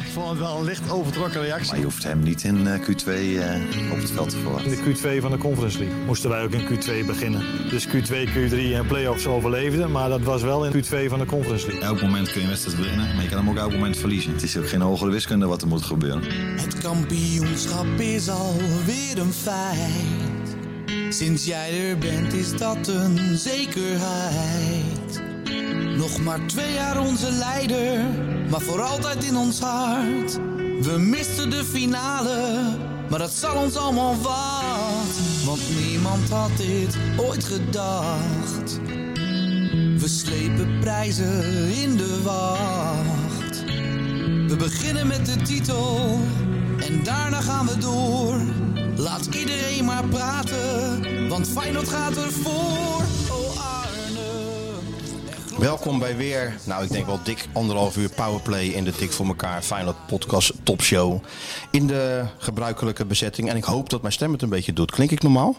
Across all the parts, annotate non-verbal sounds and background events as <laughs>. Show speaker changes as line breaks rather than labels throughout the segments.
Ik vond het wel een licht overtrokken reactie.
Maar je hoeft hem niet in eh, Q2 eh, op het veld te verwachten.
In de Q2 van de Conference League moesten wij ook in Q2 beginnen. Dus Q2, Q3 en playoffs overleefden, maar dat was wel in Q2 van de Conference League.
Elk moment kun je een wedstrijd winnen, maar je kan hem ook elk moment verliezen. Het is ook geen hogere wiskunde wat er moet gebeuren.
Het kampioenschap is alweer een feit. Sinds jij er bent is dat een zekerheid. Nog maar twee jaar onze leider, maar voor altijd in ons hart. We misten de finale, maar dat zal ons allemaal wat. Want niemand had dit ooit gedacht. We slepen prijzen in de wacht. We beginnen met de titel en daarna gaan we door. Laat iedereen maar praten, want Feyenoord gaat ervoor. Oh Arne.
Welkom bij weer, nou ik denk wel dik anderhalf uur Powerplay in de Dik voor elkaar Feyenoord podcast topshow. In de gebruikelijke bezetting. En ik hoop dat mijn stem het een beetje doet. Klink ik normaal?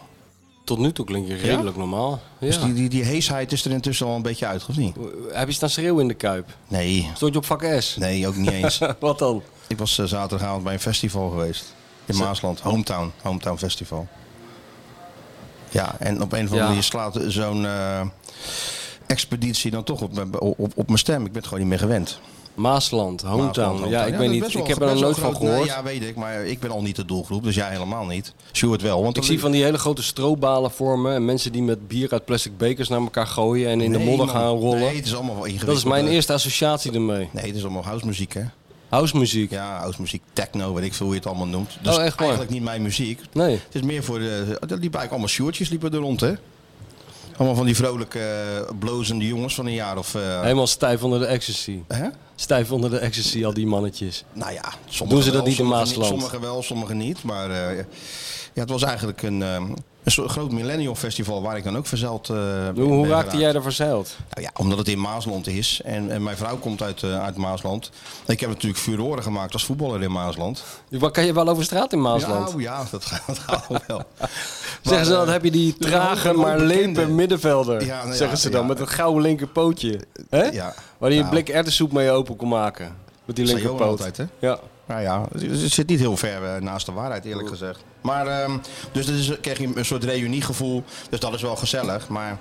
Tot nu toe klink je redelijk normaal. Ja.
Dus die, die, die heesheid is er intussen al een beetje uit, of niet?
Heb je staan schreeuwen in de Kuip?
Nee,
Stond je op vak S?
nee, ook niet eens.
<laughs> Wat dan?
ik was eh, zaterdagavond bij een festival geweest. In Maasland, Hometown, Hometown Festival. Ja, en op een of andere
Ja.
manier slaat zo'n eh, expeditie dan toch op, mijn- op, op mijn stem. Ik ben het gewoon niet meer gewend.
Maasland, hometown.
Maasland,
ja, ik
dat
weet
is
niet.
best wel-
ik heb er nog
best wel
nooit van
groot. Nee,
gehoord.
ja, weet ik, maar ik ben al niet de doelgroep, dus jij helemaal niet. Sjoerd wel, want
Ik
er-
zie van die hele grote stroobalen vormen en mensen die met bier uit plastic bekers naar elkaar gooien en in de
Nee,
modder
man.
gaan rollen.
Nee, het is allemaal wel ingewikkeld.
dat is mijn eerste associatie ermee.
Nee, het is allemaal housemuziek, hè?
Housemuziek.
Ja, housemuziek, techno, weet ik veel hoe je het allemaal noemt. Dus
Oh, echt waar?
eigenlijk niet mijn muziek.
Nee.
Het is meer voor de... Dat liepen eigenlijk allemaal shortjes liepen er rond, hè? Allemaal van die vrolijke, eh, blozende jongens van een jaar of... eh,
Helemaal stijf onder de ecstasy.
hè?
Stijf onder de ecstasy, al die mannetjes.
Nou ja, sommigen
Doen ze dat
wel,
niet in
sommigen
Maasland?
Sommigen wel, sommigen niet. Maar eh, ja, het was eigenlijk een, eh, een soort groot millennial festival waar ik dan ook verzeld eh ben
Hoe, hoe
geraakt.
raakte jij daar verzeild?
Nou ja, omdat het in Maasland is. En, en mijn vrouw komt uit, eh, uit Maasland. Ik heb natuurlijk furoren gemaakt als voetballer in Maasland.
Wat kan je wel over straat in Maasland?
Ja, oh ja, dat gaat, dat gaat
<laughs>
wel.
Zeggen ze
Maar,
dan,
eh,
heb je die
dus
trage
een hoop-
maar
een hoop
lepe
bekenden.
middenvelder.
Ja, nou ja,
zeggen ze dan,
ja.
met dat gouden linkerpootje. hè?
ja.
Waar hij een
Nou.
blik erwtensoep mee open kon maken. Met die
Zei Johan
linkerpoot.
altijd, hè?
Ja.
Nou ja, het, het zit niet heel ver eh, naast de waarheid, eerlijk gezegd. Maar, ehm, dus dat is, kreeg je een soort reuniegevoel. Dus dat is wel gezellig. Maar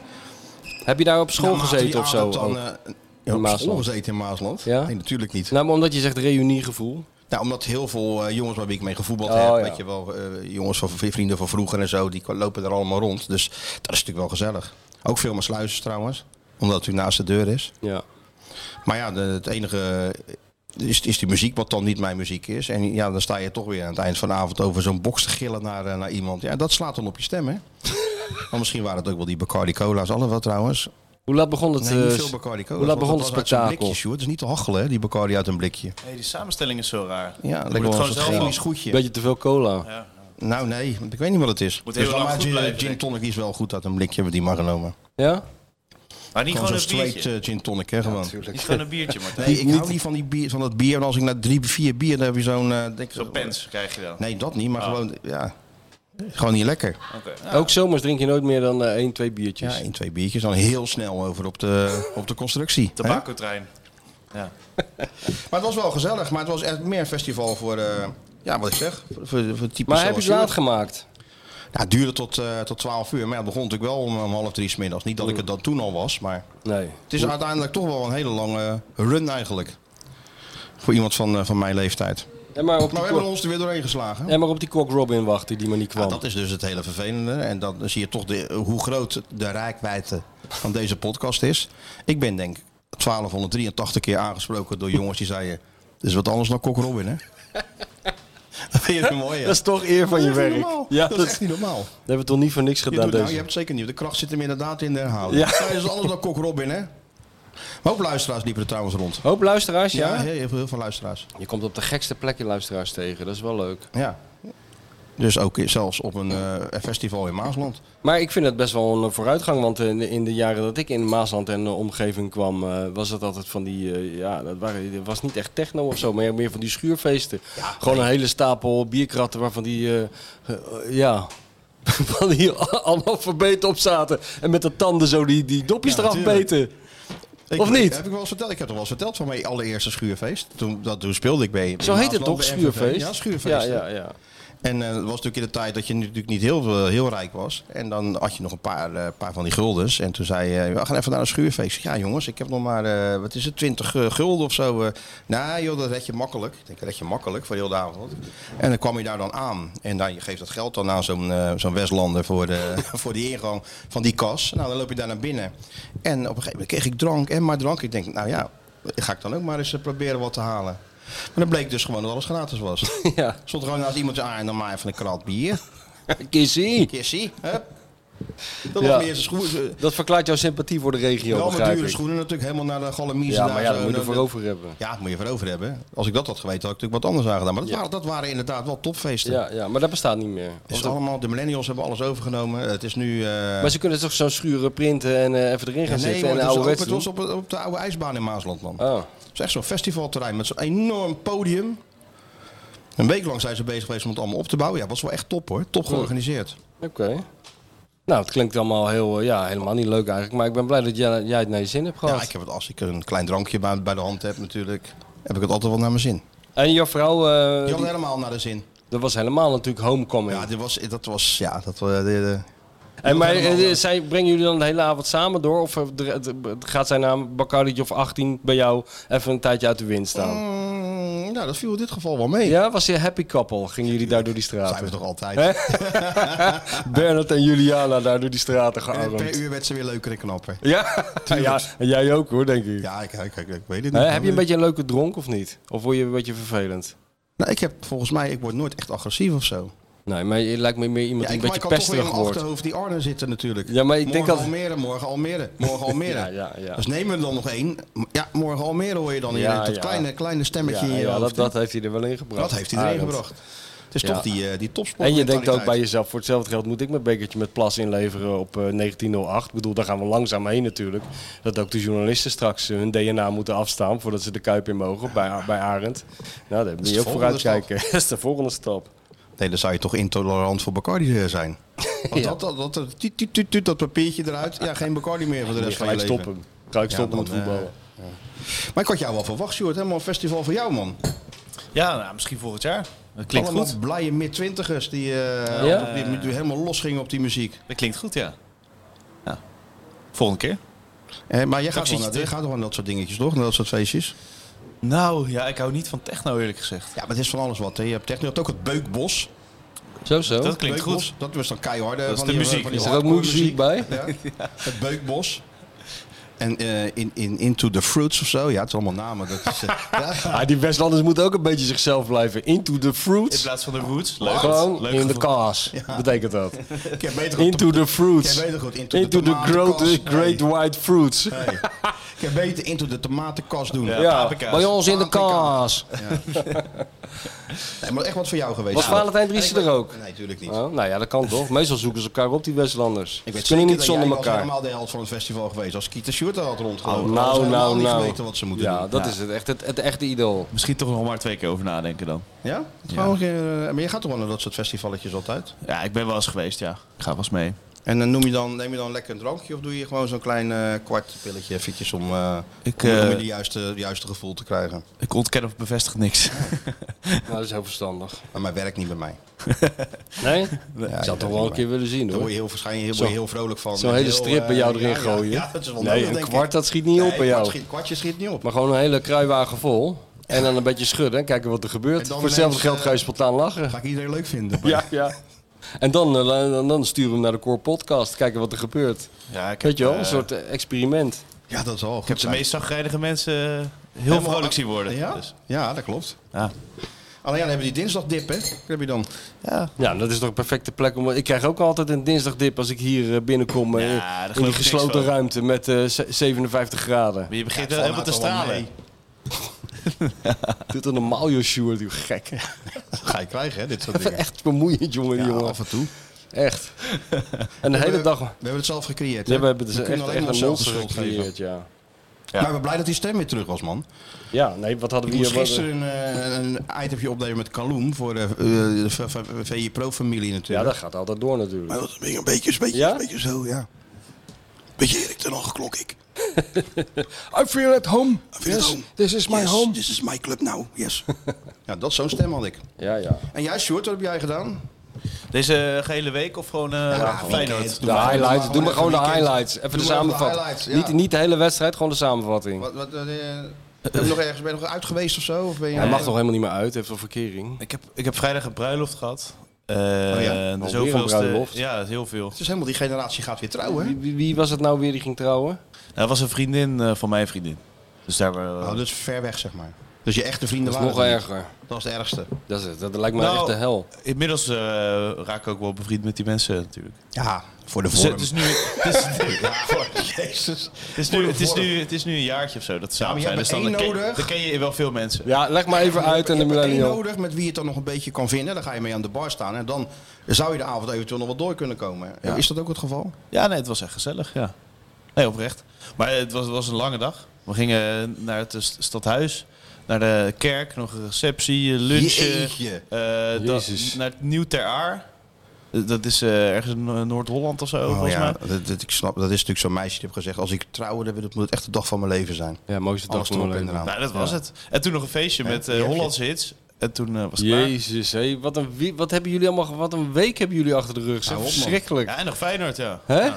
Heb je daar op school
naarmate
gezeten
je
of zo? Oh.
aandacht Dan,
ook?
eh, ja, op school
Maasland.
gezeten in Maasland?
Ja?
Nee, natuurlijk niet.
Nou, maar omdat je zegt reuniegevoel.
Nou, omdat heel veel eh, jongens waar ik mee gevoetbald
Oh,
heb,
ja.
weet je wel, eh, jongens van v- vrienden van vroeger en zo, die k- lopen er allemaal rond. Dus dat is natuurlijk wel gezellig. Ook veel met sluizen trouwens, omdat het natuurlijk naast de deur is.
Ja.
Maar ja, de- het enige eh, is, is die muziek wat dan niet mijn muziek is. En ja, dan sta je toch weer aan het eind van de avond over zo'n box te gillen naar, eh, naar iemand. Ja, dat slaat dan op je
<laughs>
stem, hè? maar misschien waren het ook wel die Bacardi Cola's, alle wel trouwens.
Hoe laat begon het,
Nee, niet
eh,
veel Bacardi Cola's.
hoe laat
want
begon
dat
het
was uit zo'n
spektakel?
blikje, Sjoerd. Het is niet te hachelen, hè, die Bacardi uit een blikje.
Nee, die samenstelling is zo raar.
Ja,
Moet
lekker
het
wel
gewoon
een
zelf
chemisch
doen.
goedje.
Beetje te veel cola.
Ja.
Nou nee, want ik weet niet wat het is.
Moet heel
dan
lang
maar
goed
gin,
blijven,
gin
denk ik.
tonic die is wel goed uit een blikje hebben we die maar genomen.
Ja?
Maar niet gewoon
Gewoon zo'n
een
straight
biertje.
eh, gin tonic hè gewoon.
Niet gewoon een biertje, Martijn.
Nee, ik hou niet van, die bier, van dat bier. En als ik na drie, vier bier, dan heb je zo'n... eh, denk-
Zo'n pens Oh. krijg je dan.
Nee, dat niet, maar gewoon, ja. Gewoon niet lekker.
Oké. Nou,
Ook zomers drink je nooit meer dan eh, één, twee
Ja,
biertjes.
één, twee biertjes, dan heel snel over op de, op de constructie. hè?
Tabacotrein. Ja.
Maar het was wel gezellig, maar het was echt meer een festival voor... eh, ja, wat ik zeg, voor, voor, voor types
maar heb je
zoals
het laat
jullie.
gemaakt?
Ja, het duurde tot, eh, tot 12 uur, maar ja, het begon natuurlijk wel om, om half drie 's middags. Niet dat
Mm.
ik het dan toen al was, maar...
Nee.
Het is uiteindelijk toch wel een hele lange run eigenlijk. Voor iemand van, eh, van mijn leeftijd.
Ja,
Maar
maar op die,
we
kok-
hebben ons er weer doorheen geslagen.
ja, maar op die Cock Robin wachten die maar niet
Ja,
kwam.
dat is dus het hele vervelende. En dan zie je toch de, hoe groot de rijkwijde van deze podcast is. Ik ben denk ik 1283 keer aangesproken door jongens die zeiden... Dit is wat anders dan Kok Robin,
<laughs>
hè? Dat vind je het mooi, hè?
Dat is toch eer van je
Dat is niet
werk.
normaal.
Ja,
dat,
dat-
is echt niet normaal.
Dat hebben we toch niet voor niks
Je,
gedaan
doet, nou,
deze.
je hebt het zeker niet. De kracht zit hem inderdaad in de herhaling.
Ja.
Dat is anders dan Kok Robin, hè? Een hoop luisteraars liepen er trouwens rond.
Hoop luisteraars, Oh, ja?
Ja, heel, heel veel- heel veel luisteraars.
Je komt op de gekste plekken luisteraars tegen, dat is wel leuk.
Ja. Dus ook zelfs op een eh, festival in Maasland.
Maar ik vind het best wel een eh, vooruitgang, want in de, in de jaren dat ik in Maasland en de omgeving kwam, eh, was het altijd van die, eh, ja, dat waren, dat was niet echt techno of zo, maar meer van die schuurfeesten. Gewoon een hele stapel bierkratten waarvan die, eh, eh, eh, ja, <laughs> van die analfabeten op zaten en met de tanden zo die, die dopjes eraf
natuurlijk.
beten.
Ik,
Of niet?
Heb ik, wel eens verteld, ik heb toch wel eens verteld van mijn allereerste schuurfeest. Toen, dat, toen speelde ik bij
Zo heet het
Maasland
toch,
bij
schuurfeest?
Ja, schuurfeest.
Ja, ja, ja. <laughs>
En eh, het was natuurlijk in de tijd dat je natuurlijk niet heel, veel- heel rijk was. En dan had je nog een paar, eh, paar van die guldens. En toen zei je, eh, we gaan even naar een schuurfeest. Ik zeg, Ja jongens, ik heb nog maar, eh, wat is het, 20 eh, gulden of zo. eh. nou joh, dat red je makkelijk. Ik denk, dat red je makkelijk voor heel de avond. En dan kwam je daar dan aan. En dan, je geeft dat geld dan aan zo'n eh, zo'n Westlander voor, de, <laughs> voor die ingang van die kas. Nou, dan loop je daar naar binnen. En op een gegeven moment kreeg ik drank en maar drank. Ik denk, nou ja, ga ik dan ook maar eens eh, proberen wat te halen. Maar dan bleek dus gewoon dat alles gratis was.
ja.
Stond gewoon naast iemand aan en dan maar even een krat
<laughs>
bier.
Kissie,
Kissie, hup. Dat
Ja.
was meer zijn schoenen.
dat verklaart jouw sympathie voor de regio,
Wel met
begrijp
dure
ik.
schoenen natuurlijk, helemaal naar de galamies.
Ja,
daar
maar ja,
zo.
dat moet je
Nou,
ervoor over hebben.
Ja, dat moet je voor over hebben. Als ik dat had geweten, had ik natuurlijk wat anders aan gedaan. Maar dat, waren, dat waren inderdaad wel topfeesten.
Ja, ja, maar dat bestaat niet meer.
Het is allemaal, de millennials hebben alles overgenomen. Het is nu... eh,
Maar ze kunnen toch zo'n schuren printen en eh, even erin gaan
nee, maar
zitten
het
en een
was
oude
ook-
wedstrijd.
het was op, op de oude ijsbaan in Maasland, man.
Oh.
Het is echt zo'n festivalterrein met zo'n enorm podium. Een week lang zijn ze bezig geweest om het allemaal op te bouwen. Ja, was wel echt top hoor. Top georganiseerd.
Oké. Nou, het klinkt allemaal heel, eh, ja, helemaal niet leuk eigenlijk. Maar ik ben blij dat jij, jij het naar je zin hebt gehad.
Ja, ik heb het, als ik een klein drankje bij, bij de hand heb natuurlijk, heb ik het altijd wel naar mijn zin.
En jouw vrouw, eh,
Je had
die-
helemaal naar de zin.
dat was helemaal natuurlijk homecoming.
Ja, dit was, dat was, ja, dat was, eh, de-
en maar eh,
helemaal-
zij brengen jullie dan de hele avond samen door? Of eh, dr- d- b- gaat zij na een Bacardi of 18 bij jou even een tijdje uit de wind staan?
Mm, nou, dat viel in dit geval wel mee.
Ja, was je happy couple? Gingen jullie daar door die
zijn we
straten?
toch
Hè? <laughs>
altijd. Eh,
Bernard en Juliana daar door die straten
En per
gearmd.
uur werd ze weer leuker en knapper.
Ja? ja, en jij ook hoor, denk ik.
Ja, ik, ik, ik, ik weet het niet.
Hè, heb je een beetje een leuke dronk of niet? Of word je een beetje vervelend?
Nou, ik heb volgens mij, ik word nooit echt agressief of zo.
Nee, maar je lijkt me meer iemand
Ja,
die
ik,
een
maar ik kan toch
beetje
weer in
pesterig
mijn
wordt.
achterhoofd die Arne zitten natuurlijk.
Ja, maar ik
morgen
denk dat-
Almere, morgen Almere,
<laughs>
morgen Almere.
Ja, ja, ja.
Dus nemen we er dan nog één. Ja, morgen Almere hoor je dan.
Ja,
Ja, dat
ja.
kleine, kleine
Ja,
stemmetje in je
ja
hoofd,
dat,
hè?
dat heeft hij er wel in gebracht.
Dat heeft hij erin
Arend.
gebracht. Het is
Ja.
toch die, eh, die topsport.
En je denkt ook bij jezelf, voor hetzelfde geld moet ik mijn bekertje met plas inleveren op eh, 1908. Ik bedoel, daar gaan we langzaam heen natuurlijk. Dat ook de journalisten straks eh, hun DNA moeten afstaan voordat ze de Kuip in mogen bij, bij Arend. Nou, daar moet
de
je ook
volgende
vooruitkijken. <laughs> Dat is de volgende stap.
Nee, dan zou je toch intolerant voor Bacardi eh, zijn. Want dat, dat, dat, dat, tuut, tuut, tuut, tuut, dat papiertje eruit. Ja, geen Bacardi meer voor de
Moet je
rest van je
gelijk
leven.
stoppen. Gelijk
Ja,
stoppen met
dan, eh,
voetballen.
Maar ik had jou wel verwacht, Sjoerd. Helemaal een festival voor jou, man.
Ja, nou, misschien volgend jaar. Dat klinkt
Allemaal
goed.
blije mid-twintigers die, eh,
Ja?
op die- die helemaal losgingen op die muziek.
Dat klinkt goed, ja. ja. Volgende keer.
Eh, maar jij
Dat
gaat, wel
zie je
naar, jij
terug.
gaat wel naar dat soort dingetjes, toch? Naar dat soort feestjes.
Nou, ja, ik hou niet van techno eerlijk gezegd.
Ja, maar het is van alles wat. Hè. Je hebt techno, je hebt ook het Beukbos.
Zo, zo.
Oh,
Dat klinkt
Beukbos,
goed.
Dat was dan keiharde.
Dat is
van
de
die, eh,
muziek.
van die
Is er ook
hardcore
muziek bij?
Ja.
<laughs>
Het Beukbos. En eh, in, in Into the Fruits of zo. Ja, het is allemaal namen. Dat is,
<laughs>
eh, ja.
Ah, die Westlanders moeten ook een beetje zichzelf blijven. Into the
In
fruits.
plaats van de roots. Leuk.
Gewoon
Leuk
in de
gevoel.
kaas. Betekent
<laughs>
dat.
Ik heb beter op
Into
de-
the fruits.
Ik weet het goed, into
Into,
the
the
tomatenkast.
great, great white fruits. <laughs>
Nee. Ik heb beter Into the Tomatenkast doen.
Ja.
Ja,
paprika's.
bij ons in de
Paprika's.
kaas.
Nee, maar echt wat voor jou geweest.
Was Valentijn
En ik
Driessen
ben-
er ook?
Nee, natuurlijk niet.
Oh, nou ja, dat kan toch. Meestal zoeken ze elkaar op, die Westlanders.
Ik
ze
weet
kunnen
zeker
niet
dat
zonder
jij was
elkaar.
helemaal de helft van het festival geweest. Als Kita Sjoerd daar had
Oh,
rondgelopen. dan hadden ze
nou,
helemaal
nou,
niet
nou.
weten wat ze moeten
ja,
doen.
dat is het, echt, het, het echte idool.
Misschien toch nog maar twee keer over nadenken dan.
Ja? Gewoon, eh, maar je gaat toch wel naar dat soort festivalletjes altijd?
Ja, ik ben wel eens geweest, ja. Ik ga wel eens mee.
En dan noem je dan, neem je dan lekker een drankje of doe je gewoon zo'n klein eh, kwart pilletje eventjes om, eh
Ik,
om,
eh,
om de juiste, juiste gevoel te krijgen.
Ik ontken of bevestig niks.
Nou, dat is heel verstandig.
Maar mijn werkt niet bij mij.
Nee?
<laughs> Ja,
Ik zou
dat werkt niet
toch wel een
bij mij.
keer willen zien,
Daar word je
hoor.
heel waarschijnlijk heel,
Zo-
word je heel vrolijk van.
Zo'n
En
hele
heel,
strip bij
eh,
jou
ja,
erin
ja,
gooien.
Ja, dat is wel nodig,
nee, een
denk ik.
kwart, dat schiet niet
Nee,
op bij
kwart
jou.
schiet- Kwartje schiet niet op.
Maar gewoon een hele kruiwagen vol. En dan een beetje schudden en kijken wat er
En
gebeurt.
dan
Voor hetzelfde
ineens,
geld ga je
eh,
spontaan
<laughs>
lachen.
Ga ik iedereen leuk vinden.
Ja, ja. En dan, eh, dan, dan sturen we hem naar de Core Podcast. Kijken wat er gebeurt.
Ja, ik heb,
Weet je wel,
eh,
een soort eh, experiment.
Ja, dat is al.
Ik heb <laughs> de meest zagrijnige mensen eh, heel vrolijk zien worden.
Ja?
Dus,
ja, dat klopt.
ja.
Alleen ja, dan hebben we die dinsdagdip, hè? Wat heb je dan?
Ja, dat is toch een perfecte plek om. Ik krijg ook altijd een dinsdagdip als ik hier eh, binnenkom. eh,
Ja, daar
in
geloof
die
ik niks
gesloten
van.
ruimte met eh, ze- 57 graden.
Maar je begint
Ja,
wel helemaal te
het valt nou
stralen.
toch wel <laughs>
Doet er normaal, joh, Sjoerd, joh, gek.
ga je krijgen, hè, dit soort dingen.
Echt bemoeiend, jongen, die
Ja,
jongen.
af en toe.
Echt. <laughs> En de hele
We
dag...
hebben het zelf gecreëerd.
Ja,
hè?
we hebben dus
kunnen
echt,
alleen
echt
maar
een
onszelf de
monster
schuld geven.
gecreëerd, ja.
Maar ik ben blij dat die stem weer terug was, man.
Ja, nee, wat hadden
Ik
we hier...
moest gisteren eh, een itemje opnemen met Kaloem voor de, eh, de v- v- VJ Pro-familie
Ja,
natuurlijk.
dat gaat altijd door natuurlijk.
Maar dat ging een beetje, een beetje,
Ja?
een beetje zo, ja. Beetje Erik ten Hag klok ik.
I feel at home.
feel at
Yes,
home.
This is my
Yes,
home.
This is my club now, yes. <laughs> ja, dat zo'n stem had ik.
Ja, ja.
En jij, Sjoerd, wat heb jij gedaan?
Deze gehele week of gewoon eh Feyenoord?
De highlights. Doe maar gewoon de
weekend.
highlights. Even
Doe
de
maar even de
samenvatting.
highlights, ja.
Niet, niet de hele wedstrijd, gewoon de samenvatting.
Wat, wat, eh, heb je nog ergens, ben je nog uit geweest of zo? Of ben je,
Hij Eh. mag toch helemaal niet meer uit, heeft een verkering.
Ik heb, ik heb vrijdag een bruiloft gehad. Eh
Oh ja,
de
een
zoveelste-
bruiloft.
Ja, dat is heel veel.
Het is helemaal die generatie gaat weer trouwen, hè?
Wie, wie- wie was het nou weer die ging trouwen?
Nou, dat was een vriendin eh, van mijn vriendin. Dus daar... eh,
Oh, dat is ver weg, zeg maar. Dus je echte vrienden
Dat is
waren
nog
er niet.
erger.
Dat is het ergste.
Dat, is het. dat lijkt me
Nou,
echt de hel.
dus-
Inmiddels eh, raak ik ook wel bevriend met die mensen natuurlijk.
Ja, voor de
Dus
vorm.
het is nu, het is,
<laughs> Ja, voor- <laughs> Jezus.
het is nu, het is nu, het is nu een jaartje of zo dat ze samen
maar
zijn.
je
Dus
hebt
dan
er één
ken,
nodig.
dan ken je wel veel mensen.
Ja, leg maar even uit en de
Je hebt er één
millennial.
nodig met wie je het dan nog een beetje kan vinden. Dan ga je mee aan de bar staan. En dan zou je de avond eventueel nog wat door kunnen komen.
Ja.
Is dat ook het geval?
Ja, nee, het was echt gezellig, ja. Nee, oprecht. Maar het was, het was een lange dag. We gingen naar het eh, st- stadhuis, naar de kerk, nog een receptie, eh, lunchen.
Jeetje.
eh, dat-
Jezus.
naar het Nieuw Ter Aar. Eh, Dat is eh, ergens in eh, Noord-Holland of
Oh,
zo, volgens mij.
dat, dat- ik snap, dat is natuurlijk zo'n meisje die heb gezegd. Als ik trouw, dan wil- dat moet echt de dag van mijn leven zijn.
Ja, mooiste dag
Alles
van mijn
erop en
leven.
eraan.
Nou, dat was het. En toen nog een feestje met eh,
die heb je.
Hollandse hits. En toen eh, was het klaar.
Jezus, hé, wat, een, wie- wat hebben jullie allemaal, ge- wat een week hebben jullie achter de rug. Zeg,
Hou op, man.
verschrikkelijk.
Ja, en nog Feyenoord, ja.
Hè?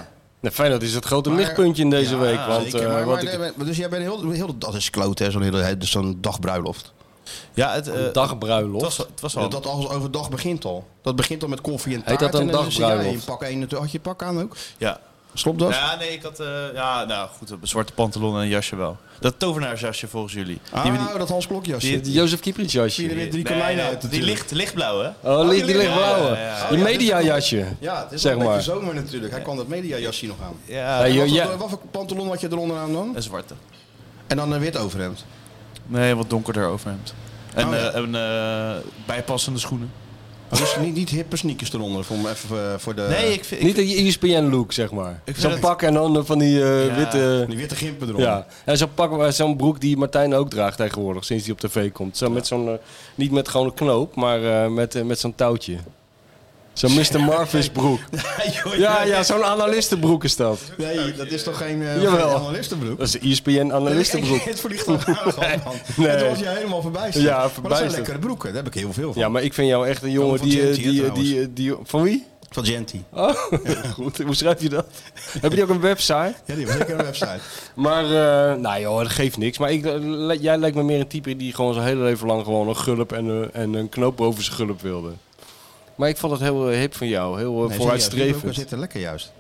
Nou, Feyenoord is het grote
Maar-
lichtpuntje in deze
Ja,
week. Want,
Zeker,
eh,
maar-
want
maar
ik-
nee, maar- dus jij bent heel, heel dat is kloot hè, zo'n hele- dus zo'n dagbruiloft.
Ja, het, eh,
een
het
dagbruiloft.
was, het was al.
Dat, dat alles overdag begint al. Dat begint al met koffie en
Heet
taart.
dat dan
en dan zit jij
dagbruiloft?
in pak één natuurlijk. Had je pak aan ook?
Ja.
Slopt dat?
ja, nee, ik had... eh, ja, nou goed, een zwarte pantalon en een jasje wel. Dat tovenaarsjasje volgens jullie.
Ah,
Die we niet-
dat Hans Klokjasje.
die-
Die Jozef Kieprits jasje.
Zie je er weer drie
Nee,
konijnen
nee,
uit
Die
natuurlijk.
licht, lichtblauw, hè?
Oh, die, die
Ja,
lichtblauwe.
ja, ja.
Je mediajasje.
Ja, het is
Zeg
wel een
maar.
beetje zomer natuurlijk. Hij kwam dat mediajasje nog aan.
Ja,
Hey,
En wat,
joh,
voor-
ja.
wat voor pantalon had je eronder aan dan?
een zwarte.
En dan een wit overhemd.
Nee, wat donkerder overhemd. En,
Oh, ja.
eh, en eh, bijpassende schoenen.
Dus niet, niet hippe sneakers eronder, voor, me even, eh, voor de,
nee, ik vind... ik
Niet E
vind-
een ESPN-look, zeg maar.
vind
Zo'n
het-
pak en dan eh, van die eh,
Ja.
witte...
die witte gimpen eronder. <laughs>
Ja, en zo'n pak, eh, zo'n broek die Martijn ook draagt tegenwoordig, sinds hij op tv komt. Zo met zo'n, eh, niet met gewoon een knoop, maar eh, met, eh, met zo'n touwtje. Zo'n Mr. Marvis broek. Ja, ja, zo'n analistenbroek is dat.
Nee, dat is toch geen, eh,
Jawel.
geen analystenbroek?
Dat is E
<laughs>
de ESPN-analistenbroek.
Het verlicht al aan, man.
Nee.
Het was je helemaal verbijsterd.
Ja,
Maar dat zijn
verbijsterd.
lekkere broeken, daar heb ik heel veel van.
Ja, maar ik vind jou echt een jongen
van
die... eh,
Genty, hè,
die, eh,
trouwens.
die, eh, die, van wie?
Van Genty.
Oh, <laughs> goed. Hoe schrijf je dat? Heb je die ook een website?
Ja, die was zeker een
<laughs>
website.
Maar, eh, nou joh, dat geeft niks. Maar ik, eh, li- jij lijkt me meer een type die gewoon zijn hele leven lang gewoon een gulp en, eh, en een knoop boven zijn gulp wilde. Maar ik vond het heel eh, hip van jou, heel
Nee, serieus,
eh,
die broeken
vooruitstrevend.
zitten lekker juist.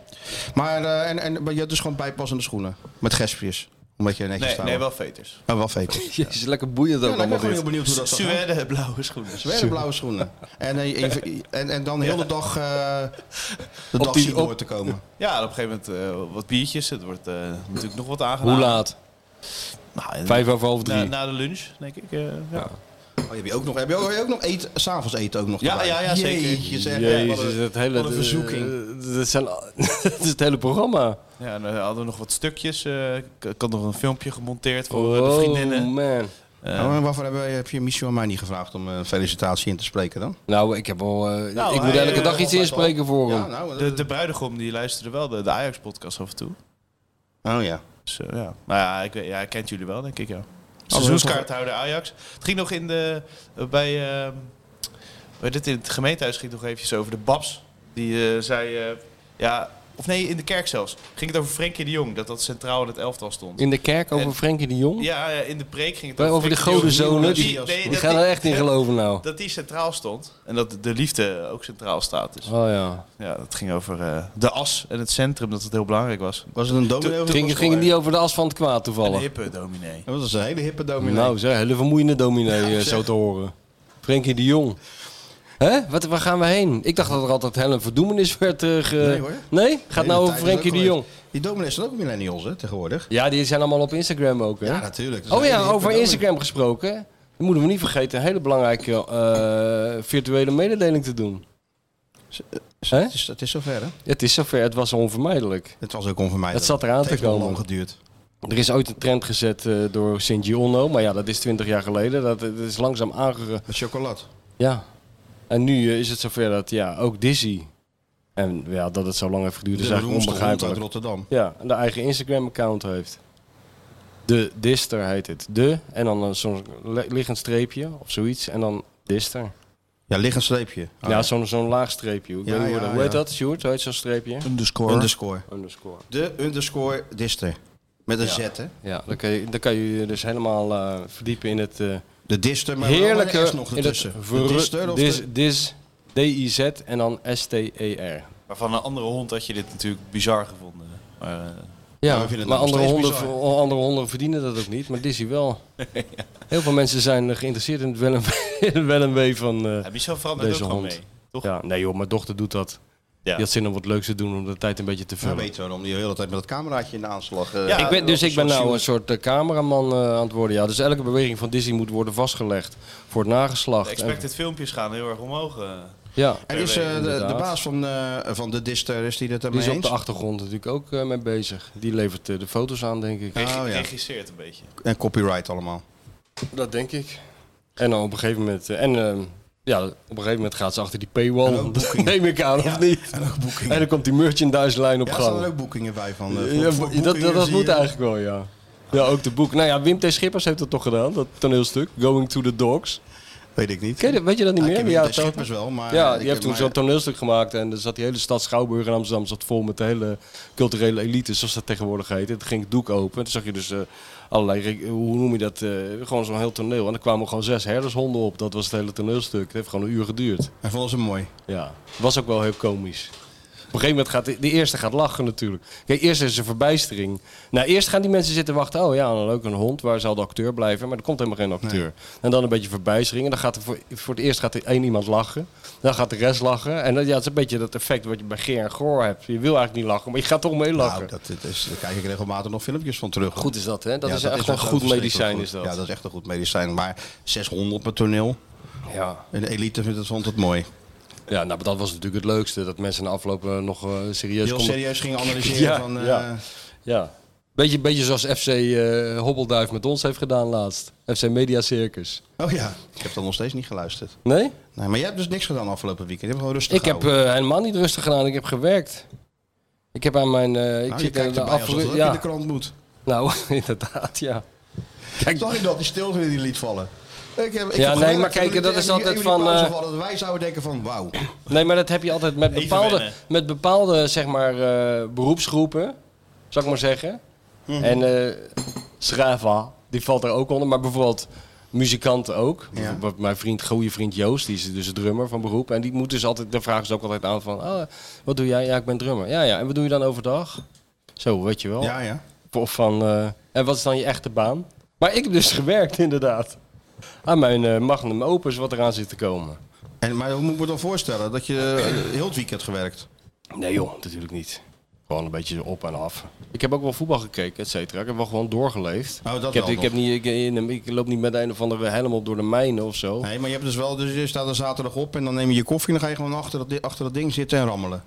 Maar, eh, en, en, maar je had dus gewoon bijpassende schoenen. Met gespjes. Omdat je netjes
Nee,
staat.
nee, wel veters.
Oh, wel fake.
<laughs> Jezus, lekker boeiend ook
Ja, nou, ik ben
allemaal
gewoon heel
dit.
benieuwd hoe dat gaat.
Suède, <laughs> blauwe schoenen.
Zweden blauwe schoenen. En, eh, even- en, en dan de hele dag eh, de dag
die-
zien
op-
door te komen. Oh,
Ja, en op een gegeven moment eh, wat biertjes. Het wordt eh, natuurlijk nog wat aangedaan.
Hoe laat?
Nou, eh,
Vijf over half
na,
drie.
na de lunch, denk ik. eh, ja.
Oh, heb je ook nog, heb je ook, heb je ook nog eten, s'avonds eten ook nog
Ja,
erbij?
ja, ja, zeker.
Jeetje, zeg, ja, wat
Jezus,
een-
dat hele...
wat een verzoeking.
eh, dat, zijn, al- dat is <laughs> het hele programma.
ja, en dan hadden we nog wat stukjes. eh, ik, ik had nog een filmpje gemonteerd voor eh, de
Oh
vriendinnen.
man.
Eh,
Nou, maar waarvoor heb, je- heb je Michel en mij niet gevraagd om een felicitatie in te spreken dan?
Nou, ik heb al... eh,
Nou,
ik moet
hij,
elke
eh,
dag iets
altijd
inspreken voor hem.
Ja, nou,
de, de bruidegom die luisterde wel de, de Ajax-podcast af en toe.
oh ja.
Dus, eh, ja. Nou ja, ik, weet- ja, hij kent jullie wel, denk
Oh,
ik, ja. Seizoenskaarthouder Ajax. Het ging nog in de... eh, bij, ehm, bij dit in het gemeentehuis ging het nog eventjes over de Babs. Die eh, zei... eh, ja, of nee, in de kerk zelfs. Ging het over Frenkie de Jong, dat dat centraal in het elftal stond.
In de kerk over
En-
Frenkie de Jong?
Ja, ja, in de preek ging het
Over, over de
Frenkie Jong.
godenzonen?
Dat
Die,
nee,
die
dat
gaan er echt in geloven nou.
<laughs> Dat die centraal stond en dat de liefde ook centraal staat. Dus
Oh ja.
ja, dat ging over eh, de as en het centrum, dat het heel belangrijk was.
Was het een dominee? of
Ging,
was
gingen
het
die over de as van het kwaad
Een
toevallig?
hippe dominee.
Dat was een hele hippe dominee.
Nou, zeg, hele vermoeiende dominee eh,
zeg.
zo te horen. Frenkie de Jong. Hè? Wat, waar gaan we heen? Ik dacht dat er altijd hel en verdoemenis werd eh, ge-
Nee, hoor.
Nee? Gaat
De hele
nou over
tijd is
Frenkie
ook
de Jong.
geweest. Die dominees zijn ook millennials hè, tegenwoordig.
Ja, die zijn allemaal op Instagram ook, hè?
Ja, natuurlijk. Dat is
oh
een hele
ja,
hippe
over
dominee.
Instagram gesproken. Dan moeten we niet vergeten een hele belangrijke eh, virtuele mededeling te doen. Hè?
Het is, het is zover, hè?
Het is zover, het was onvermijdelijk.
Het was ook onvermijdelijk.
Het zat eraan
Het
te
heeft nog lang
komen.
geduurd.
Er is ooit een trend gezet eh, door Sint-Gionno, maar ja, dat is 20 jaar geleden. Dat, dat is langzaam aangegaan.
Met chocolat.
Ja. En nu eh, is het zover dat ja, ook Dizzy. En ja, dat het zo lang heeft geduurd
Dus
is
de
eigenlijk
beroemdste hond uit
onbegrijpelijk.
Rotterdam.
Ja, en de eigen Instagram-account heeft. De Dister heet het. De en dan een zo'n li- liggend streepje of zoiets. En dan Dister.
Oh, Ja, liggend streepje. Ah,
ja, zo'n zo'n laag streepje. Ik
Ja,
weet niet hoe,
ja,
dat- hoe heet
ja.
dat, Sjoerd? Hoe heet zo'n streepje?
Underscore.
Underscore.
Underscore.
De underscore dister. Met een Z, hè?
Ja, dan kan je dan kan je je dus helemaal eh, verdiepen in het eh,
De dister, maar
heerlijke...
wel met een S nog
in het
ertussen.
verru-
de dister of
dis,
de-
dis, D-I-Z en dan E S-T-E-R.
Maar van een andere hond had je dit natuurlijk bizar gevonden. Maar, eh,
we
Ja,
vinden het
maar
nog
andere
steeds
honden,
bizar.
v- andere honden verdienen dat ook niet, maar Dizzy
<laughs>
wel. Heel veel mensen zijn eh, geïnteresseerd in het wel en wee- <laughs> in het wel en wee van... eh,
heb je zo veranderd ook
Deze
gewoon
hond.
mee? Toch?
ja, nee joh, mijn dochter doet dat.
Ja.
Die had zin om wat leuks te doen, om de tijd een beetje te
Ja,
vullen.
beter om die hele tijd met dat cameraatje in de aanslag. eh,
Ja,
ik ben, dus
een
ik ben
soort
nou een
shoot.
soort eh, cameraman eh, aan het worden. Ja. Dus elke beweging van Dizzy moet worden vastgelegd voor het
De
nageslacht.
expected filmpjes gaan heel erg omhoog. eh.
En- ja,
En is eh, de, de
Inderdaad.
baas van, eh, van de dister, is die het
die
ermee
is op
eens?
de achtergrond natuurlijk ook eh, mee bezig. Die levert eh, de foto's aan, denk ik.
Reg-
Oh, ja.
Regisseert een beetje.
En copyright allemaal.
Dat denk ik. En dan op een gegeven moment... eh, en eh, ja, op een gegeven moment gaat ze achter die <laughs> paywall. Dat neem ik aan, of niet? En, dan komt die merchandise-lijn op
Ja,
gang.
staan er ook boekingen bij van. eh, voor-
Ja,
voor
dat, dat,
boekingen
dat
zie
moet
je-
eigenlijk wel, ja. Ja, ook de boek. Nou ja, Wim T. Schippers heeft dat toch gedaan, dat toneelstuk. Going to the Dogs.
Weet ik niet.
Ken je dat- weet je dat niet
Ja,
meer?
ik
Die
ken
jaren
de Schippers
80?
wel, maar... eh,
Ja,
ik
die heeft
ken
toen
maar-
zo'n toneelstuk gemaakt en er zat die hele stad Schouwburg in Amsterdam zat vol met de hele culturele elite, zoals dat tegenwoordig heet. Het ging het doek open en toen zag je dus eh, allerlei, re- hoe noem je dat, eh, gewoon zo'n heel toneel. En er kwamen gewoon zes herdershonden op, dat was het hele toneelstuk. Het heeft gewoon een uur geduurd.
Hij vond ze mooi.
Ja, was ook wel heel komisch. Op een gegeven moment gaat de, de eerste gaat lachen natuurlijk. Kijk, eerst is er verbijstering. Nou, eerst gaan die mensen zitten wachten. Oh ja, dan ook een hond. Waar zal de acteur blijven? Maar er komt helemaal geen acteur. En dan een beetje verbijstering. En dan gaat er voor, voor het eerst gaat er één iemand lachen. Dan gaat de rest lachen. En dat, ja, het is een beetje dat effect wat je bij Geer en Goor hebt. Je wil eigenlijk niet lachen, maar je gaat toch mee lachen.
Nou, dat, dat is, daar kijk ik regelmatig nog filmpjes van terug.
Goed is dat, hè? Dat
Ja,
is echt
wel
een goed
verschrikkelijk
medicijn,
goed.
is dat.
Ja, dat is echt een goed medicijn. Maar 600 op het toneel.
ja.
En de elite vindt het, vond het mooi.
Ja, nou, maar dat was natuurlijk het leukste. Dat mensen na afloop eh, nog eh, serieus
Heel
konden
serieus ging analyseren
Ja,
van... eh,
ja. Ja. Beetje, beetje zoals FC eh, Hobbelduif met ons heeft gedaan laatst. FC Media Circus.
Oh ja, ik heb dat nog steeds niet geluisterd.
Nee?
Nee, maar jij hebt dus niks gedaan afgelopen weekend. Je hebt gewoon rustig
Ik heb
gehouden.
eh, helemaal niet rustig gedaan. Ik heb gewerkt. Ik heb aan mijn... eh, ik
Nou, je
zit aan
kijkt
de
erbij alsof
afgelopen...
dat
Ja,
in de krant moet.
nou, <laughs> inderdaad, ja. Kijk,
Zag je dat? Die stilte die liet vallen. Ik heb, ik
Ja,
heb
nee,
gemerkt
maar kijk,
toen ik
dat
even
is
die-
altijd
even die
van,
pauze
eh,
hadden, dat wij zouden denken van, wauw.
nee, maar dat heb je altijd met
Even
bepaalde,
wennen.
met bepaalde zeg maar, eh, beroepsgroepen, zou ik maar zeggen.
Mhm.
En eh Schrava, die valt er ook onder. Maar bijvoorbeeld muzikanten ook. Bijvoorbeeld Mijn vriend, goede vriend Joost, die is dus drummer van beroep. En die moet dus altijd, de vraag is ook altijd aan van, ah, wat doe jij? Ja, ik ben drummer. Ja, ja. En wat doe je dan overdag? Zo, weet je wel.
Ja, ja.
Of van, eh, en wat is dan je echte baan? Maar ik heb dus <laughs> gewerkt, inderdaad. Aan mijn eh, magnum opus, wat eraan zit te komen.
En, maar hoe moet ik me dan voorstellen? Dat je eh, heel het weekend gewerkt.
Nee joh, natuurlijk niet. Gewoon een beetje op en af. Ik heb ook wel voetbal gekeken, et cetera. Ik heb wel gewoon doorgeleefd.
Oh, dat
ik, heb,
wel
ik, heb niet, ik, in- ik loop niet met een of andere helemaal door de mijnen of zo.
Nee, maar je hebt dus wel, dus je staat er zaterdag op en dan neem je je koffie en dan ga je gewoon achter dat, di- achter dat ding zitten en rammelen.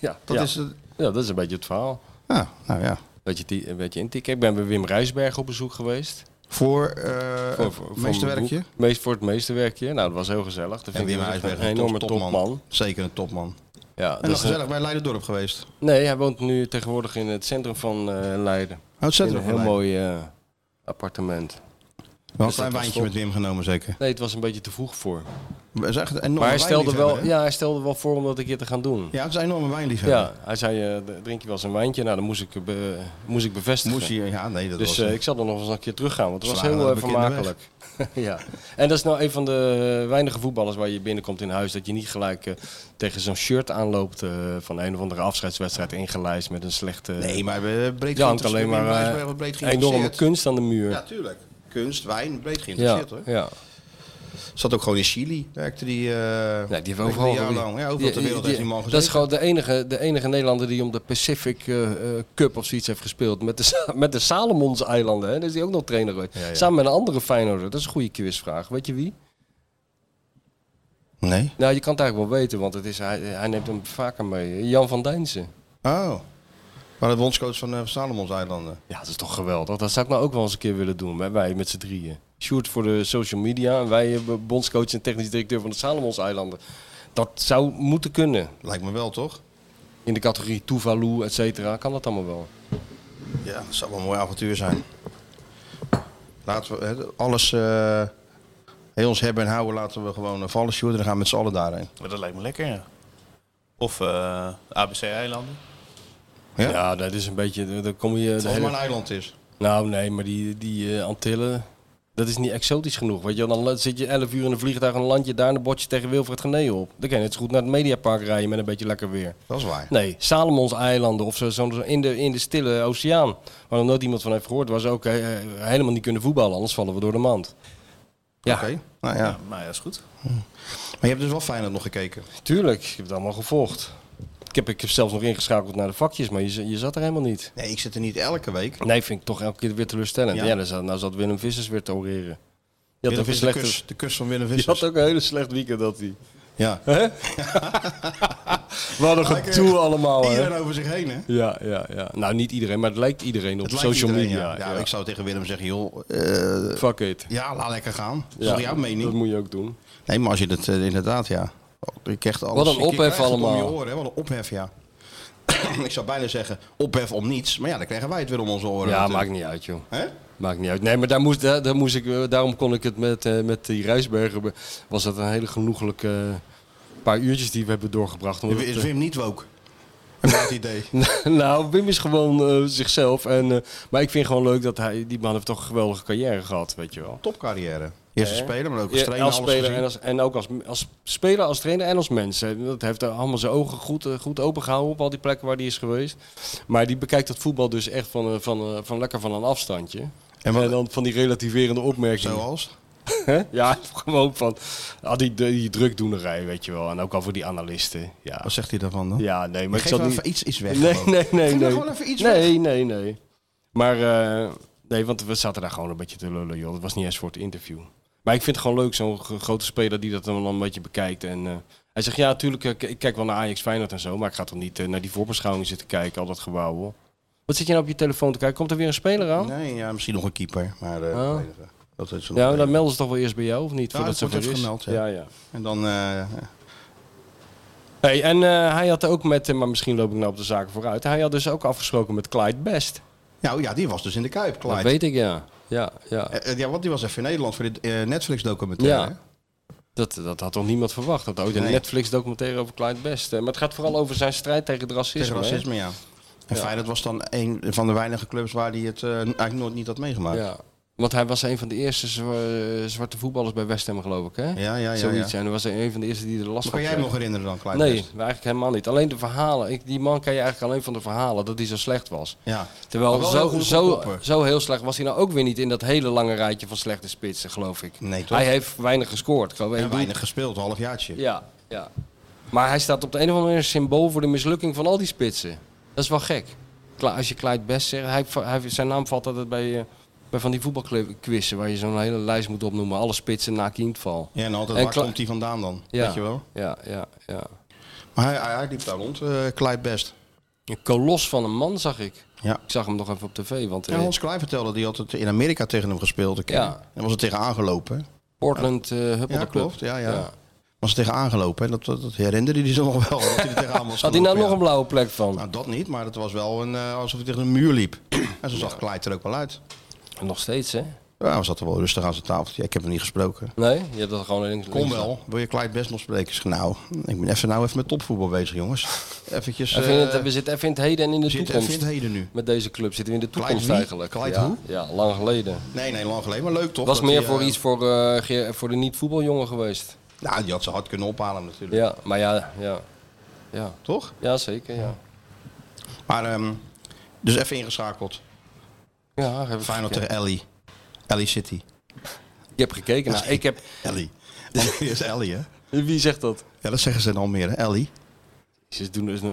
Ja,
Dat
ja.
is het.
ja, dat is een beetje het verhaal.
Ja, nou ja.
Weet je, die- een beetje intikken. Ik ben bij Wim Rijsberg op bezoek geweest.
Oh, Voor, eh
Voor- voor- voor
meesterwerkje.
mijn boek. Meest, voor het meesterwerkje. Nou, dat was heel gezellig. Dat
En
vind
Wim
ik echt
Huisberg,
een enorme topman.
Zeker een topman.
Ja,
En
dat
nog
is een-
gezellig bij Leiderdorp geweest.
nee, hij woont nu tegenwoordig in het centrum van eh, Leiden.
Ontzettend
in een heel mooi eh, appartement.
Wel een
Dus dat
klein
was
wijntje
top.
met Wim genomen zeker.
Nee, het was een beetje te vroeg voor.
Het is echt een enorme
Maar hij stelde,
wijnliefhebber,
wel,
hè?
ja, hij stelde wel voor om dat een keer te gaan doen.
Ja, het is een enorme
Ja,
wijnliefhebber.
hij zei, eh, drink je wel eens een wijntje? Nou, dat moest ik, eh, be- moest ik bevestigen.
Moest hij, ja, nee, dat
dus
was
eh,
een-
ik zal er nog eens een keer terug gaan, want het was
Slagen
heel
aan
eh,
de bekende
vermakelijk. <laughs> ja. En dat is nou een van de eh, weinige voetballers waar je binnenkomt in huis, dat je niet gelijk eh, tegen zo'n shirt aanloopt eh, van een of andere afscheidswedstrijd ingelijst met een slechte...
Nee, maar we breed
ja, hangt
geïnteresseerd.
eh, alleen
Wim
maar
Rijsberg
eh,
wordt breed
enorme
geïnteresseerd.
kunst aan de muur.
Ja, tuurlijk. Kunst, wijn, breed
ja,
geïnteresseerd hoor.
ja.
Zat ook gewoon in Chili, werkte die. eh
Ja, die heeft
werkte
overal
een jaar
gewerkt.
lang. Ja, overal
Die-
ter wereld
die-
heeft die man
Dat is
gezeten.
gewoon de enige, de enige Nederlander die om de Pacific eh, eh, Cup of zoiets heeft gespeeld. Met de, Sa- <laughs> met de Salomons-eilanden. Hè? Daar is die ook nog trainer geweest.
Ja, ja.
Samen met een andere Feyenoorder. Dat is een goede quizvraag. Weet je wie?
Nee.
Nou, je kan het eigenlijk wel weten, want het is, hij, hij neemt hem vaker mee. Jan van Dijnsen.
Oh. Maar de bondscoach van eh Salomons-eilanden.
Ja, dat is toch geweldig. Dat zou ik nou ook wel eens een keer willen doen. Wij, wij met z'n drieën. Sjoerd voor de social media. En wij eh, bondscoach en technisch directeur van de Salomons-eilanden. Dat zou moeten kunnen.
Lijkt me wel, toch?
In de categorie Tuvalu, et cetera. Kan dat allemaal wel.
Ja, dat zou wel een mooi avontuur zijn. Laten we hè, alles eh heel ons hebben en houden. Laten we gewoon eh, vallen, Sjoerd. En dan gaan we met z'n allen daarheen.
Maar dat lijkt me lekker, ja. Of eh, ABC-eilanden.
Ja?
Ja, dat is een beetje. eh, Dan kom je.
Als
De
het maar
hele...
een eiland is.
Nou, nee, maar die, die eh, Antillen. Dat is niet exotisch genoeg. Weet je, wel. dan zit je 11 uur in een vliegtuig en dan land je daar een botje tegen Wilfred Genee op. Dan kan je net zo goed naar het Mediapark rijden met een beetje lekker weer.
Dat is waar.
Nee, Salomons-eilanden of zo, zo zo in, de, in de stille oceaan. Waar nog nooit iemand van heeft gehoord, waar ze ook eh, helemaal niet kunnen voetballen, anders vallen we door de mand. Ja,
Oké. Nou ja.
Nou ja, is goed.
Maar je hebt dus wel Feyenoord nog gekeken.
tuurlijk. Ik heb het allemaal gevolgd. Ik heb, ik heb zelfs nog ingeschakeld naar de vakjes, maar je, z- je zat er helemaal niet.
Nee, ik zit er niet elke week.
Nee, vind ik toch elke keer weer teleurstellend.
Ja.
Ja, dan zat, nou zat Willem Vissers weer te oreren. Die had,
Willem
ook een
Visser, de,
slechte,
kus, de kus van Willem
die
Vissers.
had ook een hele slecht weekend, dat hij.
Ja.
<laughs> Wat een getoe allemaal, hè?
Iedereen over zich heen, Oh, hè?
Ja, ja, ja. Nou, niet iedereen, maar het lijkt iedereen
Het
op
lijkt
social
iedereen,
media.
Ja.
Ja,
Ja, ik zou tegen Willem zeggen, joh, eh,
Fuck it.
ja, laat lekker gaan. Dat is
Ja,
toch jouw
Dat
mening? Oh,
moet je ook doen.
Nee, maar als je dat eh, inderdaad, ja. Ik krijg alles,
Wat een
ik- ik
ophef
krijg het Om je
allemaal.
oren, hè? Wat een ophef, ja. <coughs> ik zou bijna zeggen, ophef om niets. Maar ja, dan krijgen wij het weer om onze oren.
Ja, maakt
natuurlijk.
niet uit, joh.
Hè?
Maakt niet uit. Nee, maar daar moest, daar, daar moest ik, eh, daarom kon ik het met, eh, met die Rijsberger. be- Was dat een hele genoeglijke eh, paar uurtjes die we hebben doorgebracht. Omdat
Is
het, eh,
Wim niet woke? Heb jij het
<laughs>
idee?
nou, Wim is gewoon eh, zichzelf. En, eh, maar ik vind gewoon leuk dat hij, die man heeft toch een geweldige carrière gehad, weet je wel.
Topcarrière. Eerste
Ja, hè?
speler, maar ook als
Ja,
trainer.
als
alles
speler
gezien.
en, als, en ook als, als speler, als trainer en als mens. hè. Dat heeft hij allemaal zijn ogen goed, eh, goed opengehouden op al die plekken waar hij is geweest. Maar die bekijkt dat voetbal dus echt van, eh, van, eh, van lekker van een afstandje.
En
En,
wat-
dan van die relativerende opmerkingen.
Zoals?
Hè? <laughs> Ja, gewoon van ah, die, die drukdoenerij, weet je wel. En ook al voor die analisten. Ja,
Wat zegt hij daarvan dan?
ja nee, maar
Maar
ik
geef
zal
wel
niet...
even iets, iets weg.
nee,
gewoon.
nee, nee,
Geef nou
nee.
gewoon even iets weg.
nee, nee, nee. Maar eh, nee, want we zaten daar gewoon een beetje te lullen, joh. Dat was niet eens voor het interview. Maar ik vind het gewoon leuk, zo'n gro- grote speler die dat dan een beetje bekijkt. En eh, hij zegt, ja, natuurlijk, eh, k- ik kijk wel naar Ajax Feyenoord en zo. Maar ik ga toch niet eh, naar die voorbeschouwing zitten kijken, al dat gebouw, hoor. Wat zit je nou op je telefoon te kijken? Komt er weer een speler aan?
Nee, ja, misschien nog een keeper. Maar eh,
Oh.
verdedigen. dat is
Ja,
ja,
dan melden ze toch wel eerst bij jou, of niet?
Ja,
voordat
dat
ze
wordt even gemeld, ja.
ja, ja.
En dan eh,
Hey, en eh, hij had ook met, maar misschien loop ik nou op de zaken vooruit. Hij had dus ook afgesproken met Clyde Best.
nou ja, die was dus in de Kuip,
Dat
Clyde.
weet ik, ja. Ja, ja.
Eh, eh, ja, want die was even in Nederland voor dit eh, Netflix-documentaire.
Ja.
hè?
Dat, dat had toch niemand verwacht. Dat er ooit een
Nee.
Netflix-documentaire over Clyde Best. eh, Maar het gaat vooral over zijn strijd tegen het racisme.
Tegen
hè?
racisme, ja. En Feyenoord was dan een van de weinige clubs waar hij het eh, eigenlijk nooit niet had meegemaakt.
Ja. Want hij was een van de eerste zwa- zwarte voetballers bij West Ham, geloof ik, hè?
ja, ja. ja,
Zoiets.
ja.
En hij was een van de eerste die er last
Kan
van
jij
kreeg.
hem nog herinneren dan, Clyde?
Nee,
Best?
eigenlijk helemaal niet. Alleen de verhalen. Ik, die man ken je eigenlijk alleen van de verhalen dat hij zo slecht was.
Ja. Maar
Terwijl
wel heel
zo,
goed
zo,
koppen.
zo heel slecht was hij nou ook weer niet in dat hele lange rijtje van slechte spitsen, geloof ik.
Nee, toch?
hij heeft weinig gescoord. Ik geloof één
En
doel.
weinig gespeeld, een halfjaartje.
Ja, ja. Maar hij staat op de een of andere manier symbool voor de mislukking van al die spitsen. Dat is wel gek. Kla- Als je Clyde Best zegt, hij, hij- zijn naam valt altijd bij, eh, bij van die voetbalquizzen waar je zo'n hele lijst moet opnoemen. Alle spitsen na kindval.
Ja, en altijd,
En
waar
Cly-
komt hij vandaan dan?
Ja.
Weet je wel?
Ja, ja, ja.
Maar hij, hij, hij liep daar rond, eh Clyde Best.
Een kolos van een man zag ik.
Ja.
Ik zag hem nog even op tv, want eh,
Ja, Hans Klei vertelde, die had het in Amerika tegen hem gespeeld. Een keer.
Ja.
En was er tegen aangelopen. hè?
Portland eh Huppelde
Ja,
Club.
klopt. Ja, ja. Was er tegen aangelopen. hè? Dat, dat, dat herinnerde hij zich nog wel. Dat hij er tegenaan was
Had hij nou
gelopen,
nog
ja.
een blauwe plek van?
Nou, dat niet, maar het was wel een, eh, alsof hij tegen een muur liep. En zo zag Clyde er ook wel uit.
Nog steeds, hè?
Ja, we zaten wel rustig aan zijn tafeltje. Ja, ik heb hem niet gesproken.
Nee? Je hebt dat gewoon links.
Kom
links-
wel. Wil je Clyde best nog spreken? Ik zeg, nou, ik ben even, nou even met topvoetbal bezig, jongens. Eventjes...
Even in het-
eh,
we zitten even in het heden en in de
zit even
toekomst.
in het heden nu.
Met deze club zitten we in de
Clyde
toekomst
wie?
eigenlijk.
Clyde
ja.
hoe?
ja, lang geleden.
Nee, nee, lang geleden. Maar leuk toch?
was
dat
meer
hij,
voor
eh,
iets voor, eh, ge- voor de niet-voetbaljongen geweest.
Nou, die had ze hard kunnen ophalen natuurlijk.
Ja, maar ja, ja. Ja,
Toch?
ja zeker, ja.
Maar, ehm, dus even ingeschakeld.
Ja, heb ik
Feyenoord
gekeken.
tegen Ellie. Ellie City.
Je hebt gekeken. Nou, ik heb...
<laughs> Ellie. Want <laughs> die is Ellie, hè?
Wie zegt dat?
Ja, dat zeggen ze in Almere. Ellie.
Ze doen dus een-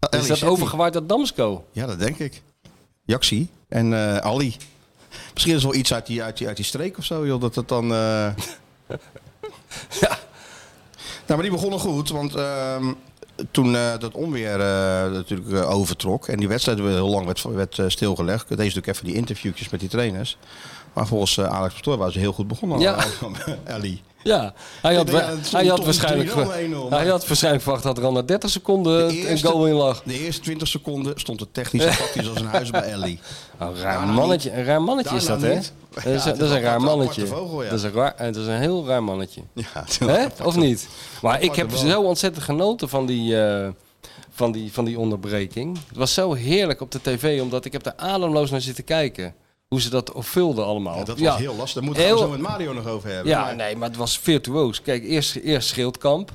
Ah, Ellie
Is dat
City.
overgewaaid dat Damsko?
Ja, dat denk ik. Jaxi en eh, Ali. Misschien is er wel iets uit die, uit die, uit die streek of zo, joh, dat het dan... eh, <laughs>
Ja.
Nou, maar die begonnen goed, want ehm, toen eh, dat onweer eh, natuurlijk eh, overtrok en die wedstrijd weer heel lang werd, werd eh, stilgelegd. Ik deed natuurlijk even die interviewtjes met die trainers. Maar volgens eh, Alex Pastoor waren ze heel goed begonnen.
Ja.
<laughs> Ellie.
Ja, hij had,
Ja,
wa-
het stond
hij had,
toch
waarschijnlijk,
3-0,
ver-
1-0, maar-
hij had waarschijnlijk verwacht dat er al na 30
De
seconden een
eerste-
goal in lag.
De eerste 20 seconden stond het technisch
<laughs>
en tactisch als een huis bij Ellie.
Nou, raar
Daarna
mannetje, een raar mannetje is dat,
Daarna
hè?
niet.
Dat is,
Ja,
dat is een raar
aparte
mannetje.
vogel, ja.
dat, is een raar, eh, dat is een heel raar mannetje.
Ja,
Hè? Of niet? Maar ik heb
aparte
zo ontzettend genoten van die, eh, van, die, van die onderbreking. Het was zo heerlijk op de tv, omdat ik heb er ademloos naar zitten kijken. Hoe ze dat vulden allemaal.
Ja, dat was
Ja.
heel lastig. Daar moeten we
Heel-
het zo met Mario nog over hebben.
Ja,
Maar-
nee, maar het was virtuoos. Kijk, eerst, eerst Schildkamp.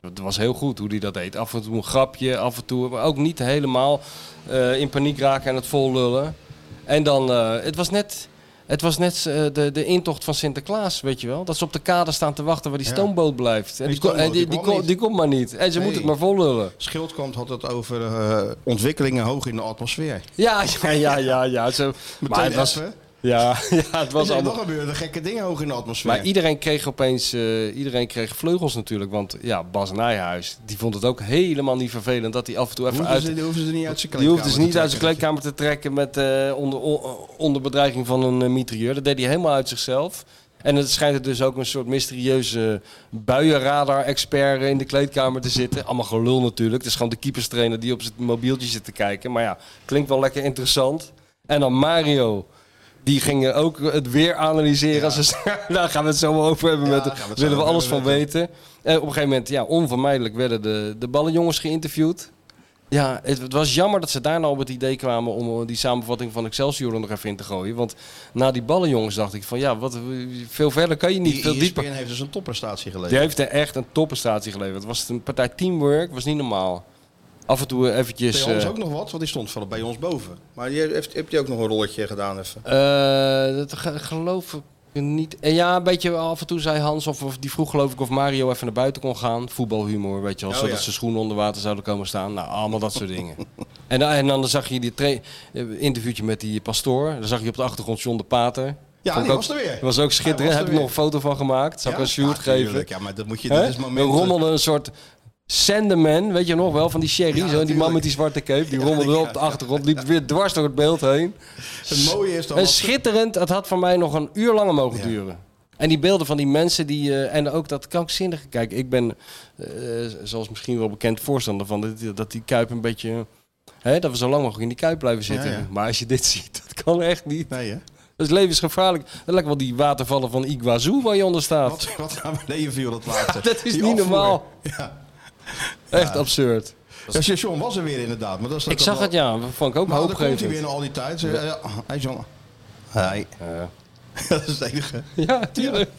Dat was heel goed hoe die dat deed. Af en toe een grapje, af en toe. Maar ook niet helemaal eh, in paniek raken en het vol lullen. En dan, eh, het was net, het was net eh, de, de intocht van Sinterklaas, weet je wel. Dat ze op de kade staan te wachten waar die
Ja.
stoomboot blijft.
Die
En die, kon-
stoomboot,
en die,
die
die,
kwam
kon-
niet.
die komt maar niet. En ze
Nee.
moeten het maar vol lullen.
Schildkamp had het over eh, ontwikkelingen hoog in de atmosfeer.
Ja, <laughs> ja, ja, ja. ja. Zo, maar het was,
even.
ja, <laughs> ja, het was
Was
allemaal...
er gebeuren er gekke dingen hoog in de atmosfeer.
Maar iedereen kreeg opeens eh, iedereen kreeg vleugels natuurlijk. Want ja, Bas Nijhuis die vond het ook helemaal niet vervelend dat hij af en toe even
hoeven,
uit.
ze, die hoeven ze niet uit zijn
Die hoefde
kleedkamer
dus
te
niet uit zijn
trekken.
kleedkamer te trekken met, eh, onder, o- onder bedreiging van een eh, mitrailleur. Dat deed hij helemaal uit zichzelf. En het schijnt er dus ook een soort mysterieuze buienradar-expert in de kleedkamer te zitten. Allemaal gelul natuurlijk. Het is gewoon de keeperstrainer die op zijn mobieltje zit te kijken. Maar ja, klinkt wel lekker interessant. En dan Mario. Die ging eh, ook het weer analyseren. Als we, <laughs> daar gaan we het zo wel over hebben.
Ja,
met,
daar gaan we het zo
willen we
over
alles van
hebben
weten. En op een gegeven moment, ja, onvermijdelijk werden de, de ballenjongens geïnterviewd. Ja, het, het was jammer dat ze daarna op het idee kwamen om eh, die samenvatting van Excelsior er nog even in te gooien. Want na die ballenjongens dacht ik van ja, wat, eh, veel verder kan je niet.
Die
veel dieper.
ESPN heeft dus een topprestatie geleverd.
Die heeft er echt een topprestatie geleverd. Het was een partij teamwork, was niet normaal. Af en toe eventjes...
Bij ons
eh,
ook nog wat, want die stond vooral bij ons boven. Maar die heeft, heeft die ook nog een rolletje gedaan even.
Eh, dat ge- geloof ik niet. Eh, Ja, een beetje af en toe zei Hans, of, of die vroeg geloof ik of Mario even naar buiten kon gaan. Voetbalhumor, weet je wel.
Oh,
zodat
ja.
zijn schoenen onder water zouden komen staan. Nou, allemaal dat soort dingen. <laughs> En, dan- en dan zag je die tra- eh, interviewtje met die pastoor. Dan zag je op de achtergrond John de Pater.
Ja,
Vond ik
die
ook-
was er weer.
was ook
Hij
schitterend.
was er
Heb ik
weer.
nog een foto van gemaakt. Zou ik
Ja?
een shoot
Ja, tuurlijk.
geven.
Ja, maar dat moet je, dit
Hè?
is
Er
moment.
rommelde een soort Sanderman, weet je nog wel, van die sherry.
Ja,
zo, die man
natuurlijk.
met die zwarte cape, die rommelde
ja,
op de achtergrond, liep weer dwars door het beeld heen.
Het mooie is dan
Een
als-
schitterend, het had voor mij nog een uur langer mogen
Ja.
duren. En die beelden van die mensen die. eh, en ook dat krankzinnige. Kijk, ik ben, eh, zoals misschien wel bekend, voorstander van dat, dat die kuip een beetje. Hè, dat we zo lang mogelijk in die kuip blijven zitten.
Ja, ja.
Maar als je dit <laughs> ziet, dat kan echt niet.
Nee, hè?
Dat is levensgevaarlijk. Dat lijkt wel die watervallen van Iguazu waar je onder staat.
Wat, wat aan beneden viel dat laatste.
<laughs> Dat is
Die
niet
afvoer.
normaal.
Ja.
Echt absurd.
Ja, John was er weer inderdaad. Maar dat is
Ik zag het, ja. Dat vond ik ook
Maar dan komt hij
hoopgevend.
weer in al die tijd. Zo, ja, ja. Hey John. Hi.
Ja.
<laughs> dat is het enige.
Ja, tuurlijk.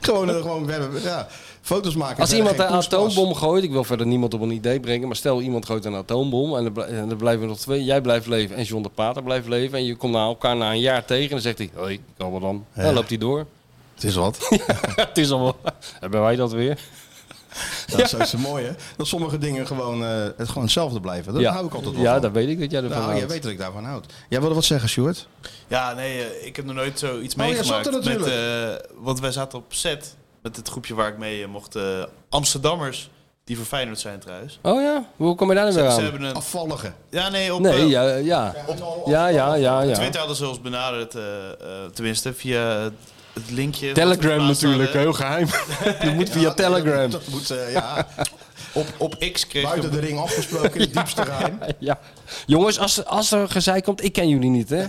Gewoon, eh, gewoon we hebben- ja, foto's maken.
Als
Verder
iemand een
geen poespas.
atoombom gooit, ik wil verder niemand op een idee brengen, maar stel iemand gooit een atoombom en er, bl- en er blijven nog twee, jij blijft leven en John de Pater blijft leven en je komt na elkaar na een jaar tegen en dan zegt hij, hoi, kan wel dan. Dan loopt hij door. <laughs>
Het is wat.
het is allemaal, hebben wij dat weer?
Dat is ook zo mooi, hè? Dat sommige dingen gewoon, eh, het gewoon hetzelfde blijven. Dat hou ik altijd wel
Ja,
van.
dat weet ik dat jij ervan
Nou,
houdt.
jij weet dat ik daarvan houd. Jij wilde wat zeggen, Stuart?
Ja, nee, eh, ik heb nog nooit zoiets
Oh, jij
meegemaakt.
zat er
met, eh, want wij zaten op set met het groepje waar ik mee eh, mocht. eh, Amsterdammers, die voor Feyenoord zijn trouwens.
Oh ja, hoe kom je daar nou
Ze,
weer
ze
aan?
hebben een...
Afvallige.
Ja, nee, op,
Nee,
eh,
ja, ja. Ja, ja, ja, ja.
Twitter hadden ze ons benaderd. eh, eh, tenminste, via het- het linkje. wat we
Telegram
geplaatst
natuurlijk,
hadden.
heel <laughs> geheim. Je moet via Telegram.
Dat moet, eh, <laughs> ja,
Op, op X kreeg
buiten de
je...
ring afgesproken, in het diepste geheim.
Ja. Jongens, als, als er gezeik komt, ik ken jullie niet, hè?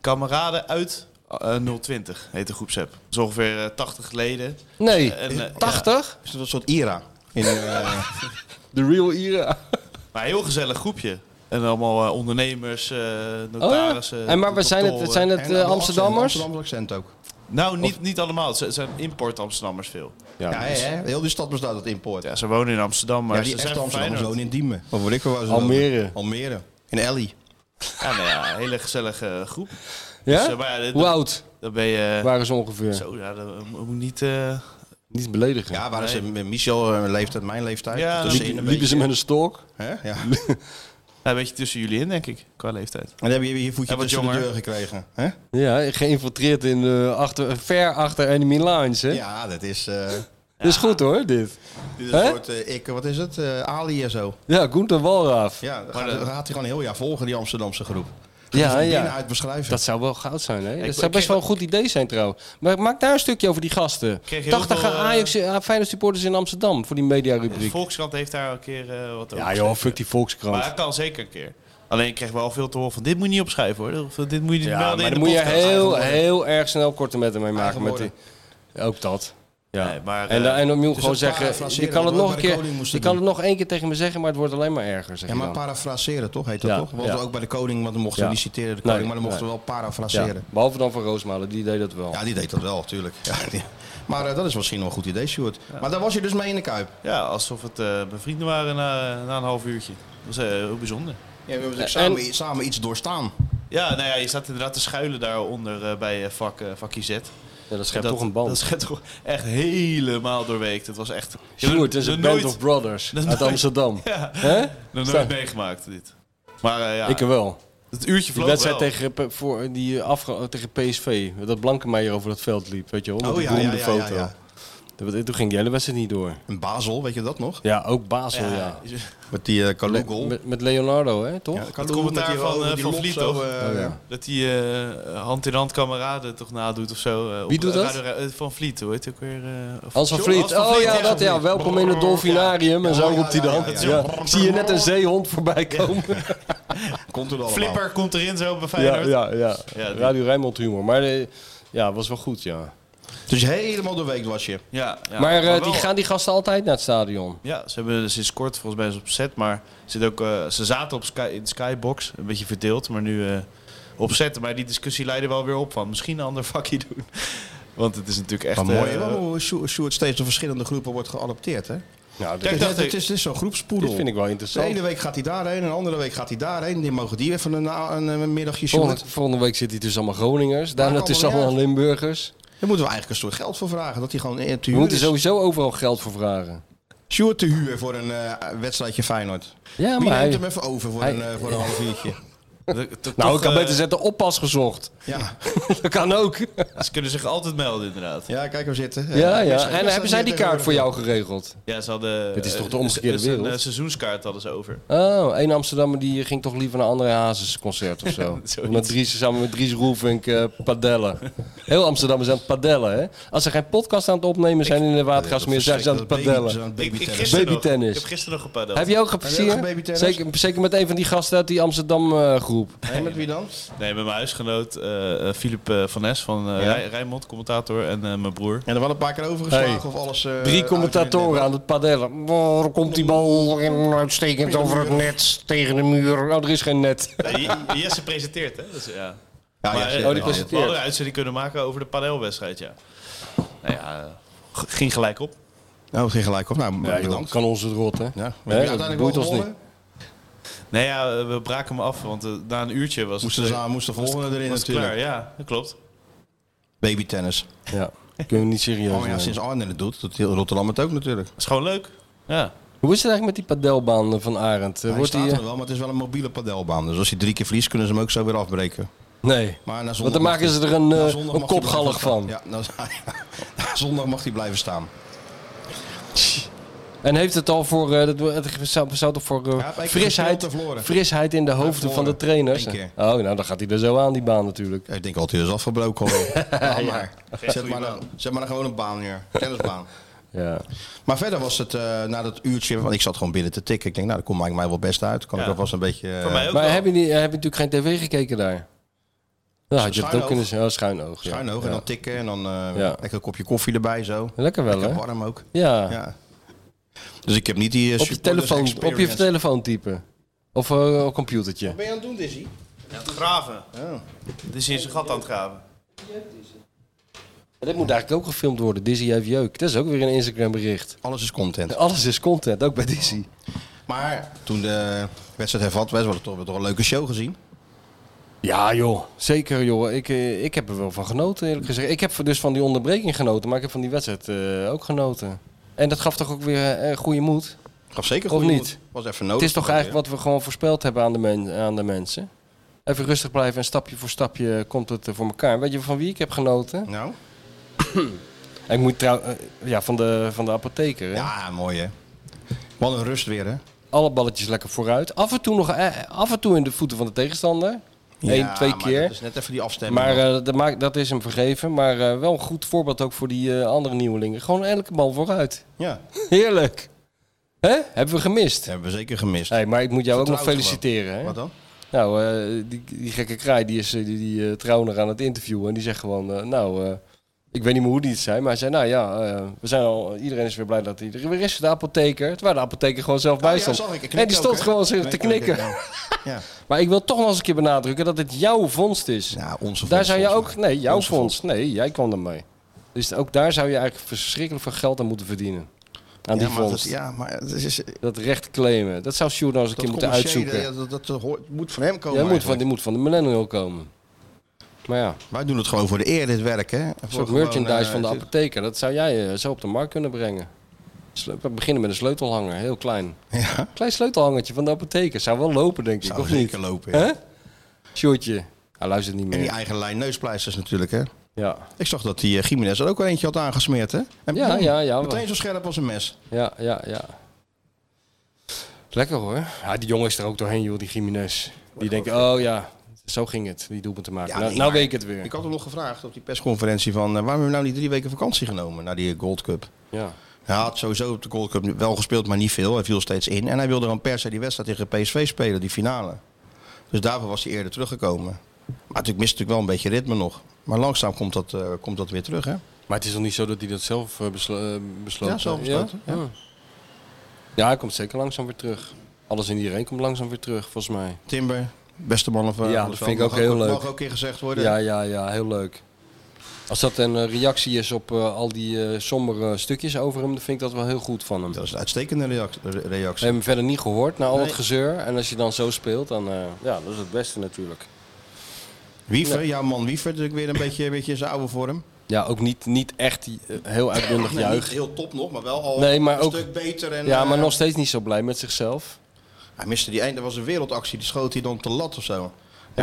Kameraden uit eh, 020, heet de groepsapp. Dat is ongeveer eh, 80 leden.
Nee,
En, eh,
80?
Is dat een soort Ira? In, eh,
De real Ira.
Maar een heel gezellig groepje. En allemaal eh, ondernemers, eh,
Oh ja.
notarissen.
en maar we zijn het,
kantoren.
zijn het
en
eh,
dan
Amsterdammers?
Amsterdamse accent ook.
Nou, niet, niet allemaal. Het zijn- Het zijn import-Amsterdammers veel.
Ja, hè, hè? heel die stad bestaat uit import.
Ja, ze wonen in Amsterdam, maar
Ja, die
ze zijn
echte
van
Amsterdammers
Feyenoord.
wonen in Diemen. Of weet ik wel waar ze
Almere.
wonen. Almere. In Ellie.
Ja, nou ja, een hele gezellige eh, groep.
Ja?
Dus, eh, maar ja, dit-
Hoe oud
Dan ben je... eh,
waren ze ongeveer?
Zo, ja, dat moet niet... eh,
Niet beledigen.
Ja, waren ze met Michel eh, leeftijd, mijn leeftijd?
Ja,
Tussenin
liepen-
een
Liepen ze
beetje.
met een stok?
Hè? <laughs> Ja.
een beetje tussen jullie in, denk ik, qua leeftijd.
En dan heb je je voetje
En wat
tussen de
jonger.
deur gekregen. Hè?
Ja, geïnfiltreerd in de achter, ver achter enemy lines. Hè?
Ja, dat is, eh,
Dat is goed hoor, dit.
dit is
Hè?
een soort eh, ik, wat is het? Eh, Ali en zo.
Ja, Gunther Walraaf.
Ja, dat gaat, dat gaat hij gewoon een heel jaar volgen, die Amsterdamse groep.
Ja,
Ja,
ja.
Binnenuit beschrijven.
Dat zou wel goud zijn, hè?
ik
Dat zou best
kreeg-
wel een goed idee zijn, trouwens. Maar maak daar een stukje over die gasten.
kreeg heel
80
veel, eh,
Ajax, eh, Feyenoord supporters in Amsterdam voor die mediarubriek.
Volkskrant heeft daar een keer eh, wat over
Ja,
gezegd.
joh, fuck die
Maar
Volkskrant.
dat kan zeker een keer. Alleen ik kreeg wel veel te horen van dit moet je niet opschrijven hoor. Of dit moet je niet
Ja,
melden
maar
in
dan
de
moet je
podcast.
heel, heel erg snel korte metten mee maken.
Eigen
Met die, ook dat. Ja.
Nee, maar,
en,
eh,
dan- en dan moet je
dus
gewoon
een paar
zeggen, je
fraseren,
kan het
wat
nog een
bij de
keer,
koning moesten
je kan het
doen.
nog één keer tegen me zeggen, maar het wordt alleen maar erger, zeg
Ja,
je
maar
dan.
parafraseren toch, heet dat
Ja,
toch? Want
ja.
ook bij de koning, want dan mochten
Ja.
we niet citeren de koning,
Nee,
maar dan mochten
nee.
we wel
Ja,
parafraseren.
behalve dan van Roosmalen, die deed dat wel.
Ja. die deed dat wel, tuurlijk. <laughs> Ja, die- Maar eh, dat is misschien wel een goed idee, Sjoerd. Maar daar was je dus mee in de Kuip.
Ja, alsof het eh, mijn vrienden waren na, na een half uurtje. Dat was eh, heel bijzonder.
Ja, we hebben
En-
samen, samen iets doorstaan.
Ja, nou ja, je staat inderdaad te schuilen daaronder eh, bij eh, vak, eh, vak IZ.
Ja, dat schept
Dat-
toch een band.
Dat schept toch echt helemaal doorweekt. Het was echt...
Sjoerd is
nog
een
nooit,
band of brothers
Dat
uit
nooit- <laughs>
Amsterdam.
Ja.
Hè?
nog
Sta-
nooit meegemaakt dit. Maar eh, ja,
Ik wel.
het uurtje
Die
vloog
wedstrijd
wel.
tegen, P- voor, die afge, tegen PSV, dat Blankenmeijer over dat veld liep, weet je wel? met
Oh,
die
ja, ja,
beroemde
ja, ja,
foto.
ja.
Dat- Toen ging die hele wedstrijd niet door.
In Basel, weet je dat nog?
Ja, ook Basel, ja.
Met die uh,
Met- Met, met Leonardo, hè, toch?
Ja,
Het commentaar
met die-
van, eh,
met die
van
lop
Vliet,
zo,
toch?
eh,
Oh, ja.
Dat hij eh, hand in hand kameraden toch nadoet of zo. eh,
Wie
op
doet
de
dat?
radio- eh, van Vliet, hoe heet hij ook weer? eh, of-
Hans van
Sorry,
Vliet. Oh ja, dat ja. Welkom in het dolfinarium. En zo
ja,
roept hij
ja,
dan.
ja,
Ja. Zie je net een zeehond voorbij komen?
Komt er allemaal.
Flipper komt erin zo bij
Ja,
Feyenoord.
ja, ja.
Ja, die-
Radio Rijnmond humor. Maar eh, ja, was wel goed, ja.
Dus helemaal de week was je.
Ja, ja.
Maar eh,
wel-
die, gaan die gasten altijd naar het stadion?
Ja, ze hebben er sinds kort volgens mij is op set, maar zit ook, eh, ze zaten op Sky, in Skybox, een beetje verdeeld, maar nu eh op set. Maar die discussie leidde wel weer op van misschien een ander <laughs> vakje doen. Want het is natuurlijk echt...
Maar mooi,
eh,
hè, hoe Sjo- Sjoerd steeds door verschillende groepen wordt geadopteerd, hè?
Nou, dit,
Kijk,
Het
dacht
is,
ik-
het is, het is zo'n groepspoedel.
dit vind ik wel
de ene
interessant.
week gaat hij daarheen, en de andere week gaat hij daarheen. Die mogen die even een, een, een middagje
Volgende,
Sjoerd.
volgende week zit hij tussen allemaal Groningers. Daarna
kan
tussen
wel, ja.
allemaal Limburgers.
Daar moeten we eigenlijk een soort geld voor vragen. Dat hij gewoon eh, te
We
huur
moeten
is.
sowieso overal geld voor vragen.
Sjoerd te huur voor een eh, wedstrijdje Feyenoord.
Ja,
Wie
maar
neemt
hij...
hem even over voor,
hij-
een, eh, voor een half
<laughs>
uurtje?
dat- dat-
Nou,
toch,
ik kan
eh,
beter zetten oppas gezocht. <laughs>
Ja,
Dat kan ook.
Ze kunnen zich altijd melden inderdaad.
ja dus kijk hem zitten.
Ja,
Wedstrijd-
ja. En eh,
wedstrijd
hebben zij die
hier
kaart voor
tegenwoordig.
jou geregeld?
Ja, ze hadden...
Het is toch de
eh,
omgekeerde
ze- ze-
wereld?
Een seizoenskaart hadden ze over.
Oh, één Amsterdammer die ging toch liever naar een André Hazes concert of <laughs> zo.
Zoiets.
met Dries, samen met Dries Roelvink eh padellen. Heel Amsterdam is aan het padellen, hè? Als ze geen podcast aan het opnemen zijn in de Watergasmeer, zijn ze aan het
Baby-
padellen.
zo'n
Ik, ik,
babytennis.
gisteren
Babytennis.
Nog, ik heb gisteren nog gepaddeld.
Heb je ook
Heb je
geplezier?
ook gebabytennis?
Zeker, zeker met een van die gasten uit die eh, Amsterdam-groep.
En met wie dan?
Nee, met mijn huisgenoot eh, eh, Philip eh, van Nes van eh,
Ja.
Rij- Rijnmond, commentator, en eh, mijn broer.
En er wel een paar keer overgeslagen
Hey.
of alles... eh,
Drie commentatoren aan het padellen. Waar komt die bal in? uitstekend over het net, tegen de muur. Oh, er is geen net.
Nee, J- Jesse presenteert, hè? Dus, ja.
Ja,
Maar,
ja,
eh,
ja,
oh, die
ja.
presenteert.
we hadden een uitzending kunnen maken over de paneelwedstrijd, ja. Nou ja, eh, g- ging gelijk op.
Nou, het ging gelijk op. Nou,
Ja, joh,
bedankt.
kan ons het rot, hè?
Ja, we
Hè,
hebben
dat
uiteindelijk
boeit
wel
ons niet.
gewonnen.
Nee, ja, eh, we braken hem af, want eh, na een uurtje was
Moesten
het,
ze
eh,
aan, moesten volgende erin
was het
natuurlijk.
klaar. Ja, dat klopt.
Babytennis.
Ja, kunnen we niet serieus
Oh ja,
nemen.
sinds Arnhem het doet, doet heel Rotterdam het ook natuurlijk.
Dat is gewoon leuk. Ja.
Hoe is het eigenlijk met die padelbaan eh, van Arend?
Hij
Wordt
staat
die... eh,
er wel, maar het is wel een mobiele padelbaan. Dus als hij drie keer verliest, kunnen ze hem ook zo weer afbreken.
Nee.
Maar na zondag
Want dan
mag
maken
hij-
ze er een,
na
eh,
zondag
een
mag hij
kopgallig
blijven
van.
staan. Ja, nou, <laughs> na zondag mag hij blijven staan.
En heeft het al voor, eh, dat, het zou, zou toch voor eh,
Ja, maar ik
frisheid,
heb het verloren.
frisheid in de hoofden van de trainers?
Eén keer.
Oh, nou dan gaat hij er zo aan, die baan natuurlijk.
Ja, Ik denk altijd is afgebroken
<laughs>
hoor. Ja, maar. Zet,
goeie
maar
baan.
dan, zet maar dan gewoon een baan neer. Tennisbaan.
Ja.
Maar verder was het eh, na dat uurtje, want ik zat gewoon binnen te tikken. Ik denk, nou, dat komt mij wel best uit. Kan
Ja.
ik alvast een beetje... eh,
Voor mij ook
Maar
wel.
heb je, niet, heb je natuurlijk geen tv gekeken daar? Nou, had je het
Schuin
ook
oog.
kunnen zeggen. Oh, schuin oog. ja.
Schuin oog en
Ja.
dan tikken en dan eh
Ja.
lekker een kopje koffie erbij zo.
Lekker wel, hè?
Lekker warm ook.
Ja.
Ja. Dus ik heb niet die eh,
Op, je
supporters
telefoon, op je
experience.
telefoon typen. Of eh, een computertje.
ben je aan het doen, Dizzy?
Aan het graven. Het is in zijn gat aan het graven.
Dit moet eigenlijk ook gefilmd worden. Dizzy heeft jeuk. Dat is ook weer een Instagram bericht.
Alles is content.
Alles is content, ook bij Dizzy.
Maar toen de wedstrijd hervat werd, we hadden toch, we hadden toch een leuke show gezien.
Ja, joh. Zeker, joh. Ik, eh, ik heb er wel van genoten, eerlijk gezegd. Ik heb dus van die onderbreking genoten, maar ik heb van die wedstrijd eh, ook genoten. En dat gaf toch ook weer eh goede moed.
Gaf zeker
Of
goed.
niet?
Was even nodig.
Het is toch eigenlijk wat we gewoon voorspeld hebben aan de, men- aan de mensen. Even rustig blijven en stapje voor stapje komt het eh, voor elkaar. Weet je van wie ik heb genoten?
Nou?
En Ik moet trouw, eh, ja, van de, van de apotheker. hè?
Ja, mooi hè. Wat een rust weer hè.
Alle balletjes lekker vooruit. Af en toe nog eh, af en toe in de voeten van de tegenstander. Eén,
Ja,
twee
maar
keer.
Dat is net even die afstemming.
Maar eh, dat, maakt, dat is hem vergeven. Maar eh, wel een goed voorbeeld ook voor die eh, andere nieuwelingen. Gewoon elke bal vooruit. <laughs>
ja, dat
Heerlijk. Hè? Hebben we gemist.
hebben we zeker gemist.
Hey, maar ik moet jou ook nog
Vertrouwd
feliciteren. Hè?
Wat dan?
Nou, eh, die, die gekke kraai die is eh, die, die, eh, Trauner aan het interviewen. En die zegt gewoon, eh, nou, eh, ik weet niet meer hoe die het zei. Maar hij zei, nou ja, eh, we zijn al, iedereen is weer blij dat hij er weer is. De apotheker. Terwijl de apotheker gewoon zelf bij
Oh ja,
stond.
zag ik. Ik
nee,
knik
die
ook,
stond
hè?
gewoon zich
Nee, oh, nou,
te
ik knik
knikken.
ook, ja.
Maar ik wil toch nog eens een keer benadrukken dat het jouw vondst is.
Ja, nou onze
Daar
fonds,
zou je
volgens
ook,
mij.
nee, jouw
Onze
fonds, nee, jij kwam ermee. Dus ook daar zou je eigenlijk verschrikkelijk veel geld aan moeten verdienen. Aan die
ja, maar dat,
fonds.
ja, maar het is, dat
Dat recht claimen. Dat zou Sjoerd nou eens een keer moeten
commerciële,
uitzoeken.
ja, dat, dat hoort- moet van hem komen.
Jij moet van,
eigenlijk.
die moet van de millennial komen. Maar ja,
Wij doen het gewoon voor de eer, dit werk. Hè? Voor
een soort
gewoon,
merchandise
eh,
van de
dit-
apotheker. Dat zou jij eh, zo op de markt kunnen brengen. Sleu- We beginnen met een sleutelhanger, heel
<laughs>
klein.
Ja,
Klein sleutelhangertje van de apotheker. Zou wel lopen, denk ik,
zou
of niet?
zeker lopen. ja.
Hè? Sjoerdje. Hij luistert niet
En die
meer.
eigen lijn neuspleisters natuurlijk. Hè?
Ja,
Ik zag dat die eh, Jiménez er ook wel eentje had aangesmeerd. Hè? En
Ja,
boem,
ja, ja.
Meteen zo scherp als een mes.
ja, ja, ja. Lekker hoor. Ja, die jongen is er ook doorheen, joh, die Jiménez. Die denkt, oh ja, zo ging het, die doelpunt te maken.
Ja,
nou
nee,
nou
maar-
weet ik het weer.
Ik had hem nog gevraagd op die persconferentie van... eh, waarom hebben we nou niet drie weken vakantie genomen na die eh, Gold Cup?
Ja.
Hij had sowieso op de Gold Cup wel gespeeld, maar niet veel. Hij viel steeds in. En hij wilde gewoon per se die wedstrijd tegen PSV spelen, die finale. Dus daarvoor was hij eerder teruggekomen. Maar natuurlijk mist natuurlijk wel een beetje ritme nog. Maar langzaam komt dat, eh, komt dat weer terug, hè?
Maar het is nog niet zo dat hij dat zelf eh, beslo- eh, besloten
Ja, zelf besloten,
Ja? ja. Ja, hij komt zeker langzaam weer terug. Alles en iedereen komt langzaam weer terug, volgens mij.
Oh, Timber, beste man of... eh,
Ja, dat
alles
vind ik
wel.
ook
Mag
heel leuk.
Mag ook een keer gezegd worden.
Ja, ja, ja, heel leuk. Als dat een eh, reactie is op eh, al die eh, sombere stukjes over hem, dan vind ik dat wel heel goed van hem.
Dat is een uitstekende react- re-
We
reactie.
hebben hem verder niet gehoord, na al het
Nee.
gezeur. En als je dan zo speelt, dan... eh, ja, dat is het beste natuurlijk.
Wiever, jouw man Wiever, natuurlijk weer een beetje, een beetje in zijn oude vorm.
Ja, ook niet, niet echt eh, heel uitbundig
Nee, niet
juich.
heel top nog, maar wel al
Nee, maar
een
ook-
stuk beter. En,
Ja, maar
eh,
nog steeds niet zo blij met zichzelf.
Hij miste die einde, was een wereldactie. Die schoot hij dan op de lat of zo.
Ja,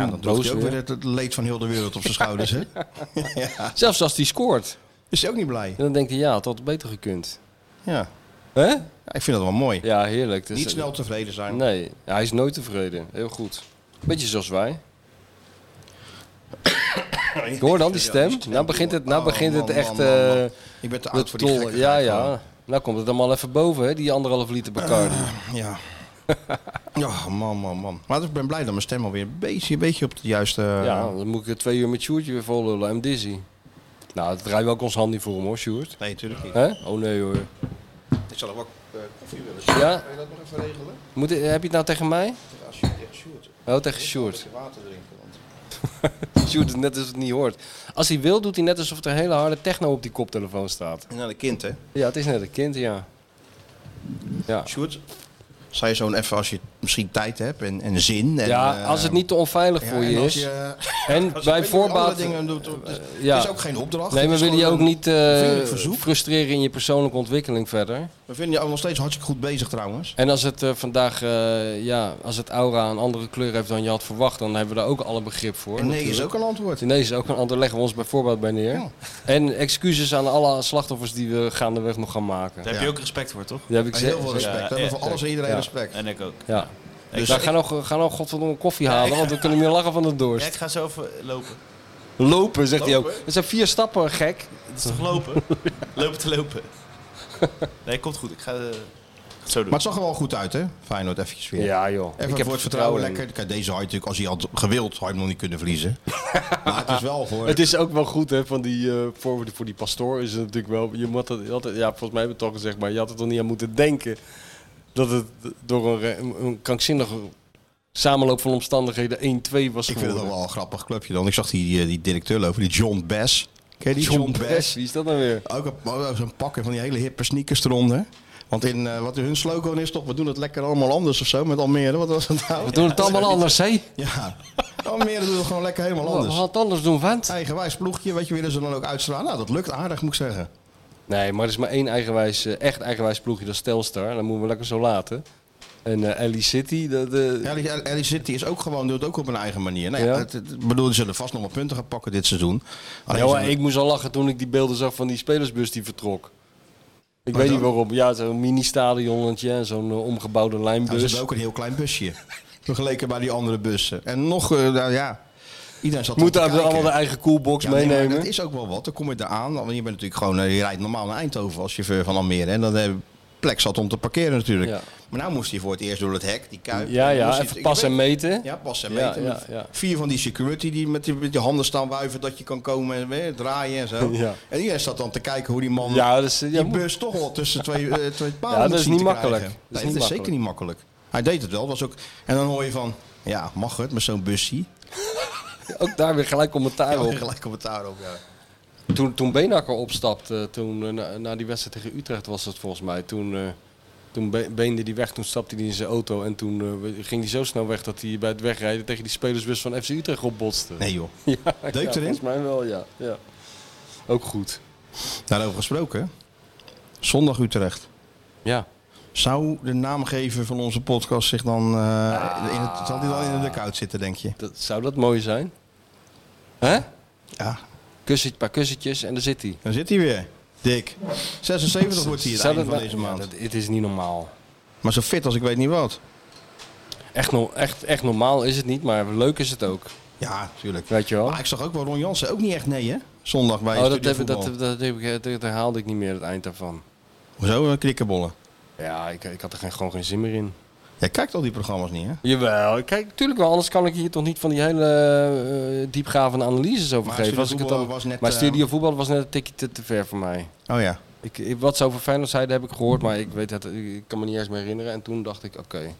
Ja,
dan
dan droeg
boos
hij ook
weer.
weer het, het leed van heel de wereld
<laughs>
op zijn schouders. Hè? Ah.
Zelfs als hij scoort.
Is hij ook niet blij?
En dan denkt hij, ja, het had beter gekund.
Ja.
Hè?
Ja, ik vind dat wel mooi.
Ja, heerlijk. Dus-
Niet snel tevreden zijn.
Nee, hij is nooit tevreden. Heel goed. Beetje zoals wij. Ik hoor dan die stem. Nou begint het, nou
Oh,
begint het
man,
echt...
man, man,
eh,
man. Ik ben te
de
oud Ah, voor die
tol.
gekke
Ja, ja. Nou komt het allemaal even boven, hè? die anderhalf liter Bacardi. <laughs>
Ja. Ja, man, man, man. Maar ik ben blij dat mijn stem alweer een beetje, een beetje op het juiste...
ja, dan moet ik er twee uur met Sjoerdje weer vol lullen en Dizzy. Nou, dat draait wel ook ons hand niet voor hem hoor, Sjoerd.
Nee, natuurlijk niet.
Hè? Oh nee hoor.
Ik zal ook wel eh, koffie willen.
Ja.
Kan je dat nog even regelen?
Moet, heb je het nou tegen mij?
Ja, Sjoerd, ja, Sjoerd.
Oh, tegen
Ik
Sjoerd.
wil water drinken, want...
Sjoerd doet net alsof het niet hoort. Als hij wil, doet hij net alsof er hele harde techno op die koptelefoon staat.
Nou, de kind, hè.
Ja, het is net een kind, ja. Ja.
Sjoerd, zou je zo'n even als je misschien tijd hebt en, en zin... En,
Ja,
eh,
als het niet te onveilig
ja,
voor je
en als
is.
je- eh, als
en
je
bij
weet hoe je andere
voorbaat. Eh,
dingen doet, het is-
ja.
Het is ook geen opdracht.
Nee, maar
Het is
wil je
gewoon
ook
een-
niet eh,
vriendelijk verzoek.
frustreren in je persoonlijke ontwikkeling verder?
We vinden je ook nog steeds hartstikke goed bezig trouwens.
En als het eh, vandaag, eh, ja, als het aura een andere kleur heeft dan je had verwacht, dan hebben we daar ook alle begrip voor.
En nee is
natuurlijk.
ook een antwoord.
Nee is ook een ander, leggen we ons bij voorbaat bij neer.
Ja.
En excuses aan alle slachtoffers die we gaandeweg nog gaan maken.
Daar heb je ook respect voor, toch?
Die heb ik
En
ze-
heel veel respect.
Ja,
we hebben voor
echt,
alles en iedereen
ja.
respect.
En ik ook.
Ja.
Dus
nou,
ik-
ga nog, ga nog godverdomme koffie halen, want we kunnen meer lachen van de
Ja,
dorst.
ik ga zo even lopen.
Lopen, zegt hij
Lopen?
ook. Dat zijn vier stappen, gek.
Het is toch
<laughs>
lopen? lopen te lopen. Nee, komt goed. Ik ga eh, ik ga het zo doen.
Maar het zag er wel goed uit, hè? Feyenoord eventjes weer.
Ja, joh.
Even voor het vertrouwen, lekker. Kijk, deze had je natuurlijk, als hij had gewild, had hij hem nog niet kunnen
<laughs>
verliezen. maar het is wel voor...
Het is ook wel goed, hè, van die, eh, voor, voor die pastoor is het natuurlijk wel... Je moet dat, je had het- ja, volgens mij hebben we het al gezegd, maar je had er toch niet aan moeten denken... dat het door een, re- een krankzinnige samenloop van omstandigheden 1-2 was
ik vind
geworden.
het ook wel een grappig clubje dan. Ik zag die, eh, die directeur lopen, die John Bess. Ken je die
John Bess, wie is dat nou weer?
Ook op- ook zo'n pakken van die hele hippe sneakers eronder. Want in eh, wat hun slogan is toch, we doen het lekker allemaal anders of zo met Almere. Wat was het nou?
We doen het allemaal anders, hè?
Ja. Almere doet het gewoon lekker helemaal
Wat
anders.
had anders doen, vent?
Eigenwijs ploegje, wat je willen ze dan ook uitstralen. Nou, dat lukt aardig, moet ik zeggen.
Nee, maar er is maar één eigenwijs, eh, echt eigenwijs ploegje, dat is Telstar. Dat moeten we lekker zo laten. En eh Ellie City, dat, eh,
Ellie, Ellie City is ook gewoon, doet het ook op een eigen manier. Nou ja,
Ja.
het- het- Ik bedoel, ze zullen vast nog wel punten gaan pakken dit seizoen. Alleen
Ja,
ze-
maar ik moest al lachen toen ik die beelden zag van die spelersbus die vertrok. Ik weet niet waarom. Ja, zo'n mini-stadionnetje en zo'n eh, omgebouwde
Nou, ze
lijnbus.
hadden ook een heel klein busje. <laughs> Vergeleken bij die andere bussen. En nog, eh, nou ja, iedereen zat
Moet
dan te
daar allemaal de
kijken.
eigen coolbox
Ja, nee, maar
meenemen.
dat is ook wel wat. Dan kom je daar aan. Want je, bent natuurlijk gewoon, eh, je rijdt normaal naar Eindhoven als chauffeur van Almere. En dan heb je plek zat om te parkeren natuurlijk.
Ja.
Maar nou moest hij voor het eerst door het hek, die kuip.
ja,
Dan
ja,
moest hij-
even
ik
pas
weet-
en meten.
Ja, pas en
Ja,
meten.
ja,
Met
ja.
Vier van die security die met, die met die handen staan wuiven dat je kan komen en eh, draaien en zo.
<laughs> Ja.
En iedereen staat dan te kijken hoe die man
Ja, dus, eh, ja,
die
moet-
bus toch wel tussen twee, eh, twee palen
Ja, dat
moet
is
zien
niet
te
makkelijk.
krijgen.
Dat is
Nee,
niet
dat is
makkelijk.
zeker niet makkelijk. Hij deed het wel. Was ook... En dan hoor je van, ja, mag het met zo'n busje?
ook daar weer gelijk commentaar
Ja,
op.
<laughs> gelijk commentaar op, ja.
Toen, toen Beenakker opstapte, toen, eh, na, na die wedstrijd tegen Utrecht was dat volgens mij. Toen, eh, toen Be- beende die weg, toen stapte hij in zijn auto. En toen eh, we- ging hij zo snel weg dat hij bij het wegrijden tegen die spelersbus van FC Utrecht opbotste.
Nee joh.
<laughs> Ja,
erin?
ja, volgens mij wel, ja. ja. Ook goed.
Daarover gesproken. Zondag Utrecht.
Ja.
Zou de naamgever van onze podcast zich dan... eh, in het, zal die dan in de dugout zitten, denk je?
Dat, zou dat mooi zijn? Hè?
Ja,
Kussetje, paar kussentjes en daar zit hij.
dan zit hij weer. Dik. 76 wordt hij het
Zou
einde
dat
van
nou-
deze
Ja,
maand.
dat- Het is niet normaal.
Maar zo fit als ik weet niet wat.
Echt, no- echt, echt normaal is het niet, maar leuk is het ook.
Ja, tuurlijk.
Weet je wel?
Maar Ah, ik zag ook wel Ron Jansen ook niet echt nee, hè? Zondag bij
Oh, dat,
Studio
heb, dat,
Voetbal.
dat, heb ik, dat herhaalde ik niet meer, het eind daarvan.
Zo, eh, knikkenbollen.
Ja, ik, ik had er geen- gewoon geen zin meer in.
Jij kijkt al die programma's niet, hè?
Jawel, kijk, tuurlijk wel. Anders kan ik hier toch niet van die hele eh, diepgravende analyses over
Maar
geven.
Studio
Als ik het
Voetbal
dan...
was net,
maar
eh,
studio voetbal was net een tikje te, te ver voor mij.
Oh ja.
Ik, ik- wat ze over Feyenoord zeiden heb ik gehoord, maar ik, weet het, ik kan me niet eens meer herinneren. En toen dacht ik, oké,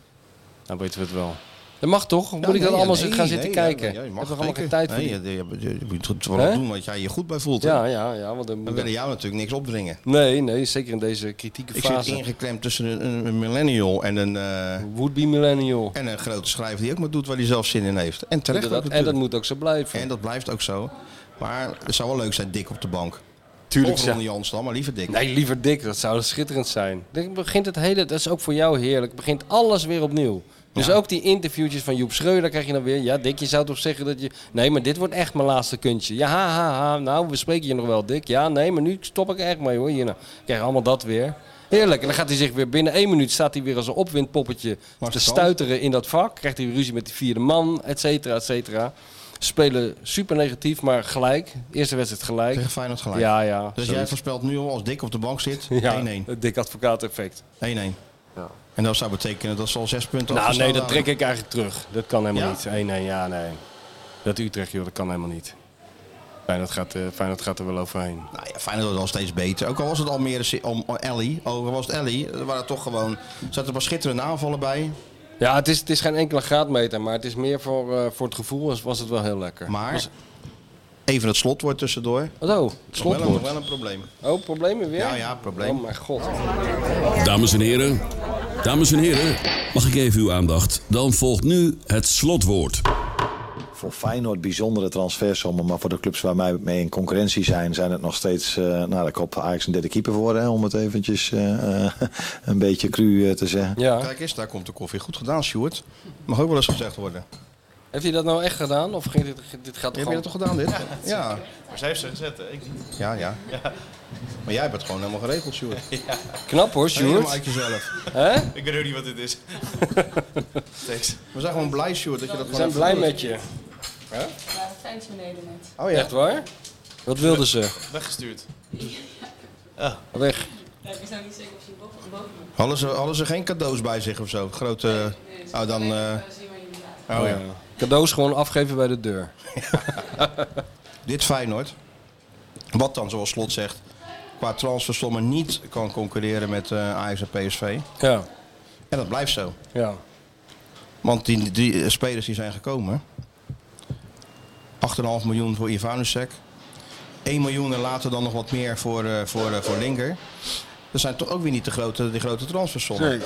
nou weten we het wel. Dat mag toch? Moet
Ja,
ik dan
nee,
allemaal
ja,
zo
nee,
gaan
nee,
zitten
ja,
kijken?
ja,
Ik
je
heb
mag
er allemaal
kijken.
geen tijd voor.
Nee,
die-
je, je- je- je moet het vooral
Hè?
doen wat jij je goed bij voelt. hè?
Ja, ja, ja. Want dan
We
moet
willen
ik-
jou natuurlijk niks opdringen.
nee, nee, zeker in deze kritieke
Ik zit
fase.
ingeklemd tussen een, een millennial en een, eh,
Would-be millennial.
en een grote schrijver die ook maar doet waar hij zelf zin in heeft. En terecht
Inderdaad,
ook
en dat
natuurlijk.
moet ook zo blijven.
En dat blijft ook zo. Maar het zou wel leuk zijn, dik op de bank.
Tuurlijk,
Of
ja. Nou,
Ron Jans dan, maar liever dik.
Nee, liever dik, dat zou schitterend zijn. Dan begint het hele, dat is ook voor jou heerlijk, begint alles weer opnieuw. Dus ook die interviewtjes van Joep Schreuder krijg je dan weer. Ja, Dick, je zou toch zeggen dat je... Nee, maar dit wordt echt mijn laatste kuntje. Ja, ha, ha, ha. Nou, we spreken je nog wel, Dick. Ja, nee, maar nu stop ik er echt mee, hoor. Hier, nou. Krijg je allemaal dat weer. Heerlijk. En dan gaat hij zich weer binnen één minuut... staat hij weer als een opwindpoppetje te
Marcel.
stuiteren in dat vak. Krijgt hij ruzie met die vierde man, et cetera, et cetera. Spelen super negatief, maar gelijk. Eerste wedstrijd gelijk.
Tegen Feyenoord gelijk.
Ja, ja.
dus jij
zoiets.
voorspelt nu al als dik op de bank zit, 1-1. 1-1.
Ja, het dik advocaat effect.
En dat zou betekenen dat ze al zes punten
Nou nee,
afgestaan
dat
hadden.
trek ik eigenlijk terug. Dat kan helemaal
Ja?
niet. Nee, nee, ja, nee. Dat Utrecht, joh, dat kan helemaal niet. Feyenoord gaat, eh, Feyenoord gaat er wel overheen.
Nou ja, Feyenoord wordt al steeds beter. Ook al was het Almere Ci- om om Ellie, ook al was het Ellie, er waren toch gewoon, er zaten wel schitterende aanvallen bij.
Ja, het is, het is geen enkele graadmeter, maar het is meer voor, eh, voor het gevoel was, was het wel heel lekker.
Maar even het slotwoord tussendoor. Nog
Wat oh,
wel een- Nog
slotwoord.
wel een probleem.
Oh, problemen weer?
Ja, ja, probleem.
Oh mijn god.
Dames en heren, dames en heren, mag ik even uw aandacht? Dan volgt nu het slotwoord.
Voor Feyenoord bijzondere transfersommen, maar voor de clubs waar wij mee in concurrentie zijn, zijn het nog steeds, eh nou ik hoop Ajax een derde keeper voor, hè, om het eventjes eh, <laughs> eh, een beetje cru eh, te zeggen.
Ja.
Kijk eens, daar komt de koffie. Goed gedaan, Stuart. Mag ook wel eens gezegd worden.
Heeft hij dat nou echt gedaan? Of ging dit, dit gaat toch
Heb je dat toch gedaan, dit? Ja,
Maar zij heeft ze gezet, hè? Ik niet.
ja, ja. Maar jij hebt het gewoon helemaal geregeld, Stuart.
gewoon- Knap hoor,
Helemaal
Stuart.
uit jezelf.
Hè?
Ik weet ook niet wat dit <laughs> is. Thanks.
We zijn gewoon blij, Stuart, dat je dat
We
gewoon
zijn
even
blij
doet.
met je.
Ja, dat zijn ze beneden net.
Oh ja.
Echt waar? Wat wilden ze?
Weggestuurd.
Weg.
Ja, ik ben zo niet zeker of ze boven boven doen.
Hadden ze, hadden ze geen cadeaus bij zich of zo? Grote... Oh, dan... eh,
Dan zien we jullie later.
oh ja.
Eh, Cadeaus gewoon afgeven bij de deur.
Dit Feyenoord, wat dan zoals Slot zegt, qua transfersommen niet kan concurreren met eh Ajax en PSV.
Ja,
En dat blijft zo.
ja.
Want die, die eh, spelers die zijn gekomen, 8,5 miljoen voor Ivanusek, 1 miljoen en later dan nog wat meer voor, eh, voor, eh, voor Linker. Dat zijn toch ook weer niet de grote, de grote transfersommen.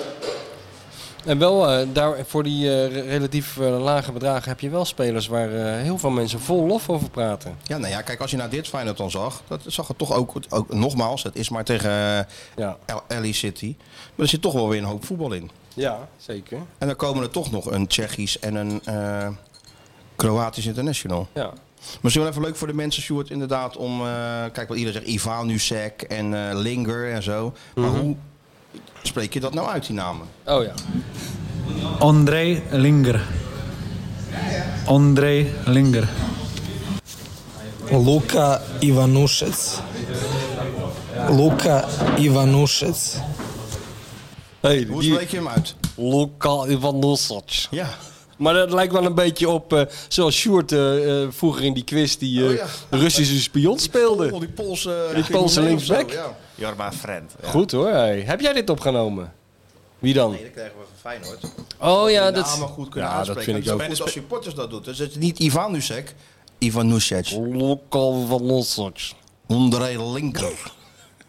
En wel, eh, daar, voor die eh, re- relatief eh, lage bedragen heb je wel spelers waar eh, heel veel mensen vol lof over praten.
Ja, nou ja, kijk, als je naar dit Feyenoord dan zag, dat zag het toch ook, ook nogmaals, het is maar tegen eh,
Ja,
LA City. Maar er zit toch wel weer een hoop voetbal in.
ja zeker.
En dan komen er toch nog een Tsjechisch en een eh, Kroatisch international.
Ja.
Misschien wel even leuk voor de mensen, Stuart, inderdaad, om... eh, kijk, wat iedereen zegt, Ivanusek en eh, Linger en zo. Maar
Mhm.
hoe spreek je dat nou uit, die namen?
Oh ja.
André Linger. André Linger.
Luka Ivanušec. Luka Ivanušec.
Hey,
Hoe spreek je hem uit?
Lokal Ivan Nossac.
Ja.
Maar dat lijkt wel een beetje op eh, zoals Sjoerd eh, eh, vroeger in die quiz die eh,
Oh ja.
Russische spion speelde.
Oh, die Poolse...
Die Poolse
crimineel of zo,
linksback?
Ja.
Jorma Friend. Ja.
Goed hoor. hey. Heb jij dit opgenomen? Wie dan?
Nee, dat krijgen we van
Nou,
Feyenoord.
Oh ja,
Ja,
dat.
dat... namen goed kunnen
ja, dat
aanspreken.
vind ik
het is goed als supporters dat doet. Dus het is niet Ivanusek, Ivanusek.
Lokal van Nossac.
Ondrej Linker.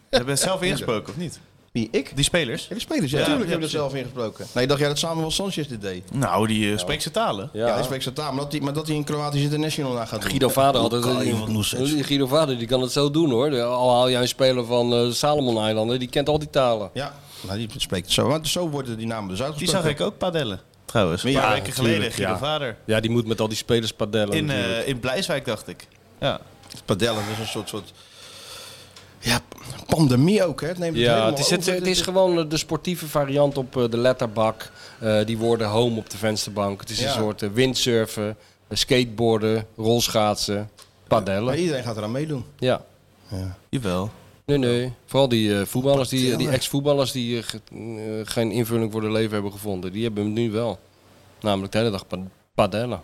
Hebben ze zelf ingesproken, of niet?
Wie, ik?
Die spelers?
Ja, die spelers, ja.
Ja,
Natuurlijk
ja,
hebben we dat zelf ingesproken. Nee, dacht jij dat Samuel Sanchez dit deed?
Nou, die eh, spreekt zijn talen.
Ja, hij spreekt zijn taal, maar dat hij- maar dat hij een Kroatisch international naar gaat doen.
Guido Vader had het. eh,
Luka Ivanusek.
Guido Vader die kan het zo doen hoor. De- Al haal jij een speler van eh Salomon-eilanden, die kent al die talen.
Ja, nou, die spreekt het zo. Want zo worden die namen dus
Die
uitgesproken.
zag ik ook padellen, trouwens. Een
Ja,
paar weken geleden,
tuurlijk,
Guido
ja.
Vader.
Ja, die moet met al die spelers padellen.
In,
natuurlijk.
eh in Blijswijk, dacht ik. Ja.
Padellen is een soort, soort... Ja, pandemie ook, hè. Het neemt het
Ja,
helemaal
het is,
over.
het, het is gewoon eh, de sportieve variant op eh, de letterbak. Eh, die woorden home op de vensterbank. Het is
Ja.
een soort eh, windsurfen, eh, skateboarden, rolschaatsen, padellen.
Maar iedereen gaat eraan meedoen.
Ja.
Jawel.
Nee, nee. Vooral die eh, voetballers, die, die ex-voetballers die eh, ge- eh, geen invulling voor hun leven hebben gevonden. Die hebben hem nu wel. Namelijk de hele dag pa- padellen.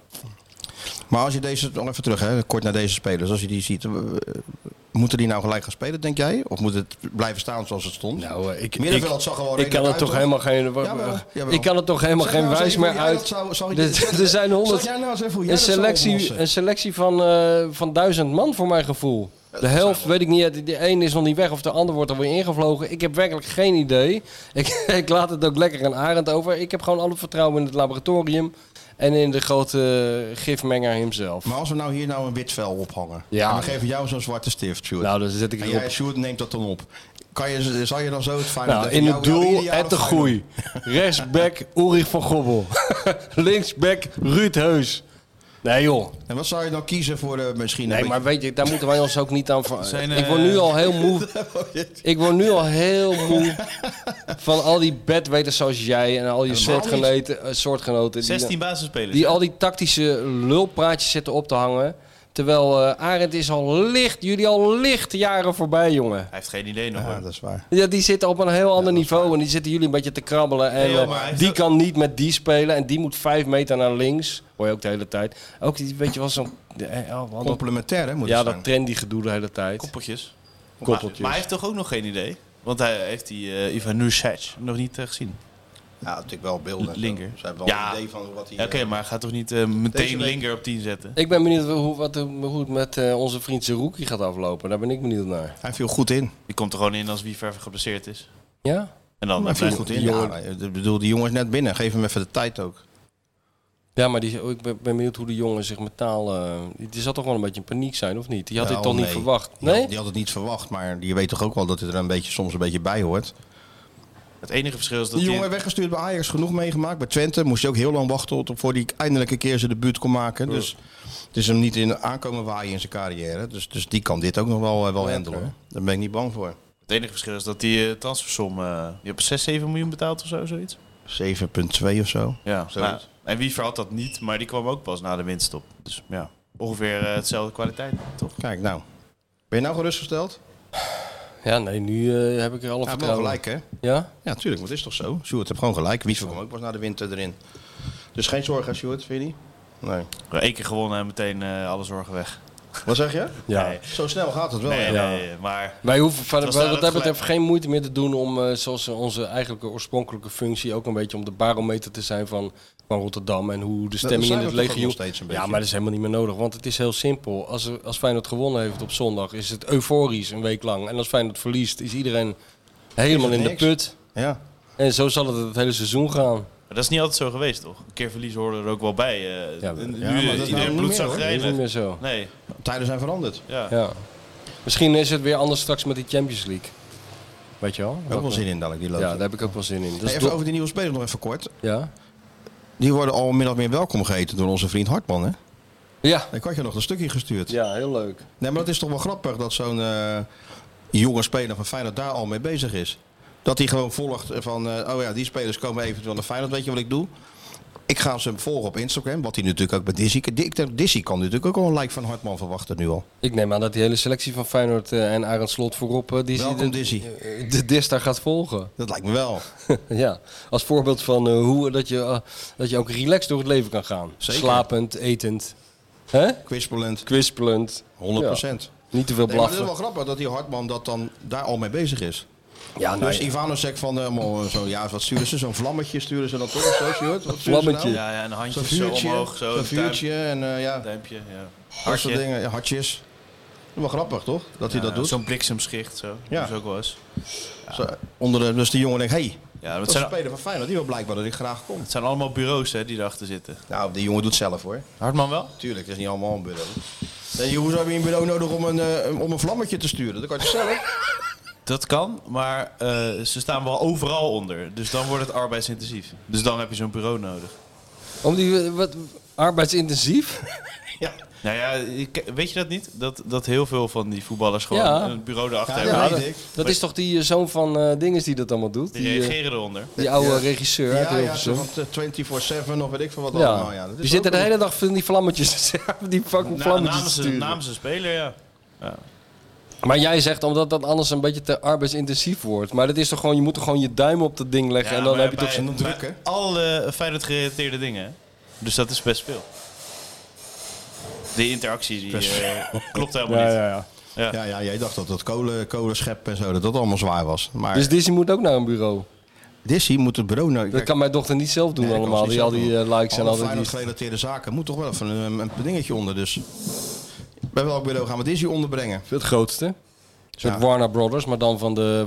Maar als je deze, nog even terug, hè, kort naar deze spelers. Als je die ziet, eh, moeten die nou gelijk gaan spelen, denk jij? Of moet het blijven staan zoals het stond?
Nou, eh, ik, ik,
Middenveld zag er wel
ik kan
redelijk
het toch
uit,
helemaal geen,
Jawel, jawel.
ik kan het toch helemaal
Zeg
geen
nou eens
wijs
even
meer
hoe jij
uit.
dat zou- zou je-
<laughs> Er- Er zijn
Zal
honderd.
jij nou eens even hoe jij
Een
dat zou
selectie,
oplossen?
een selectie van, eh, van duizend man voor mijn gevoel. De helft, weet ik niet, de- de een is nog niet weg of de ander wordt alweer ingevlogen. Ik heb werkelijk geen idee. <laughs> Ik, ik laat het ook lekker aan Arend over. Ik heb gewoon alle vertrouwen in het laboratorium en in de grote gifmenger hemzelf.
Maar als we nou hier nou een wit vel ophangen.
Ja.
En we geven jou zo'n zwarte stift, Sjoerd.
Nou, dan zet ik
en
erop.
jij, Sjoerd, neemt dat dan op. Kan je, zal je dan zo het fijn
Nou, in het doel en te <laughs> groei. Rechtsback Ulrich van <laughs> Gobbel. Linksback Ruud Heus. Nee joh.
En wat zou je dan kiezen voor eh, misschien
Nee,
een
maar weet je, daar moeten wij ons ook niet aan van.
Zijn,
ik
eh,
word nu al heel
<laughs>
moe. ik word nu al heel moe van al die bedweters zoals jij en al je soortgenoten, eh, soortgenoten die,
16 basisspelers.
die al die tactische lulpraatjes zitten op te hangen. Terwijl eh Arend is al licht, jullie al licht jaren voorbij, jongen.
Hij heeft geen idee nog. hoor.
beetje- Ja, Ah, dat is waar.
Ja, die zitten op een heel ander niveau en die zitten jullie een beetje te krabbelen. En
Nee, joh,
eh,
maar hij
die
heeft-
kan niet met die spelen en die moet vijf meter naar links. Hoor je ook de hele tijd. Ook, die- weet je wel, zo'n... eh, oh, <laughs> wat een-
Complementair, hè, moet
Ja,
het
dat
zijn.
trendy gedoe de hele tijd.
Koppeltjes.
Koppeltjes.
Maar, maar hij heeft toch ook nog geen idee? Want hij heeft die eh Ivan Nusic nog niet eh, gezien.
Ja, natuurlijk wel beelden. en zo.
Linker.
Ze hebben wel
Ja.
een idee van wat hij...
Ja, Oké, maar hij gaat toch niet eh, meteen
Deze week-
linker op 10 zetten?
Ik ben benieuwd hoe, wat, hoe het met eh, onze vriend Zerouki gaat aflopen. Daar ben ik benieuwd naar.
Hij viel goed in.
Die komt er gewoon in als wie ver geblesseerd is.
Ja?
En dan eh,
Hij viel
blijft
goed
hij-
in. Ja, ik bedoel, die jongen is net binnen. Geef hem even de tijd ook.
Ja, maar die, oh, ik ben ben benieuwd hoe de jongen zich mentaal... eh, die zal toch wel een beetje in paniek zijn, of niet? Die had dit
Nou,
toch niet
nee.
verwacht?
Die had-
Nee?
Die had het niet verwacht, maar die weet toch ook wel dat hij er een beetje, soms een beetje bij hoort.
Het enige verschil is dat
Die
hij-
jongen weggestuurd bij Ajax, genoeg meegemaakt. Bij Twente moest hij ook heel lang wachten tot voor die eindelijk een keer zijn debuut kon maken. Dus het is hem niet in aankomen waaien in zijn carrière. Dus, dus die kan dit ook nog wel, eh, wel handelen. hoor. Daar ben ik niet bang voor.
het enige verschil is dat die eh, transfersom... eh je hebt 6, 7 miljoen betaald of zo, zoiets?
7,2 of zo.
Ja,
zoiets.
nou, En wie had dat niet, maar die kwam ook pas na de winststop. Dus ja, ongeveer eh, hetzelfde kwaliteit, toch?
Kijk nou. Ben je nou gerustgesteld?
Ja, nee, nu eh, heb ik er alle
Ja, wel
vertrouwen
gelijk hè?
Ja?
Ja, tuurlijk, want het is toch zo? Sjoerd heeft gewoon gelijk. Wie kwam ook pas na de winter erin. Dus geen zorgen, Sjoerd, vind je niet? Nee.
Eén keer gewonnen en meteen eh, alle zorgen weg.
Wat zeg je?
Ja.
Nee,
Zo snel gaat het wel.
nee,
hè?
ja.
nee, maar...
Wij hoeven van,
was
wat
daar
dat
het
betreft
gelijk.
geen moeite meer te doen om, eh, zoals onze eigenlijke oorspronkelijke functie, ook een beetje om de barometer te zijn van, van Rotterdam en hoe de stemming
zijn
in het
we toch ook
legioen...
nog steeds een
ja,
beetje.
maar dat is helemaal niet meer nodig, want het is heel simpel. Als, er- als Feyenoord gewonnen heeft op zondag, is het euforisch een week lang. En als Feyenoord verliest, is iedereen helemaal
Is het
in de
niks.
put.
Ja.
En zo zal het het hele seizoen gaan.
Dat dat is niet altijd zo geweest, toch? Een keer verliezen hoorde er ook wel bij. eh
Ja,
nu
ja,
maar dat
is
is
iedereen
nou niet meer, hoor.
Dat is
bloedzagrijnig.
niet meer zo.
Nee,
Tijden zijn veranderd.
ja.
Ja. Misschien is het weer anders straks met die Champions League. Weet je wel?
Ook wel zin in dadelijk die
Ja,
loting.
daar heb ik ook wel zin in. Dus
even
do-
over die nieuwe spelers nog even kort.
ja.
Die worden al min of meer welkom geheten door onze vriend Hartman. Hè?
Ja.
Ik had je nog een stukje gestuurd.
ja, heel leuk.
Nee, maar dat is toch wel grappig dat zo'n eh, jonge speler van Feyenoord daar al mee bezig is. Dat hij gewoon volgt van, eh, oh ja, die spelers komen eventueel naar Feyenoord, weet je wat ik doe? Ik ga ze volgen op Instagram, wat hij natuurlijk ook bij Dizzy... Di- Dizzy kan natuurlijk ook al een like van Hartman verwachten nu al.
Ik neem aan dat die hele selectie van Feyenoord eh, en Arend Slot voorop eh, die
Welkom,
de,
Dizzy.
eh, de Dista gaat volgen. <laughs>
Dat lijkt me wel.
ja, als voorbeeld van eh, hoe dat je, eh, dat je ook relaxed door het leven kan gaan.
Zeker.
Slapend, etend, hè?
Quizpolent, 100%.
kwispelend. Ja. Niet te veel
Nee, maar het is wel
blaffen.
grappig dat die Hartman dat dan daar al mee bezig is.
Ja, nou
dus
ja.
Ivano zegt van, eh, maar zo, ja, wat sturen ze? Zo'n vlammetje sturen ze dan toch? Zo, Sjoerd? Wat sturen ze
Vlammetje.
nou?
Ja, ja, een handje
Zo'n
zo
vuurtje,
omhoog, zo.
zo'n
een duim-
vuurtje en eh, ja,
Duimpje, ja.
dat soort
Hartje.
dingen. Ja, hartjes. Wel grappig, toch? Dat hij
Ja,
dat doet.
Eh, Zo'n bliksemschicht, zo.
Ja.
Dat is ook wel eens.
Zo, onder de, dus de jongen denkt, hé, hey,
Ja, dat
dat is een
zijn,
speler van Feyenoord. Die wil blijkbaar dat ik graag kom.
het zijn allemaal bureaus hè, die erachter zitten.
Nou, die jongen doet het zelf hoor.
Hartman wel?
Tuurlijk, het is niet allemaal een bureau. Nee, joh, hoezo heb je een bureau nodig om een, eh, om een vlammetje te sturen? Dat kan je toch zelf.
Dat kan, maar eh, ze staan wel overal onder. Dus dan wordt het arbeidsintensief. Dus dan heb je zo'n bureau nodig.
Om die, eh, wat, arbeidsintensief?
ja.
Nou ja, ik- weet je dat niet? Dat, dat heel veel van die voetballers gewoon
Ja.
een bureau erachter
Ja,
hebben. Die-
ja, dat-
Dat is toch die eh, zoon van eh Dinges die dat allemaal doet?
Die
Die, eh,
reageren eronder.
die oude
Ja.
regisseur uit
Ja, ja, zo
Hilversum.
van eh, 24-7 of weet ik veel wat
Ja.
allemaal. Nou Ja, dat is
die
ook
zitten de
een-
hele dag van die vlammetjes, <laughs> te- die fucking
Na,
vlammetjes te
Nou, namens, een,
sturen.
namens een speler, ja.
Maar jij zegt omdat dat anders een beetje te arbeidsintensief wordt. Maar dat is toch gewoon, je moet toch gewoon je duim op dat ding leggen
Ja,
en dan
maar
heb je toch
bij-
zo'n-
zo'n druk,
bij
hè?
Alle Feyenoord gerelateerde dingen. hè. Dus dat is best veel. De interactie die, eh, klopt helemaal niet.
Dus
Ja, ja, jij dacht dat dat kolen, kolenschep en zo, dat dat allemaal zwaar was. Maar
Dus Disney moet ook naar een bureau.
Dizzy moet het bureau... nou-
Dat kan mijn dochter niet zelf doen
Nee, dat kan
allemaal.
ze
Die
niet
al
zelf
die
doen.
eh, likes en
Alle
al die...
Feyenoord gerelateerde zaken moet toch wel even een, een dingetje onder. Dus bij welk bureau gaan we Dizzy onderbrengen?
Het grootste. Een soort
Ja.
Warner Brothers, maar dan van de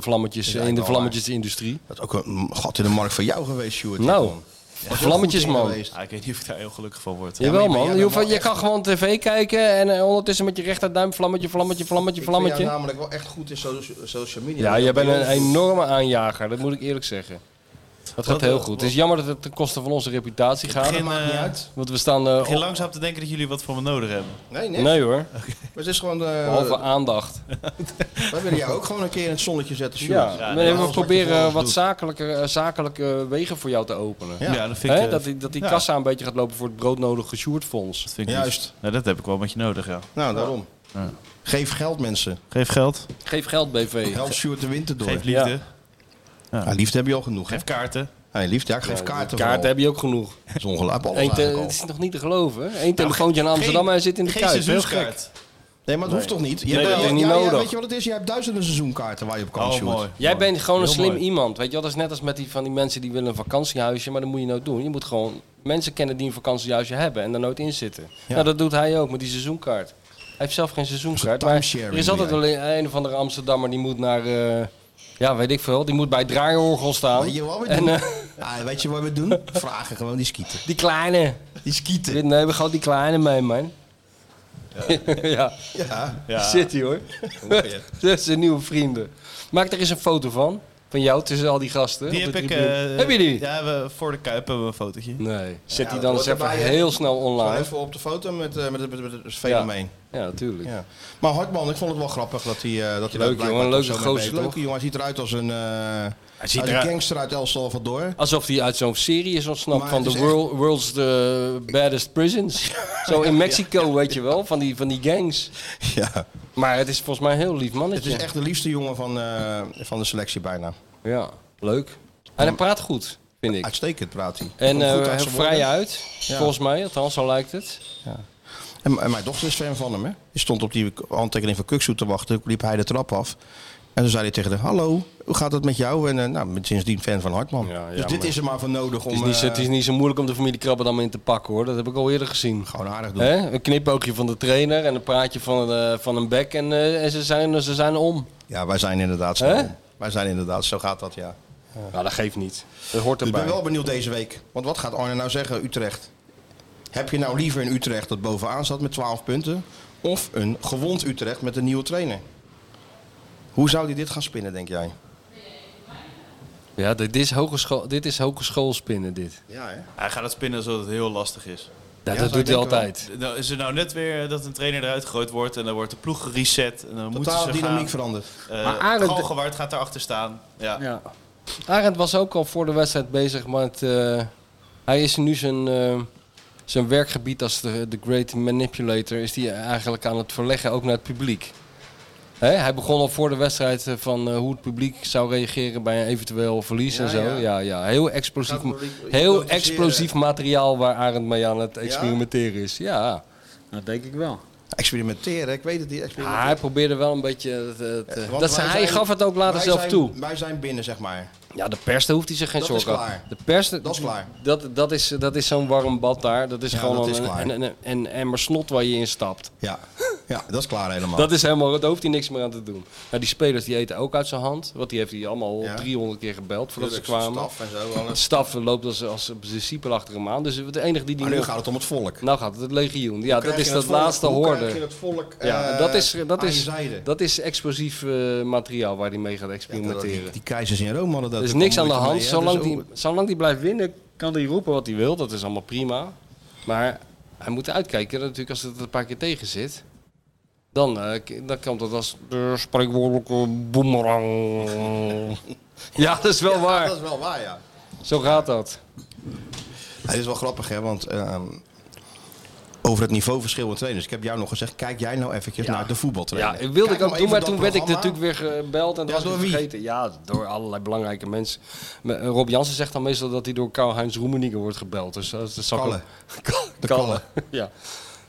Is
vlammetjes, in de
eigenlijk wel
vlammetjesindustrie.
Dat is ook een gat in de markt van jou geweest, Sjoerd.
Nou,
Dit, man.
vlammetjes
Goed in
man.
geweest.
Ah, ik weet niet of ik daar heel gelukkig van word.
Jawel
maar je bent-
man,
ja,
je, hoeft-
dat mag
je
echt.
kan gewoon tv kijken en eh, ondertussen met je rechterduim vlammetje, vlammetje, vlammetje,
Ik vind jou
vlammetje.
namelijk wel echt goed in so- social media.
Ja, jij bent een
Heel goed.
enorme aanjager, dat moet ik eerlijk zeggen. Dat gaat heel goed. Het is jammer dat het ten koste van onze reputatie gaat.
begin, eh,
Want we staan... eh,
Ik begin
op-
langzaam te denken dat jullie wat van me nodig hebben.
Nee, nee.
Nee hoor,
Maar het is gewoon... eh,
behalve
<laughs>
aandacht.
we willen jou ook gewoon een keer in het zonnetje zetten, Sjoerd.
Ja,
Ja, nee,
we we
alles wat je voor
proberen
ons
wat
doet.
zakelijke, eh, zakelijke wegen voor jou te openen.
Ja,
Ja.
dat vind ik...
Hè?
eh,
Dat die, dat die
ja.
kassa een beetje gaat lopen voor het broodnodige Sjoerdfonds.
dat vind ik
Juist.
lief. Nou, dat heb ik wel met je nodig, ja.
Nou, daarom. Geef geld, mensen.
Geef geld,
Geef geld, Eh, BV.
Help Sjoerd de winter door.
geef liefde,
Ja, liefde heb je al genoeg, hè?
geef kaarten.
Hey, liefde, ja, ik geef kaarten
Kaarten
vooral.
heb je ook genoeg.
Dat is ongelooflijk. alles
Eén te-
eigenlijk al.
het is nog niet te geloven. hè? Eén telefoontje in Amsterdam en hij zit in de
Geen
kuip. Heel gek.
seizoenskaart.
Nee, maar dat hoeft toch niet? Je
Nee,
hebt-
dat is
ja,
niet
ja, ja,
nodig.
weet je wat het is? Je hebt duizenden seizoenkaarten waar je op kan,
Oh,
Sjoerd.
mooi.
Jij bent gewoon een
Heel
slim
mooi.
iemand. Weet je, wel? dat is net als met die van die mensen die willen een vakantiehuisje, maar dat moet je nooit doen. Je moet gewoon mensen kennen die een vakantiehuisje hebben en daar nooit in zitten. Nou, dat doet hij ook met die seizoenkaart. Hij heeft zelf geen seizoenkaart.
een
Maar
timesharing
er is altijd
doe
wel een een of andere Amsterdammer die moet naar, eh, ja, weet ik veel, die moet bij het draaiorgel
Weet
staan.
je wat we
En
doen?
eh,
Ah, weet je wat we doen? Vragen gewoon die skieten.
die kleine.
Die skieten.
Nee, we gaan die kleine mee, man. <laughs> ja.
Ja.
Ja.
Zit hij hoor. <laughs> dat zijn nieuwe vrienden. Maak er eens een foto van. Van jou tussen al die gasten.
Die heb
op de
ik...
tribune.
eh,
heb je die?
Ja, we, voor de Kuip hebben we een fotootje.
Nee. Zet
Ja,
die
dat
dan eens
hoort
even
erbij, hè?
heel snel
Gewoon
online.
even op de foto met, eh, met, het- met, het- met het fenomeen.
Ja, natuurlijk.
Ja. Maar Hartman, ik vond het wel grappig dat hij... eh, dat hij daar
Leuk,
blijkbaar
jongen,
toch
leuke
zo mee
gozer,
bezig is.
toch?
Leuke jongen, hij ziet eruit als een, eh
ziet
als een
eruit-
gangster uit El
<laughs>
Salvador.
Alsof hij uit zo'n serie is ontsnapt
Maar
van
het
de
is
world, World's the
<laughs>
Baddest Prisons. Zo in Mexico, weet je wel, van die, van die gangs.
Ja.
Maar het is volgens mij een heel lief
Het
mannetje.
is echt de liefste jongen van, eh, van de selectie bijna.
Ja, leuk. En hij praat goed, vind ik.
Uitstekend praat hij.
En
Komt goed uit
eh, heel
zijn
vrij
woorden.
uit, volgens mij. Althans, zo lijkt het.
En, en mijn dochter is fan van hem. Hè? Die stond op die handtekening van Kuksu te wachten. Toen liep hij de trap af. En toen zei hij tegen haar, hallo, hoe gaat het met jou? En eh, nou, sindsdien fan van Hartman.
Ja, ja,
dus dit
maar-
is er maar voor nodig om...
Het is, niet zo,
eh,
het is niet zo moeilijk om de familie Krabben dan in te pakken hoor. Dat heb ik al eerder gezien.
Gewoon aardig doen.
Hè? Een knipoogje van de trainer en een praatje van, eh, van een bek en, eh, en ze, zijn, ze zijn om.
Ja, wij zijn inderdaad snel.
Hè?
om. Wij zijn inderdaad, zo gaat dat, ja.
Nou, dat geeft niet. Dat hoort
Dus ik
erbij.
ben wel benieuwd deze week. Want wat gaat Arne nou zeggen, Utrecht? Heb je nou liever een Utrecht dat bovenaan zat met 12 punten? Of een gewond Utrecht met een nieuwe trainer? Hoe zou die dit gaan spinnen, denk jij?
Ja, dit is hogeschool, dit is hogeschoolspinnen, dit.
Ja, hè?
Hij gaat het spinnen zodat het heel lastig is.
Ja,
zou
dat doet
ik
hij
denken
altijd.
Nou, is er nou net weer dat een trainer eruit gegooid wordt en dan wordt de ploeg gereset. En dan moeten
Totaal
ze
dynamiek
gaan.
veranderd.
Eh,
Maar Arend-
Galgenwaard gaat daarachter staan. Ja.
Ja. Arend was ook al voor de wedstrijd bezig met... eh, hij is nu zijn, eh, zijn werkgebied als de, de great manipulator... is die eigenlijk aan het verleggen, ook naar het publiek. Hè, hij begon al voor de wedstrijd eh, van eh, hoe het publiek zou reageren bij een eventueel verlies
Ja,
en zo.
ja.
Ja, ja, heel explosief,
Gaat het publiek
heel
hypnotiseren.
explosief materiaal waar Arend mee aan het experimenteren is. Ja.
Dat denk ik wel.
Experimenteren, ik weet het niet.
Ja,
Experimenteren.
Ah, hij probeerde wel een beetje. het- het, eh,
Want
dat ze,
wij
hij
zijn-
gaf het ook later
wij
zelf
zijn-
toe.
Wij zijn binnen, zeg maar.
Ja, de pers, daar hoeft hij zich geen
Dat is
zorgen
klaar.
De pers,
Dat is klaar.
Dat, dat is, dat is zo'n warm bad daar. Dat is
Ja,
gewoon
dat
een,
is klaar.
een, een, een emmer snot waar je in stapt.
Ja, ja dat is klaar helemaal.
Dat is helemaal, daar hoeft hij niks meer aan te doen. Nou, die spelers die eten ook uit zijn hand. Want die heeft hij allemaal
Ja.
300 keer gebeld voordat
Tuurlijk,
ze kwamen.
staf en zo.
Het
Alles.
staf loopt als, als discipel achter hem aan. Dus de enige die die
Maar nu
nog-
gaat het om het volk.
Nou gaat het, het legioen. Ja, dat
Krijg
is
je
dat
het volk-
laatste
hoe
hoorde.
krijg je het volk
Ja,
eh,
dat is, dat
aan je
is,
zijde?
dat is explosief eh, materiaal waar hij mee gaat experimenteren.
Die, die keizers in Rome hadden dat.
er is
ook al
niks aan de
moeite
hand.
mee, hè?
zolang,
Dus
die,
ook-
zolang die blijft winnen, kan hij roepen wat hij wil. Dat is allemaal prima. Maar hij moet uitkijken. dat Natuurlijk, als het er een paar keer tegen zit, dan, eh, k- dan kan dat als de spreekwoordelijke boemerang.
<laughs>
ja, dat is wel waar.
Dat is wel waar, ja.
Zo gaat dat.
Het is wel grappig, hè, want ehm, over het niveauverschil van trainers. Ik heb jou nog gezegd, kijk jij nou eventjes naar de
Ja,
voetbaltrainer.
wilde
Kijk
ik ook
nog
doen,
even
maar
dat
toen werd ik
programma.
natuurlijk weer gebeld en dat
Ja,
was ik
door wie?
vergeten. Ja, door allerlei belangrijke mensen. Me- eh, Rob Jansen zegt dan meestal dat hij door Karl-Heinz Roemenigge wordt gebeld. Dus dat is
Kalle.
<laughs> De
Kalle.
ja.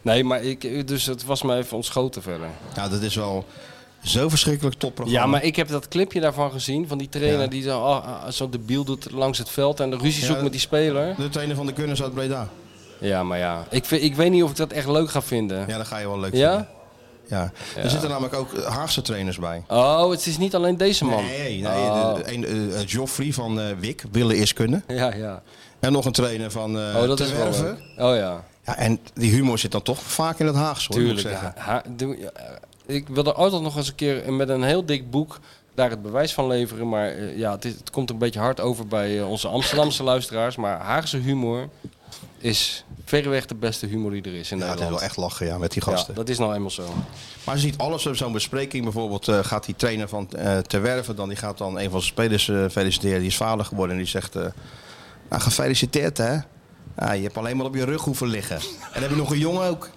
Nee, maar ik, dus het was me even ontschoten verder.
Ja, Nou, dat is wel zo verschrikkelijk topprogramma.
Ja, maar ik heb dat clipje daarvan gezien. Van die trainer
Ja.
die zo, ah, ah, zo debiel doet langs het veld en de ruzie
Ja,
zoekt met die speler.
De trainer van de Gunners uit Breda.
Ja, maar ja. Ik, vind- ik weet niet of ik dat echt leuk ga vinden.
Ja, dat ga je wel leuk
Ja?
vinden. Ja? Er zitten namelijk ook Haagse trainers bij.
Oh, het is niet alleen deze man.
Nee, nee
Oh.
de- de- een, eh, Joffrey van eh, Wik, willen is kunnen.
Ja, ja.
En nog een trainer van eh
Oh, dat
Ter
is wel
Werve.
leuk. Oh ja.
Ja, en die humor zit dan toch vaak in het Haagse, hoor,
Tuurlijk.
moet ik zeggen.
ja. Ha- doe- ja, eh, ik wil er altijd nog eens een keer met een heel dik boek daar het bewijs van leveren. Maar eh, ja, het, is- het komt een beetje hard over bij eh, onze Amsterdamse <laughs> luisteraars. Maar Haagse humor is verreweg de beste humor die er is in
Ja, het is
Nederland.
wel echt lachen ja, met die
Ja,
gasten.
dat is nou eenmaal zo.
Maar je ziet alles op zo'n bespreking. Bijvoorbeeld eh, gaat die trainer van eh Ter Werven dan, die gaat dan een van zijn spelers eh, feliciteren. Die is vader geworden en die zegt, eh, nou gefeliciteerd hè. Ah, je hebt alleen maar op je rug hoeven liggen. En dan heb je nog een jongen ook.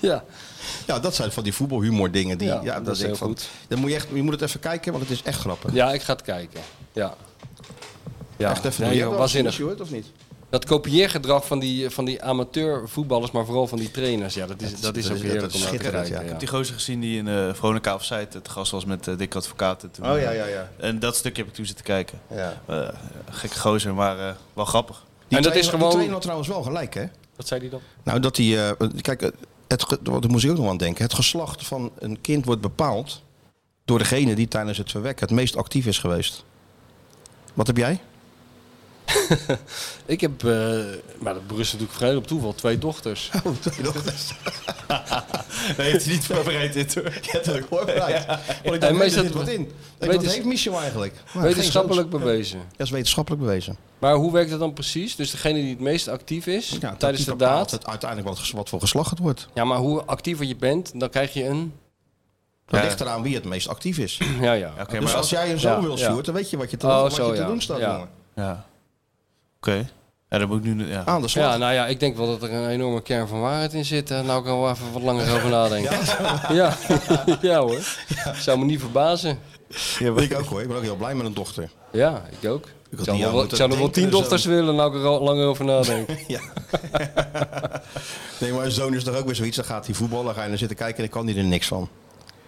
Ja,
<laughs> Ja, dat zijn van die voetbalhumor dingen. Die, ja,
Ja,
dat
dat is
denk ik
heel
van,
goed.
Dan moet je, echt, je moet het even kijken, want het is echt grappig.
ja ik ga het kijken. Ja. Ja,
Echt even doen.
nee, joh,
Jij wel eens
waanzinnig.
gezien, Sjoerd, of niet?
Dat kopieergedrag van die, van die amateur voetballers, maar vooral van die trainers. Ja, dat is, dat is
dat
ook
is-
heerlijk
dat is
om naar te
schitterend, ja.
kijken.
Ik
ja.
Die gozer gezien die in eh Veronica of Zuid het gast was met eh, Dick Advocaat. en toen- eh?
Oh, ja, ja, ja.
En dat stuk heb ik toen zitten kijken.
Ja.
Eh, gekke gozer, maar eh, wel grappig.
En dat
trainer-
is
Die
gewoon...
trainer had trouwens wel gelijk, hè?
Wat zei die dan?
Nou, dat die. eh, kijk, eh, het, ge- daar moest ik ook nog aan denken. Het geslacht van een kind wordt bepaald door degene die tijdens het verwek het meest actief is geweest. Wat heb jij?
Ik heb, eh, maar dat berust natuurlijk vrij op toeval, twee dochters.
Oh,
Nee, heeft hij niet voorbereid dit hoor.
Ja, dat hoor ik
<laughs>
<laughs> Want ik
dacht,
dacht,
meestal-
er zit wat in. Ik dacht,
Wetens-
heeft Michel
<laughs>
eigenlijk? Maar
Wetenschappelijk
geen zoons.
bewezen.
Ja, dat is wetenschappelijk bewezen.
Maar hoe werkt dat dan precies? Dus degene die het meest actief is
Ja, dat
tijdens
die
de
bepaalt
daad.
het uiteindelijk wat, ges- wat voor geslacht het wordt.
Ja, maar hoe actiever je bent, dan krijg je een. <clears throat>
Dat
Ja.
ligt eraan wie het meest actief is.
Ja, ja.
Oké,
dus
maar
als jij een zo
ja,
wil,
ja.
Sjoerd, dan weet je wat je te,
Oh,
wat
zo,
je te
ja.
doen staat,
Ja.
jongen.
Ja. Oké. Ja, dat moet ik nu... Ja.
Aan de slag.
Ja, nou ja, ik denk wel dat er een enorme kern van waarheid in zit. Daar nou kan ik al even wat langer over nadenken. <laughs> Ja, ja. hoor. Zou me niet verbazen.
ik ook hoor. Ik ben ook heel blij met een dochter.
Ja, ik ook. Ik zou
niet
nog
aan
wel- ik
moeten
zou nog wel
denken,
tien
dus
dochters willen, nou kan ik er al langer over
<laughs>
nadenken.
Nee, maar een zoon is toch ook weer zoiets. Dan gaat hij voetballen, ga je naar zitten kijken en ik kan die er niks van.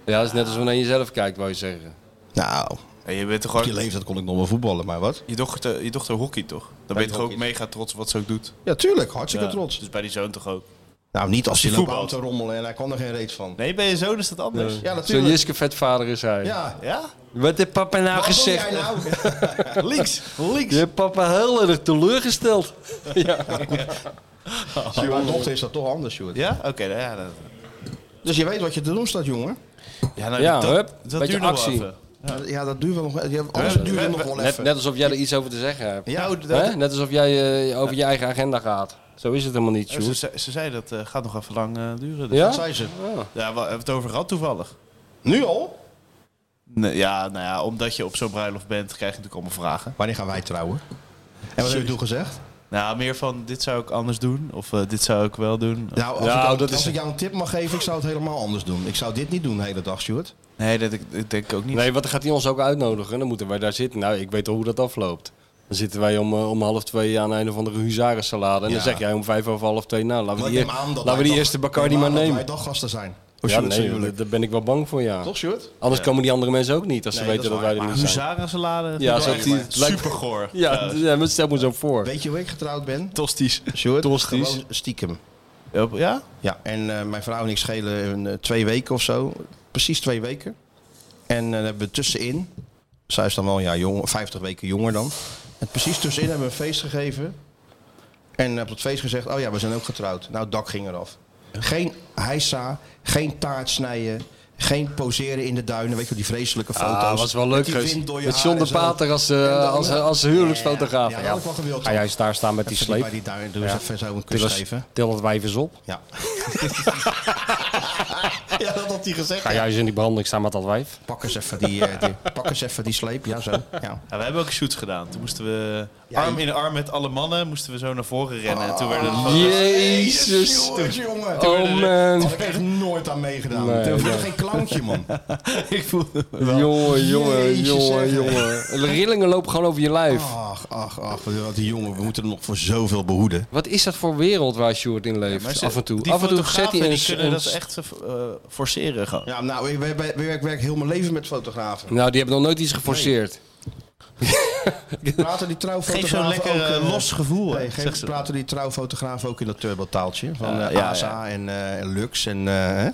Ja, dat is net als wanneer je zelf kijkt, wou je zeggen.
Nou,
Ja, je bent toch
op die
gewoon...
leeftijd kon ik nog wel voetballen, maar wat?
Je dochter, je dochter hockey toch? Dan ben je toch ook mega trots op wat ze ook doet?
Ja, tuurlijk. Hartstikke
Ja,
trots.
Dus bij die zoon toch ook?
Nou, niet als hij loopt
Voetbal.
aan te rommelen en hij kan er geen reet van.
Nee, bij je zoon is dat anders.
Ja,
Zo'n
natuurlijk.
Jiske vetvader is hij.
Ja,
Ja?
Wat heeft papa nou
Wat doe
gezegd?
jij
<laughs>
nou?
Links, links.
Je hebt papa heel erg teleurgesteld. ja.
Sjoerd, Mijn dochter is dat toch anders, Sjoerd.
Ja? Oké, nou ja. Dat,
Dus je weet wat je te doen staat, jongen.
ja, nou,
Ja,
dat,
hup,
dat
beetje
duurt nog
actie.
wel even.
Ja, dat duurt wel nog, ja, alles
Ja,
duurt
we-
nog
we-
wel
Net,
even.
net alsof jij er iets over te zeggen hebt.
Ja, nou, dat,
Hè? Net alsof jij eh, over je eigen agenda gaat. Zo is het helemaal niet,
ze,
Sjoerd.
ze, ze zei dat eh, gaat nog even lang eh, duren. Dus.
Ja?
zei ze.
Ja.
Ja, we hebben het over gehad toevallig.
Nu al?
Nee, ja, nou ja, omdat je op zo'n bruiloft bent, krijg je natuurlijk allemaal vragen.
Wanneer gaan wij trouwen? En wat heb je toen gezegd?
Nou, meer van dit zou ik anders doen of eh, dit zou ik wel doen.
Nou, als,
Nou,
ik, jou,
dat
als
is-
ik jou een tip mag geven, ik zou het helemaal anders doen. Ik zou dit niet doen de hele dag, Sjoerd.
Nee, dat, ik- dat denk ik ook niet.
Nee, want dan gaat hij ons ook uitnodigen. Dan moeten wij daar zitten. Nou, ik weet al hoe dat afloopt. Dan zitten wij om, eh, om half twee aan een of andere huzarensalade. En
Ja.
dan zeg jij om vijf over half twee... Nou, laten we
Maar
die,
ik neem aan dat
laten we
wij
die
dag-
eerste Bacardi
ik neem
maar
aan dat
nemen.
wij daggasten zijn.
ja,
Oh, Sjoerd, zijn
nee,
jullie.
daar ben ik wel bang voor, ja.
Toch, Sjoerd?
Anders komen die andere mensen ook niet als ze
Nee,
weten
dat
dat,
is
wij
waar.
er
Maar
niet zijn.
huzarensalade? vind
Ja,
ik
zegt
echt
hij, het lijkt-
Supergoor. Eh, <laughs>
Ja,
Ja,
d- ja, maar stel me zo voor.
Weet je hoe ik getrouwd ben?
tostisch.
Sjoerd?
Tosti's.
Gewoon stiekem.
Ja?
Ja, en eh, mijn vrouw en ik schelen een, eh, twee weken of zo. Precies twee weken. En eh, hebben we tussenin, zij is dan wel een jaar jonger, 50 weken jonger dan. En precies tussenin hebben we een feest gegeven. En op dat feest gezegd, oh ja, we zijn ook getrouwd. Nou, het dak ging eraf. Geen heisa, geen taart snijden, geen poseren in de duinen. Weet je wel, die vreselijke foto's.
Ah, was wel leuk
Met die
geweest.
wind door je
Met
haar
John de
en zo.
Pater als, eh,
En dan-
als, als huwelijksfotograaf. Ah,
Ja, dat had ik wel gewild.
Ga jij eens daar staan met die
Even
sleep?
Bij die duinen, doe
Ja.
eens even zo een kus
Til,
geven.
het wijf eens op.
Ja. <laughs> ja, dat had hij gezegd.
Ga jij eens in die branding staan met dat wijf?
Pak eens even die, eh, die, pak eens even die sleep. Ja, zo. Ja.
Ja, we hebben ook shoots gedaan. Toen moesten we arm in arm met alle mannen moesten we zo naar voren rennen. En toen werden de
Oh,
foto's-
Jezus.
Jongens, jongen. Daar
Oh man.
had ik echt nooit aan meegedaan.
Nee,
Nee, ik
nee.
ben geen clowntje, man.
ik voelde
Jongen, jongen,
Jezus,
jongen,
zeg. Ah.
jongen. De rillingen lopen gewoon over je lijf.
Ach, ach, ach. wat Die jongen, we moeten er nog voor zoveel behoeden.
Wat is dat voor wereld waar Sjoerd in leeft? af en toe.
Die
Af en toe
fotografen,
zet hij een...
die kunnen dat
een-
echt eh, forceren gewoon.
Ja, nou, ik werk, ik werk, ik werk heel mijn leven met fotografen.
<laughs>
Nou, die hebben nog nooit iets geforceerd.
Praten die trouwfotografen
Geef zo'n lekker
ook, eh,
eh, los gevoel. hè,
Nee, geen-
zegt ze.
praten die trouwfotografen ook in dat turbotaaltje van
Ja,
eh,
ja,
ASA
ja.
En, eh, en Lux en... eh, hè?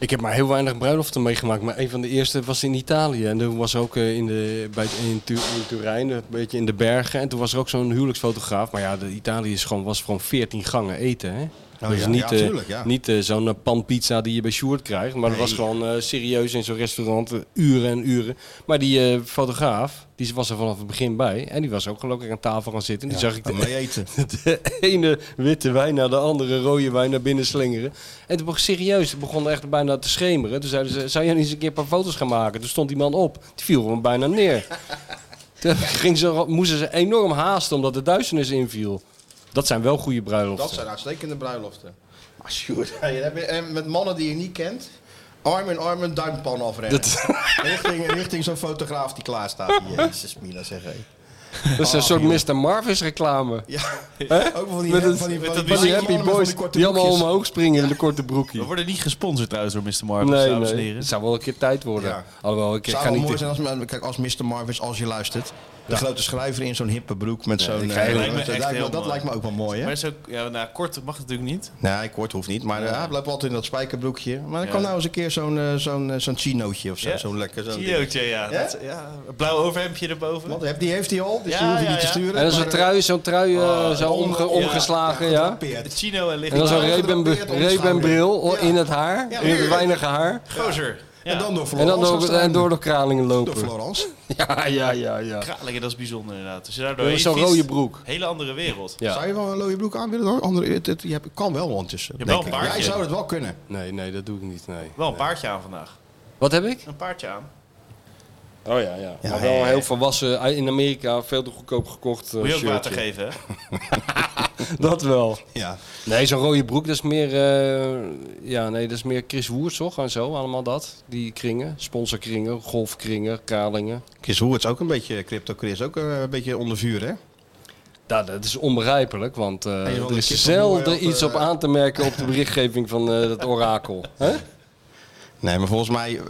Ik heb maar heel weinig bruiloften meegemaakt. Maar een van de eerste was in Italië. En toen was er ook eh, in, de, bij, in, Tu- in Turijn, een beetje in de bergen. En toen was er ook zo'n huwelijksfotograaf. Maar ja, de Italië is gewoon, was gewoon 14 gangen eten. Hè?
Oh
dus
ja,
niet,
ja,
eh,
tuurlijk, ja.
niet eh, zo'n eh, panpizza die je bij Sjoerd krijgt. Maar dat was gewoon eh, serieus in zo'n restaurant. eh, uren en uren. Maar die eh, fotograaf, die was er vanaf het begin bij. En die was ook gelukkig aan tafel gaan zitten. En die zag ik de,
Mee eten.
<laughs> de ene witte wijn naar de andere rode wijn naar binnen slingeren. En toen begon serieus, het begon echt bijna te schemeren. Toen zeiden ze, zou jij niet eens een keer een paar foto's gaan maken? Toen stond die man op. Die viel gewoon bijna
<laughs>
neer. Toen ging ze, moesten ze enorm haasten omdat de duisternis inviel. Dat zijn wel goede bruiloften.
Dat zijn uitstekende bruiloften. Maar Sjoerd, hey, dan heb je- en met mannen die je niet kent, arm in arm een duimpan afrennen. Richting, richting zo'n fotograaf die klaar staat. Jezus, Mila, zeg hé.
Dat is een soort Mr. Marvis reclame.
Ah, Ja,
Hè?
ook van die,
Met
van die,
het-
van die,
met dat
Van die
mannen
happy
met van
boys
korte
die allemaal
broekjes.
omhoog springen in de korte broekje.
We worden niet gesponsord trouwens door Mr. Marvel,
Nee,
dames en
nee.
heren.
Het zou wel een keer tijd worden.
Ja.
Alhoewel, ik, ik
Zou
ga
wel
niet...
mooi zijn als, kijk, als Mr. Marvis, als je luistert. De grote schrijver in zo'n hippe broek met zo'n...
ga heel-
eh,
lijkt me
met-
echt
lijkt me-
heel
dat
mooi.
lijkt me ook wel mooi,
Maar
hè?
het is ook, ja, nou, kort mag het natuurlijk niet.
Nee, kort hoeft niet. Maar eh, hij loopt altijd in dat spijkerbroekje. Maar dan kan nou eens een keer zo'n eh, zo'n eh, zo'n chinootje of zo.
Ja.
Zo'n lekker... Zo'n ding.
Chiootje, ja.
Ja?
Dat, ja. een Blauw overhemdje erboven.
Want heb- die heeft hij al, dus
Ja,
die hoef je
ja,
niet te
ja.
sturen.
En dan zo'n
maar, eh,
trui, zo'n trui eh, zo
onder-
omge-
ja,
omgeslagen, ja.
Het Chino en Oh, licht.
En dan zo'n
Ja,
Ray-Ban
gedrapeerd op de
Ray-Ban
schouder.
bril
Ja.
in het haar,
Ja,
in het
tuurlijk.
weinige haar.
Gozer. Ja.
En dan door
En
Florence.
dan door,
afstaan.
en door de kralingen
Door
lopen.
Florence.
<laughs> Ja, ja, ja, ja.
Kralingen, dat is bijzonder inderdaad. Als je daar
Met
doorheen
Zo'n
fietst,
rode broek.
Hele andere wereld.
Ja.
Zou je wel een looie broek aan willen? Hoor? Andere, het, het- je hebt- kan wel ondertussen.
hebt wel
denk
een
ik.
baardje.
Jij zou het wel kunnen.
Nee, nee, dat doe ik niet, nee.
Wel een paardje aan vandaag.
Wat heb ik?
Een paardje aan.
Oh ja, ja. Maar wel
ja,
een
ja.
heel volwassen, eh, in Amerika veel te goedkoop gekocht eh,
Moet je ook
shirtje.
water geven,
<laughs>
hè?
Dat wel.
Ja.
Nee, zo'n rode broek, dat is meer, eh, ja, nee, dat is meer Chris Woers, toch? En zo, allemaal dat. Die kringen, sponsorkringen, golfkringen, kralingen.
Chris Hoerts ook een beetje, Crypto Chris, ook eh, een beetje onder vuur, hè?
Ja, dat is onbegrijpelijk, want eh,
je wil
er
de
is
kip
zelden
opmoeien op,
iets
eh,
op
<laughs>
aan te merken op de berichtgeving van eh dat orakel. Hè?
Nee, maar volgens mij, eh,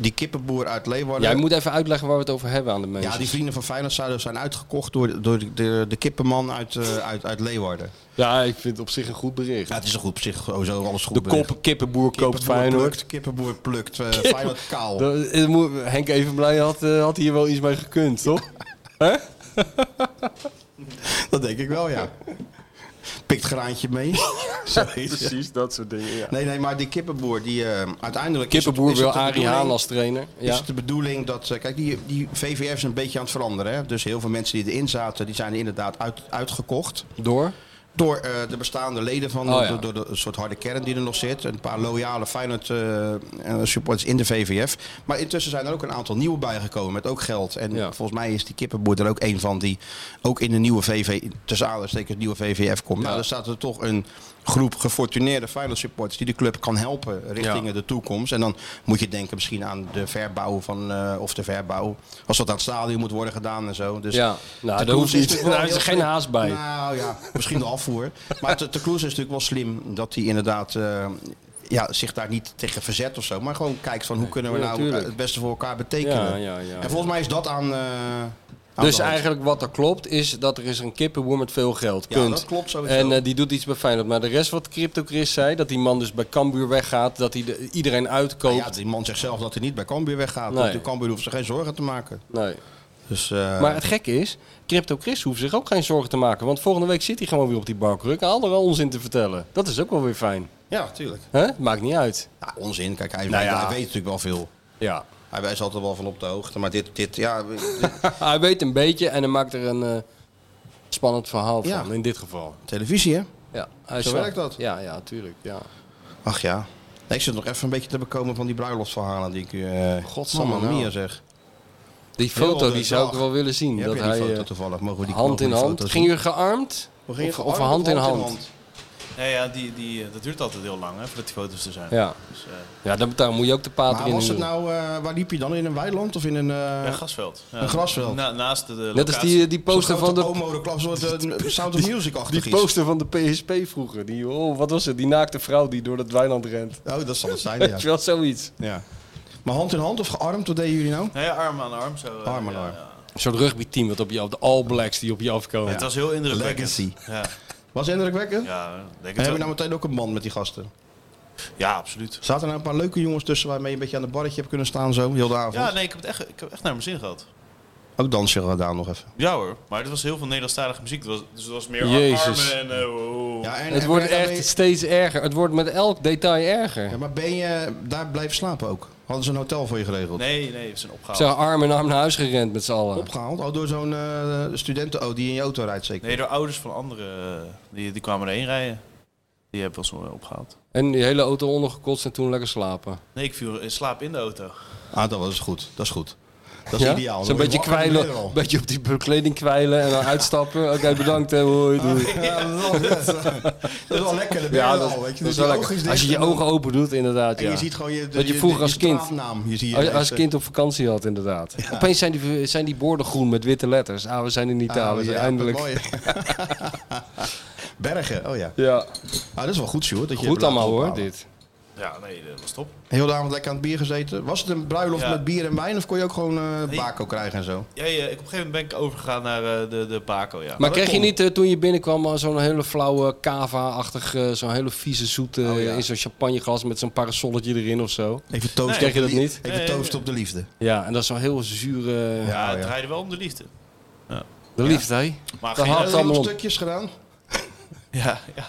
die kippenboer uit Leeuwarden.
Jij moet even uitleggen waar we het over hebben aan de mensen.
Ja, die vrienden van Feyenoord zouden zijn uitgekocht door, door de, de, de kippenman uit, eh, uit, uit Leeuwarden.
Ja, ik vind het op zich een goed bericht.
Ja, het is een goed op zich, sowieso alles goed.
de
bericht.
kop, kippenboer koopt
Kippenboer
Feyenoord.
plukt, Kippenboer plukt, eh,
Kippen-
Feyenoord kaal.
Dat- het moet- Henk Evenblij had, eh, had hier wel iets mee gekund, toch? Hè?
Dat denk ik wel, ja. Pikt graantje
<laughs>
mee. Zoiets.
Precies, dat soort dingen, ja.
Nee, nee, maar die kippenboer, die eh, uiteindelijk... is het-
Kippenboer
is het
wil
de
Arie
bedoeling-
Haan als trainer. Ja.
Is het de bedoeling dat... eh, kijk, die, die VVF is een beetje aan het veranderen. Hè? Dus heel veel mensen die erin zaten, die zijn er inderdaad uit, uitgekocht.
Door?
Door eh, de bestaande leden van,
Oh, ja.
door, door de soort harde kern die er nog zit. Een paar loyale Feyenoord eh, eh, supporters in de VVF. Maar intussen zijn er ook een aantal nieuwe bijgekomen met ook geld. En
Ja.
volgens mij is die kippenboer er ook een van die ook in de nieuwe VV, tussen aanhalingstekens, nieuwe VVF komt. Nou, dan staat er toch een groep gefortuneerde Feyenoord supporters die de club kan helpen richting
Ja.
de toekomst. En dan moet je denken misschien aan de verbouw van, eh, of de verbouw. Als dat aan het stadion moet worden gedaan en zo. Dus
Ja. Nou,
de
daar hoeft
Kloes
niet-
natuurlijk wel
daar is
heel
geen
slim.
haast bij.
Nou ja, misschien de afvoer. Maar de, de Kloes is natuurlijk wel slim dat hij inderdaad eh, ja, zich daar niet tegen verzet of zo. Maar gewoon kijkt van hoe kunnen we
Ja,
nou
tuurlijk.
het beste voor elkaar betekenen.
Ja, ja, ja.
en volgens mij is dat aan. eh, aan
Dus
de hand.
eigenlijk wat er klopt is dat er is een kippenboer met veel geld.
Ja,
Punt.
dat klopt sowieso.
En eh, die doet iets bij Feyenoord. Maar de rest wat Crypto Chris zei, dat die man dus bij Cambuur weggaat, dat hij de- iedereen uitkoopt.
Ah, Ja, die man zegt zelf dat hij niet bij Cambuur weggaat.
Nee.
Nee. De Cambuur hoeft zich geen zorgen te maken.
Nee.
Dus, eh,
Maar het gekke is, Crypto Chris hoeft zich ook geen zorgen te maken. Want volgende week zit hij gewoon weer op die barkruk en al onzin te vertellen. Dat is ook wel weer fijn.
Ja, tuurlijk.
hè? Maakt niet uit.
Ja, onzin. Kijk, hij,
Nou
hij-
ja.
hij weet natuurlijk wel veel.
Ja.
Hij wijst altijd wel van op de hoogte. Maar dit, dit <laughs> ja,
<laughs> Hij weet een beetje en hij maakt er een eh, spannend verhaal
Ja.
van, in dit geval.
televisie hè?
Ja, hij
Zo
snapt-
werkt dat.
Ja, ja, tuurlijk. Ja.
Ach ja. Nee, ik zit nog even een beetje te bekomen van die bruiloftsverhalen die ik... eh
Godsamme,
Mamma
nou.
mia zeg.
Die
Heel
foto
de
die zou
dag.
ik wel willen zien.
Heb
dat
je die
hij,
foto
eh,
toevallig? Mogen we die
hand
mogen we
in
die
hand.
foto
Ging
zien?
u gearmd?
Of ging
of,
je
of
arm
hand in hand?
Ja, ja die, die, eh, dat duurt altijd heel lang hè, voordat die foto's er zijn.
Ja.
Dus, eh,
Ja, dan, daar moet je ook de pater
Maar
in
was het
huren.
nou... eh, waar liep je dan? In een weiland of in een... eh,
ja, grasveld. Ja.
een grasveld.
Na- naast de, de locatie.
Net als die, eh, die
Nou, zo'n
poster van
grote
de,
homo-reclame, Een soort eh, Sound of Music-achtig
die
iets.
poster van de PSP vroeger. Die, oh, wat was het? Die naakte vrouw die door dat weiland rent.
Oh, dat zal het
<laughs>
zijn,
Weet
ja.
je wel, zoiets.
ja. Maar hand in hand of gearmd? Wat deden jullie nou?
eh,
Nou ja, arm aan arm. Zo, eh,
Arm aan
ja,
arm.
ja.
Een soort rugbyteam wat op je, de All Blacks die op je afkomen.
Het was heel indrukwekkend.
Legacy.
Ja,
Was indrukwekkend?
ja, denk
En
het
heb je
wel.
nou meteen ook een band met die gasten?
ja absoluut.
Zaten er nou een paar leuke jongens tussen waarmee je een beetje aan de barretje hebt kunnen staan zo, heel de avond?
Ja, nee, ik heb, het echt, ik heb echt naar mijn zin gehad.
Ook dansje gedaan nog even.
Ja hoor, maar het was heel veel Nederlandstalige muziek. Het was, dus het was meer
Jezus.
armen en... eh, wow.
Ja, en,
Het
en
wordt
ben je
echt
daarmee-
steeds erger. Het wordt met elk detail erger.
Ja, maar ben je daar blijven slapen ook? Hadden ze een hotel voor je geregeld?
Nee, nee, we zijn opgehaald.
Ze zijn arm in arm naar huis gerend met z'n allen.
Opgehaald? Oh, door zo'n eh studenten oh, die in je auto rijdt zeker?
Nee, door ouders van anderen. eh, Die, die kwamen erheen rijden. Die hebben ons eh, opgehaald.
En die hele auto ondergekotst en toen lekker slapen.
Nee, ik viel in slaap in de auto.
Ah, dat was goed. Dat is goed. Dat is
Ja?
ideaal. Dan
Zo'n
word
beetje
je wakker in de
kwijlen,
midden al.
een beetje op die bekleding kwijlen en dan uitstappen. Oké, bedankt. Hè, hoi, doei.
Ah, Ja, dat is wel- dat is wel lekker. Dat ben je
Ja,
al,
dat,
weet je.
dat is
Dus
wel
die ogen
lekker. Als je je
dicht en-
ogen open doet, inderdaad.
En
Ja.
je ziet gewoon je...
Dat je vroeger als kind-
Naam. Je eh. ziet
als, als kind op vakantie had, inderdaad. Opeens zijn die, zijn die borden groen met witte letters. Ah, we zijn in Italië, eindelijk. <laughs>
Bergen, oh ja.
Ja,
Ah, dat is wel goed, Sjoerd. dat je
goed
hebt laten
allemaal hoor,
ophalen.
dit.
Ja, nee, dat was top.
Heel de avond lekker aan het bier gezeten. Was het een bruiloft
Ja.
met bier en wijn of kon je ook gewoon eh
Nee.
bako krijgen en zo?
Ja, ja, eh, ik, op een gegeven moment ben ik overgegaan naar eh, de, de Paco, ja.
Maar
dat
kreeg je
kon.
niet eh, toen je binnenkwam al zo'n hele flauwe cava-achtig, eh, zo'n hele vieze zoete
Oh, ja.
in zo'n champagneglas met zo'n parasolletje erin of zo?
Even toast.
Kreeg je dat niet?
Nee,
Even
nee,
toast op de liefde.
Ja, en dat is zo'n heel zure...
ja,
ja,
het
ja.
draaide wel om de liefde.
De liefde, hè?
Maar
Dat
geen-
had-
Heb je
allemaal
nog
op.
stukjes gedaan?
Ja, ja.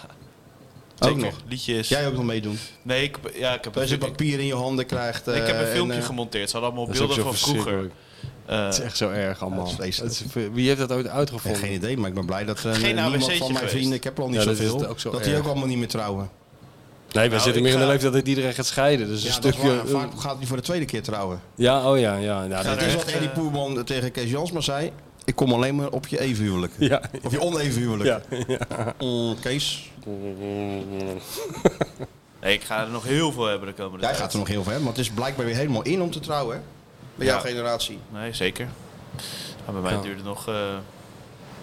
Ook
Zeker.
nog.
Liedjes.
Jij ook nog meedoen.
Nee, ik, ja, ik heb
Dat
een
je
filmpje,
papier in je handen krijgt.
ik heb
eh,
een
en,
filmpje
eh,
gemonteerd. Ze hadden allemaal
Dat is ook
beelden
zo
van vroeger.
verschrikkelijk.
Eh,
Het is echt zo erg allemaal.
Ja, het is vreselijk.
Het is ver- wie heeft dat ooit
ik heb
uitgevonden?
geen idee, maar ik ben blij dat eh
Geen
niemand van
ABC'tje
mijn
geweest.
vrienden, ik heb er al niet
Ja, dat is
zoveel,
het
dat,
ook zo
die
erg.
ook allemaal niet meer trouwen.
Nee, wij
Nou,
zitten
ik
meer in de
ga-
leeftijd dat iedereen gaat scheiden. Dus
Ja,
een
dat is
stukje...
waar. Vaak gaat hij voor de tweede keer trouwen.
Ja, oh ja, ja. ja, dat-
Dat is wat
echt,
Eddie
eh,
Poerman tegen Kees Jansma zei. Ik kom alleen maar op je evenhuwelijk.
ja.
Of je onevenhuwelijk.
Ja.
Mm, Kees,
nee, ik ga er nog heel veel hebben de komende
jij
tijd.
gaat er nog heel ver, want het is blijkbaar weer helemaal in om te trouwen. hè? Bij
Ja.
jouw generatie.
Nee, zeker. Maar bij mij
Ja.
duurde het nog eh,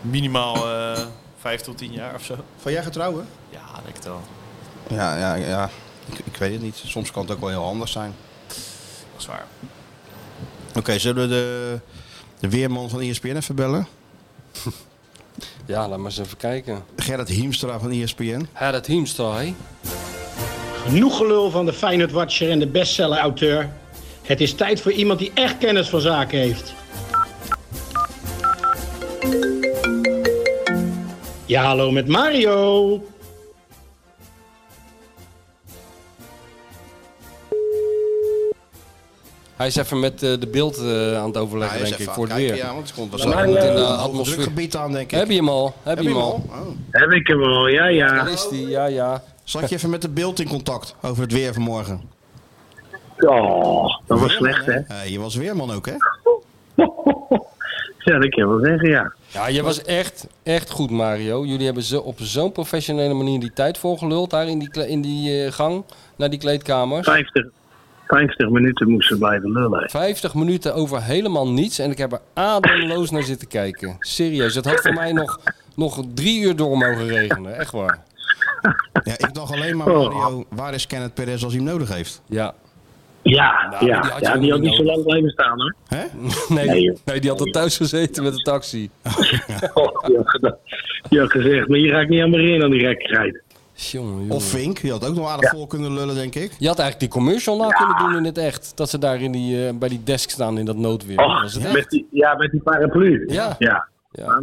minimaal eh 5 tot 10 jaar of zo.
Van jij gaat trouwen?
Ja, denk het wel.
Ja, ja, ja. Ik, ik weet het niet. Soms kan het ook wel heel handig zijn.
Dat is waar.
Oké, zullen we de, de weerman van E ESPN even bellen?
Ja, laat maar eens even kijken.
Gerrit Hiemstra van E ESPN.
Gerrit Hiemstra, hè?
Genoeg gelul van de Feyenoord Watcher en de bestseller-auteur. Het is tijd voor iemand die echt kennis van zaken heeft. Ja, hallo met Mario.
Hij is even met eh, de beeld eh, aan het overleggen,
Hij is
denk ik,
even
voor het
aan het
weer.
kijken, ja, want het komt wel
Maar
zo.
hij moet in de
Hoger
atmosfeer.
drukgebied aan, denk ik.
Heb je hem al? Heb, je hem al?
Oh,
Heb ik hem al, ja, ja.
Daar is die, ja, ja.
Zat je even met de beeld in contact over het weer vanmorgen?
Oh, dat was
Weerman,
slecht, hè? <laughs>
Eh, je was weerman ook, hè?
Ja, dat kan je wel zeggen, ja.
Ja, jij was echt, echt goed, Mario. Jullie hebben zo, op zo'n professionele manier die tijd volgeluld daar in die, kle- in die eh, gang naar die kleedkamers.
50, 50 minuten moesten blijven lullen. hè.
50 minuten over helemaal niets en ik heb er ademloos naar zitten kijken. Serieus, het had voor mij nog, nog drie uur door mogen regenen, echt waar.
Ja, ik dacht alleen maar, Mario, waar is Kenneth Perez als hij hem nodig heeft?
Ja.
Ja,
Nou,
ja.
die had je
ja,
nog
die had
niet
niet zo
nodig.
lang blijven staan, hoor.
Hè?
Nee,
<laughs> Nee,
joh.
nee, die had al thuis gezeten met de taxi.
Oh, die had gedaan- die had gezegd, maar hier ga ik niet aan me in aan die rekkigheid.
Jongen, jongen.
Of Vink, die had ook nog aardig vol kunnen lullen, denk ik.
Je had eigenlijk die commercial na kunnen doen in het echt. Dat ze daar in die, eh, bij die desk staan in dat noodweer.
Och,
Oh, was het echt.
met die, ja, met die paraplu.
Ja.
ja.
Ja.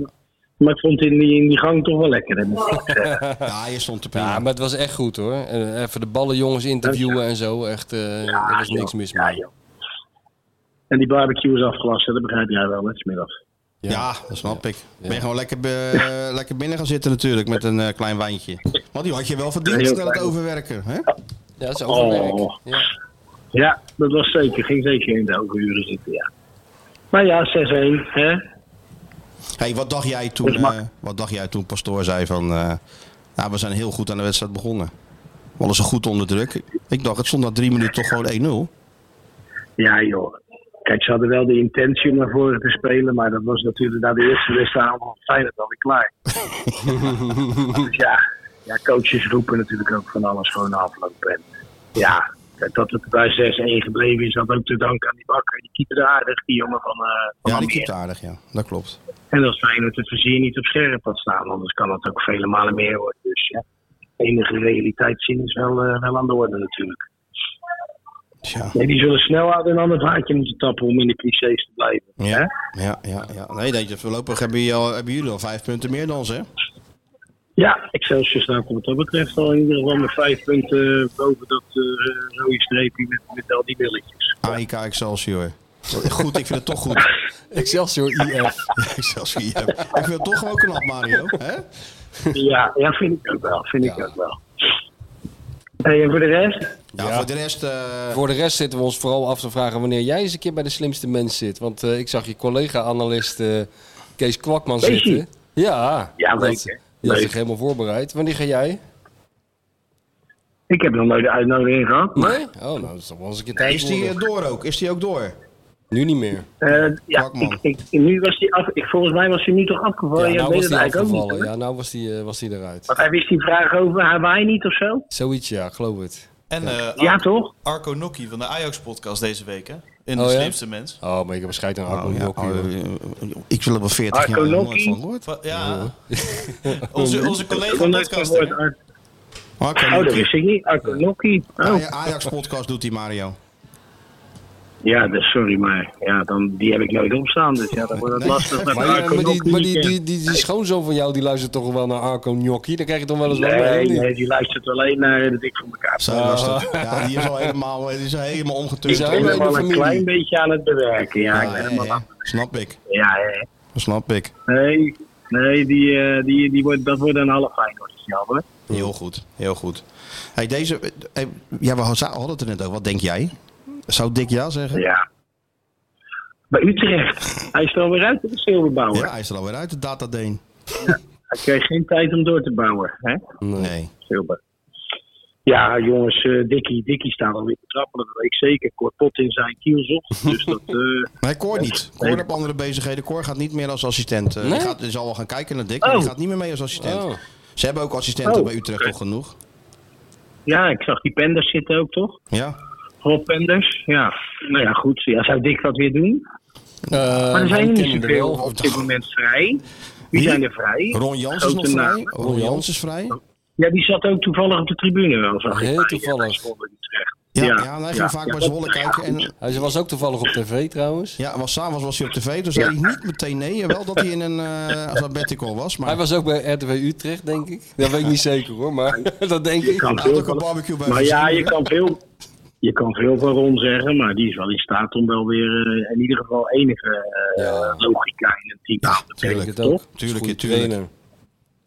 Maar ik vond het in die, in die gang toch wel lekker. Hè? moet ik
<laughs>
zeggen.
Ja, je stond te prima.
Ja, maar het was echt goed hoor. En Even de ballenjongens interviewen en zo. Echt, eh er was niks
joh.
mis
Ja,
mee.
joh. En die barbecue is afgelast, hè, dat begrijp jij wel, hè, smiddags.
Ja, dat snap ik. Ben je gewoon lekker, be- lekker binnen gaan zitten natuurlijk met een eh, klein wijntje. Want die had je wel verdiend,
Heel
snel het
klein.
overwerken. Hè?
Ja, dat is overwerk.
Oh.
Ja.
Ja, dat was zeker. Ging zeker in de overuren zitten, ja. Maar ja, 6-1, hè?
Hey, wat, dacht jij
Dat
toen,
is mak-
eh, wat dacht jij toen Pastoor zei van... eh, nou, we zijn heel goed aan de wedstrijd begonnen. We hadden ze goed onder druk. Ik dacht, het stond na drie minuten toch gewoon 1-0.
Ja, joh. Kijk, ze hadden wel de intentie om naar voren te spelen, maar dat was natuurlijk na de eerste wedstrijd allemaal Feyenoord alweer
<laughs>
klaar. dus ja, ja, coaches roepen natuurlijk ook van alles gewoon na afloop. En ja, kijk, dat het bij 6-1 gebleven is, had ook te danken aan die bakker. Die keeper aardig, die jongen van, eh van
Ja, die
Almere.
keept aardig, ja. Dat klopt.
En dat Feyenoord het vizier niet op scherp had staan, anders kan het ook vele malen meer worden. Dus ja, enige realiteit zien is wel, eh, wel aan de orde natuurlijk.
Tja.
Nee, die zullen snel uit een ander vaatje moeten tappen om in de clichés te blijven. hè?
Ja, ja, ja. ja. Nee, dat je, voorlopig hebben jullie, al, hebben jullie al vijf punten meer dan ze. hè?
Ja, Excelsior staat wat dat betreft al in ieder geval met vijf punten boven dat eh, rode streepje met, met al die
<laughs>
billetjes.
AIK Excelsior. Goed, ik vind het toch goed. <laughs>
Excelsior IF.
Excelsior. ja. Ik vind het toch gewoon knap, Mario. Hè?
ja, ja, vind ik ook wel. Vind ik ook wel. Hey, en voor de rest?
Ja, voor de rest... eh,
Voor de rest zitten we ons vooral af te vragen wanneer jij eens een keer bij de slimste mens zit. Want eh, ik zag je collega-analyst eh, Kees Kwakman
Weet je?
zitten. Ja,
Ja,
dat, eh,
leuk, hè?
die had
Leuk.
zich helemaal voorbereid. Wanneer ga jij?
Ik heb nog nooit de uitnodiging gehad. maar,
Nee? Oh, nou, dat is toch wel eens een keer tijd.
Is die eh,
worden.
door ook? Is die ook door?
Nu niet meer.
eh, ja,
Kwakman.
ik, ik, nu was die af, ik, volgens mij was hij nu toch afgevallen. Oh, Ja,
nou
weet
was
het
die
eigenlijk ook
afgevallen.
niet. hoor.
Ja, nou was die, eh, was die eruit.
Want hij wist die vraag over Hawaii niet of zo?
Zoiets, ja, ik geloof het.
En eh,
Ja, toch?
Arco Nokki van de Ajax-podcast deze week, hè? In de
Oh, ja?
slimste mens.
Oh, maar ik heb een scheid aan
Oh,
Arco
ja,
Nokki,
oh,
hoor.
eh, ik wil er wel 40 jaar
Arco
nooit
Nokki.
van gehoord.
Va- Ja. <laughs> Onze, onze
Ik
collega
heb nog nooit van
podcast.
gehoord. Ar-
Arco
Oh, dat
Nokki.
wist ik niet. Arco Nokki.
Ah,
Oh.
Aj- Ajax-podcast doet die, Mario.
Ja, dus sorry, maar ja, dan, die heb ik nooit opstaan. Dus ja, dan wordt het lastig. dat
Maar,
ik
ja,
Arco
maar, die,
Nokki
maar
niet
die,
ken.
die, die, die schoonzoon van jou die luistert toch wel naar Arco Gnocchi? Dan krijg je toch wel eens wat mee,
Nee,
of niet?
nee, die luistert alleen naar de dik voor elkaar.
Zo was het. Ja, die is al helemaal, die is helemaal omgeturnd.
Is Dus hij
Ik ben
bij
hem
de
al een
familie? Ah,
klein beetje aan het bewerken. Ja, ik
Ja,
ben
hè,
hem al
hè.
aan-
Snap ik.
ja, hè.
Snap ik.
nee, nee die, eh, die, die wordt, dat wordt een half Feyenoord. Jammer.
Heel goed. Heel goed. Hey, deze... hey, ja, we hadden het er net over. Wat denk jij? Zou Dick ja zeggen?
Ja. Bij Utrecht. Hij is er alweer uit de zilverbouwer.
Ja, hij is er alweer uit, de datadeen.
Hij kreeg geen tijd om door te bouwen. Hè?
Nee.
Zilber. Ja, jongens, eh Dikkie, Dikkie staat alweer te trappelen. Dat weet ik zeker. Korpot in zijn
<laughs>
kielzocht. Dus dat... eh,
Nee, Cor niet. Cor heeft andere bezigheden. Cor gaat niet meer als assistent. Eh,
Nee?
die, gaat, die zal wel gaan kijken naar Dick, maar die
Oh.
gaat niet meer mee als assistent.
Oh.
Ze hebben ook assistenten
Oh.
bij Utrecht toch genoeg?
ja, ik zag die penders zitten ook, toch?
Ja.
Rob Penders, ja. Nou ja, goed. Ja, zou Dick dat weer doen? maar er
Eh,
zijn
hij
er niet
kende er
zoveel
wel.
op dit moment vrij. Wie zijn er vrij?
Ron Jans is
Grote
nog vrij.
namen.
Ron Jans is vrij.
Ja, die zat ook toevallig op de tribune wel, zag ik.
Heel
bij-
toevallig.
Ja, ja, hij ging vaak bij Zwolle kijken. En...
Hij was ook toevallig op tv trouwens.
Ja, was, s'avonds was hij op tv. Toen zei hij niet meteen nee. Wel dat hij in een eh sabbatical was. Maar
Hij was ook bij RTW Utrecht, denk ik. Dat weet ik niet zeker hoor, maar <laughs> dat denk ik.
kan veel van- Maar ja, je kan veel, je kan veel van Ron zeggen, maar die is wel in staat om wel weer eh, in ieder geval enige eh, logica in het team te
Tuurlijk,
brengen,
het ook.
toch?
Tuurlijk, Goeie trainer.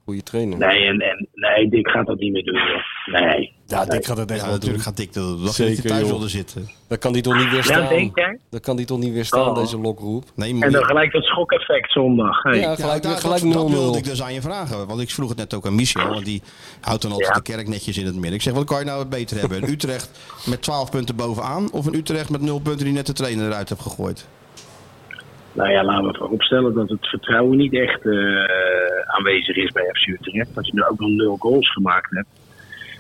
Goeie trainer.
Nee, en, en, nee, Dick gaat dat niet meer doen, joh. Nee.
Ja, Dick gaat het echt wel
natuurlijk gaat Dick dat. Dat hij thuis
joh.
wilde zitten.
Dat kan die toch niet
Ja,
weerstaan?
denk jij?
dat kan die toch niet weerstaan,
Oh.
deze lokroep?
Nee,
En dan gelijk dat schok-effect zondag. Hey.
Ja, gelijk-
daar-
gelijk
dat, dat
0-0.
wilde ik dus aan je vragen. Want ik vroeg het net ook aan Michel. Want die houdt dan altijd
Ja.
de kerk netjes in het midden. Ik zeg, wat kan je nou beter hebben? Een Utrecht met 12 punten bovenaan. Of een Utrecht met 0 punten die net de trainer eruit heeft gegooid.
Nou ja, laten we vooropstellen dat het vertrouwen niet echt eh, aanwezig is bij FC Utrecht. Dat je nu ook nog nul goals gemaakt hebt.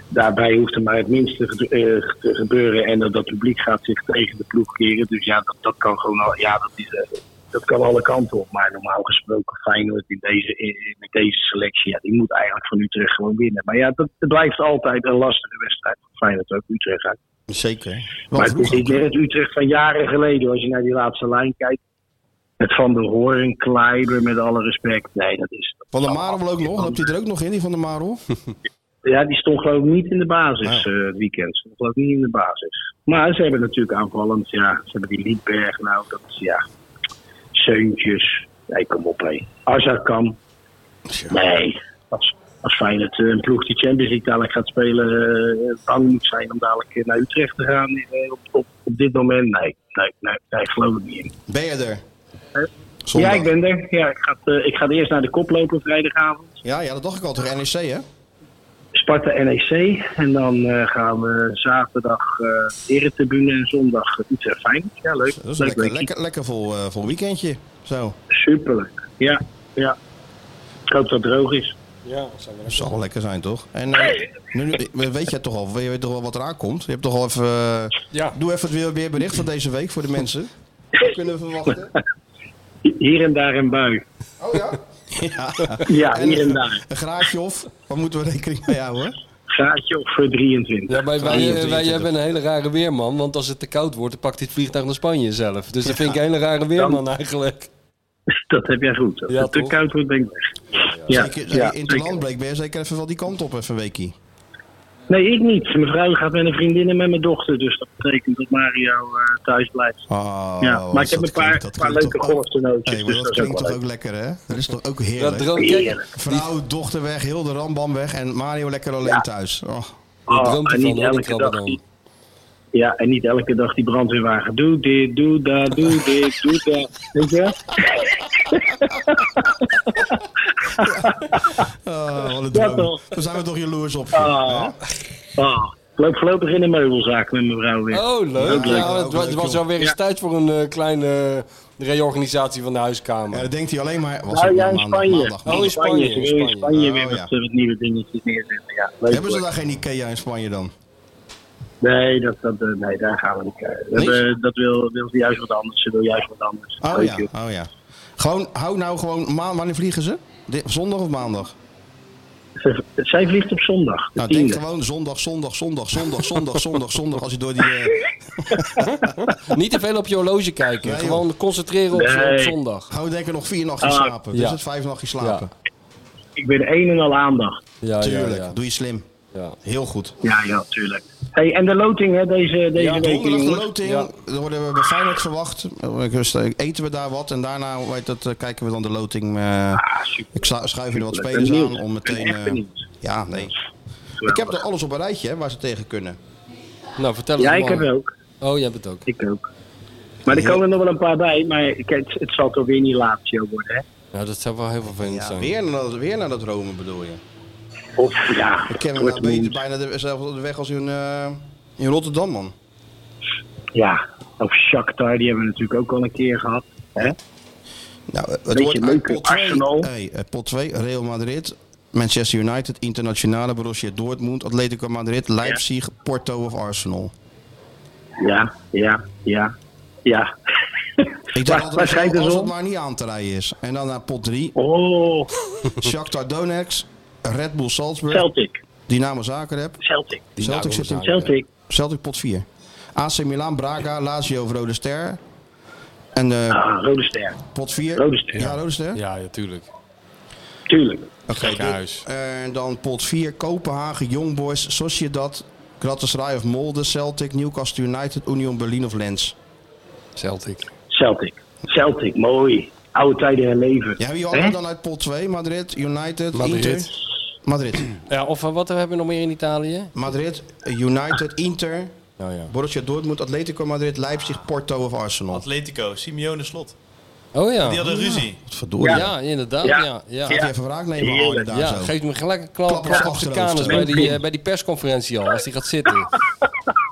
Daarbij hoeft er maar het minste ged- eh, te gebeuren en dat, dat publiek gaat zich tegen de ploeg keren. Dus ja, dat, dat kan gewoon al, ja, dat, is, eh, dat kan alle kanten op. Maar normaal gesproken Feyenoord in deze, in, in- met deze selectie, ja, die moet eigenlijk van Utrecht gewoon winnen. Maar ja, dat, het blijft altijd een lastige wedstrijd voor Feyenoord ook Utrecht uit.
Zeker.
Maar het is niet meer het Utrecht van jaren geleden. Als je naar die laatste lijn kijkt. Met Van der Hoorn, Kleiber, met alle respect. Nee, dat is...
Van der Marel ook nog. Hebt hij er ook nog in, die Van der
<laughs>
Marel?
Ja, die stond geloof ik niet in de basis eh, het weekend. Stond geloof ik niet in de basis. Maar ze hebben natuurlijk aanvallend. Ja, ze hebben die Liedberg nou. Dat is, ja... Zeuntjes. Nee, kom op hé. Azarkan. Nee. Als, als Feyenoord eh, een ploeg die Champions League dadelijk gaat spelen... eh, bang moet zijn om dadelijk eh, naar Utrecht te gaan eh, op, op, op dit moment. Nee, nee, nee. Daar geloof ik niet in.
Ben je er?
Ja, ik ben er. Ja, ik, ga, eh, ik ga eerst naar de kop lopen vrijdagavond.
Ja, ja, dat dacht ik al. Tegen NEC, hè?
Sparta NEC. En dan eh, gaan we zaterdag eh Eretribune en zondag eh, Utrecht Feyenoord. Ja, leuk.
Dat is een lekker,
leuk weekje.
lekker, lekker vol, eh, vol weekendje. Zo.
Superleuk. Ja, ja. Ik hoop dat het droog is.
Ja,
Dat zal wel lekker zijn, toch? En eh, nu, nu- weet jij toch al, je weet toch al wat eraan komt? Je hebt toch al even... eh, Doe even het weer, weerbericht van deze week voor de mensen. Wat kunnen we
<laughs>
verwachten?
Hier en daar een bui.
Oh ja? Ja,
Ja, hier en
een-
daar.
Een graadje of, waar moeten we rekening mee houden?
Graadje of eh, 23.
Ja, maar wij, eh, wij
23.
hebben een hele rare weerman, want als het te koud wordt, dan pakt hij het vliegtuig naar Spanje zelf. Dus dat vind ik een hele rare weerman eigenlijk.
<laughs> Dat heb jij goed. Als
Ja,
het te
toch?
koud wordt, ben ik weg. Ja,
Zeker,
ja,
in de
zeker.
landbreek ben je zeker even wel die kant op, even weekie.
Nee, ik niet. Mijn vrouw gaat met een vriendin en met mijn dochter. Dus dat betekent dat Mario eh, thuis blijft.
Oh,
ja, maar ik heb een paar, paar leuke golftoernootjes.
Hey, maar
dus
dat
dat is ook
klinkt
wel
toch
leuk.
ook lekker, hè? Dat is toch ook heerlijk.
Dat droomt- Oh, kijk,
Vrouw, dochter weg, heel de rambam weg en Mario lekker alleen thuis. Oh.
Daar
Oh,
droomt
en
hij van,
niet
hoor, die
elke dag
krabbedan.
die, ja, en niet elke dag die brandweerwagen. Doe dit, doe
<laughs>
dat, doe dit, doe dat. Weet je?
Oh, wat een
Ja,
droom.
toch?
Daar zijn we toch jaloers op.
Ah. Ah, ik loop voorlopig in een meubelzaak met mijn vrouw weer.
Oh, leuk.
leuk,
Ja,
ook
het wa- het
leuk,
was
joh.
wel weer eens
Ja.
tijd voor een eh, kleine reorganisatie van de huiskamer.
Ja, dan denkt hij alleen maar... Was
Nou
het
ja,
maar
in
maandag,
Spanje.
maandag, maandag.
Oh, in Spanje,
Ze willen in
in
Spanje weer
Oh,
wat,
ja.
eh, wat nieuwe dingetjes neerzetten. Ja, leuk,
Hebben ze
hoor.
daar geen Ikea in Spanje dan?
Nee, dat, dat, eh, nee, daar gaan we niet. eh, we hebben- dat wil, wil ze juist wat anders. Ze wil juist wat anders.
Oh
Leuk,
ja,
joh.
oh ja. Gewoon, hou nou gewoon, ma- wanneer vliegen ze? Di- zondag of maandag?
Ze- zij vliegt op zondag. De
Nou, denk
tiende.
gewoon zondag, zondag, zondag, zondag, zondag, zondag, <laughs> zondag. Als je door die... eh,
Niet te veel op je horloge kijken.
Nee, joh.
Gewoon concentreren op,
Nee.
op zondag.
gewoon denken nog vier nachtjes
Ah.
slapen. Dus
Ja.
het vijf nachtjes slapen.
Ik ben een en al aandacht.
Ja,
Tuurlijk,
ja, ja.
doe je slim.
Ja.
Heel goed.
Ja, ja, tuurlijk. Hey, en de loting hè, deze, deze
Ja,
week,
donderdag de
jongens.
loting.
Ja.
Dan worden we bij Feyenoord verwacht. Dus, eh, Eten we daar wat en daarna hoe heet dat, eh, kijken we dan de loting. eh,
Ah,
ik schu- schuif er wat
Ik ben
spelers
benieuwd.
aan om
Ik ben
meteen...
echt
eh,
benieuwd.
ja, nee. Ik heb er alles op een rijtje hè, waar ze tegen kunnen.
Nou, vertel het
Ja,
maar.
ik heb ook.
Oh, jij hebt het ook.
Ik ook. Maar er komen er nog wel een paar bij, maar kijk, het, het zal toch weer niet Lazio worden, hè?
Nou, dat zou wel heel vervelend
Ja,
zijn.
weer, naar dat, weer naar dat Rome bedoel je?
Of ja,
Ik ken hem nou
Dortmund.
beter bijna de, zelfs de weg als in, eh, in Rotterdam, man.
Ja, of Shakhtar, die hebben we natuurlijk ook al een keer gehad. Hè?
Nou, het
Beetje
wordt uit
leuke
pot 2.
Arsenal.
Hey, eh, pot 2, Real Madrid, Manchester United, Internationale, Borussia Dortmund, Atletico Madrid, Leipzig, Porto of Arsenal.
ja, ja, ja, ja.
<laughs> Ik
Waar-
dacht altijd,
waar
als,
schijnt
het,
het
als het
om?
maar niet aan te rijden is. En dan naar pot 3.
Oh.
Shakhtar Donetsk, Red Bull Salzburg.
Celtic.
Dynamo Zagreb.
Celtic.
Celtic zit in.
Celtic.
Celtic pot 4. AC Milan, Braga, Lazio of Rode Ster. En, eh,
Ah, Rode Ster.
Pot 4.
Rode Ster.
Ja, Rode Ster. Ja, natuurlijk.
Tuurlijk.
Oké, huis. En dan pot 4, Kopenhagen, Young Boys, Sociedad, Galatasaray of Molde, Celtic, Newcastle United, Union Berlin of Lens. Celtic.
Celtic. Celtic, mooi. Oude tijden herleven.
Ja, wie
Hè?
hadden we dan uit pot 2? Madrid, United,
Madrid.
Inter. Madrid.
Ja, of eh, wat hebben we nog meer in Italië?
Madrid, United, Inter, Borussia Dortmund, Atletico Madrid, Leipzig, Porto of Arsenal.
Atletico, Simeone Slot.
Oh ja.
Die hadden ruzie.
Verdorie.
Ja, inderdaad. Ja. Ja,
Gaat hij even wraak nemen?
Ja,
Oh, inderdaad zo.
geef me gelijk een klap
Klap op
op de
zijn
kanus
achterhoofd.
bij die, eh, bij die persconferentie al, als die gaat zitten.
<laughs>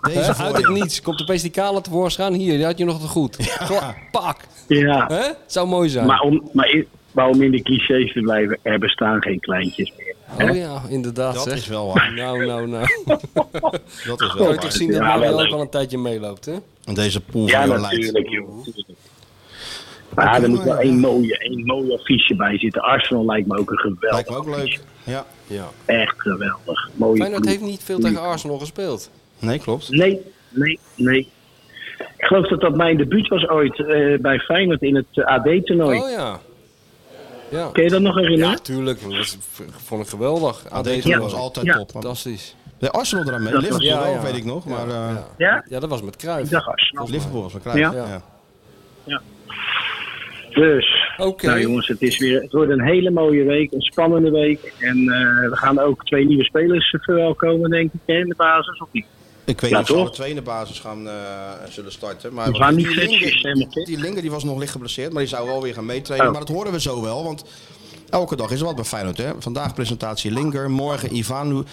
Deze
Hè,
voor
uit het
je.
niets komt opeens die kale tevoorschijn. Hier, die had je nog te goed. Klap, Pak.
Ja.
Hè? Zou mooi zijn.
Maar om, maar, in- maar om in de clichés te blijven, er bestaan geen kleintjes meer. <laughs> Hè?
Oh ja, inderdaad
Dat
zeg.
is wel waar.
Nou, nou, nou.
Dat is
Kan
wel
je toch
waar.
zien dat
Ja,
Mario
wel
ook
leuk.
al een tijdje meeloopt, hè?
Deze pool
Ja,
van jou
natuurlijk, joh. Maar er moet wel één mooie, één mooie affiche bij zitten. Arsenal lijkt me ook een geweldig. Lijkt me ook leuk.
Ja.
ja.
Echt geweldig. Mooie
Feyenoord
ploeg.
heeft niet veel tegen Arsenal gespeeld.
Nee, klopt.
Nee, nee, nee. Ik geloof dat dat mijn debuut was ooit eh, bij Feyenoord in het eh, AD-toernooi.
Oh ja. ja.
Kun je dat nog herinneren?
Ja, tuurlijk. Dat is- v- vond ik geweldig. AD
AD
toen
was altijd
Ja.
top.
Fantastisch.
De Arsenal eraan mee.
Dat was-
Liverpool
Ja,
wel,
ja.
weet ik nog. Maar, eh,
Ja?
Ja, dat was met Cruijff.
Dag Arsenal.
Liverpool was met Cruijff.
Ja.
ja.
Dus,
Oké.
nou jongens, het, is weer, het wordt een hele mooie week, een spannende week. En eh, we gaan ook twee nieuwe spelers eh, verwelkomen, denk ik, hè, in de basis. Of niet?
Ik weet
Ja,
niet of ze
toch?
alle twee in de basis gaan, eh, zullen starten. Maar
We gaan niet
die,
gek
Linger, die Linger die was nog licht geblesseerd, maar die zou wel weer gaan meetrainen.
Oh.
Maar dat horen we zo wel, want elke dag is er wat bij Feyenoord. Hè? Vandaag presentatie Linger, morgen Ivanu...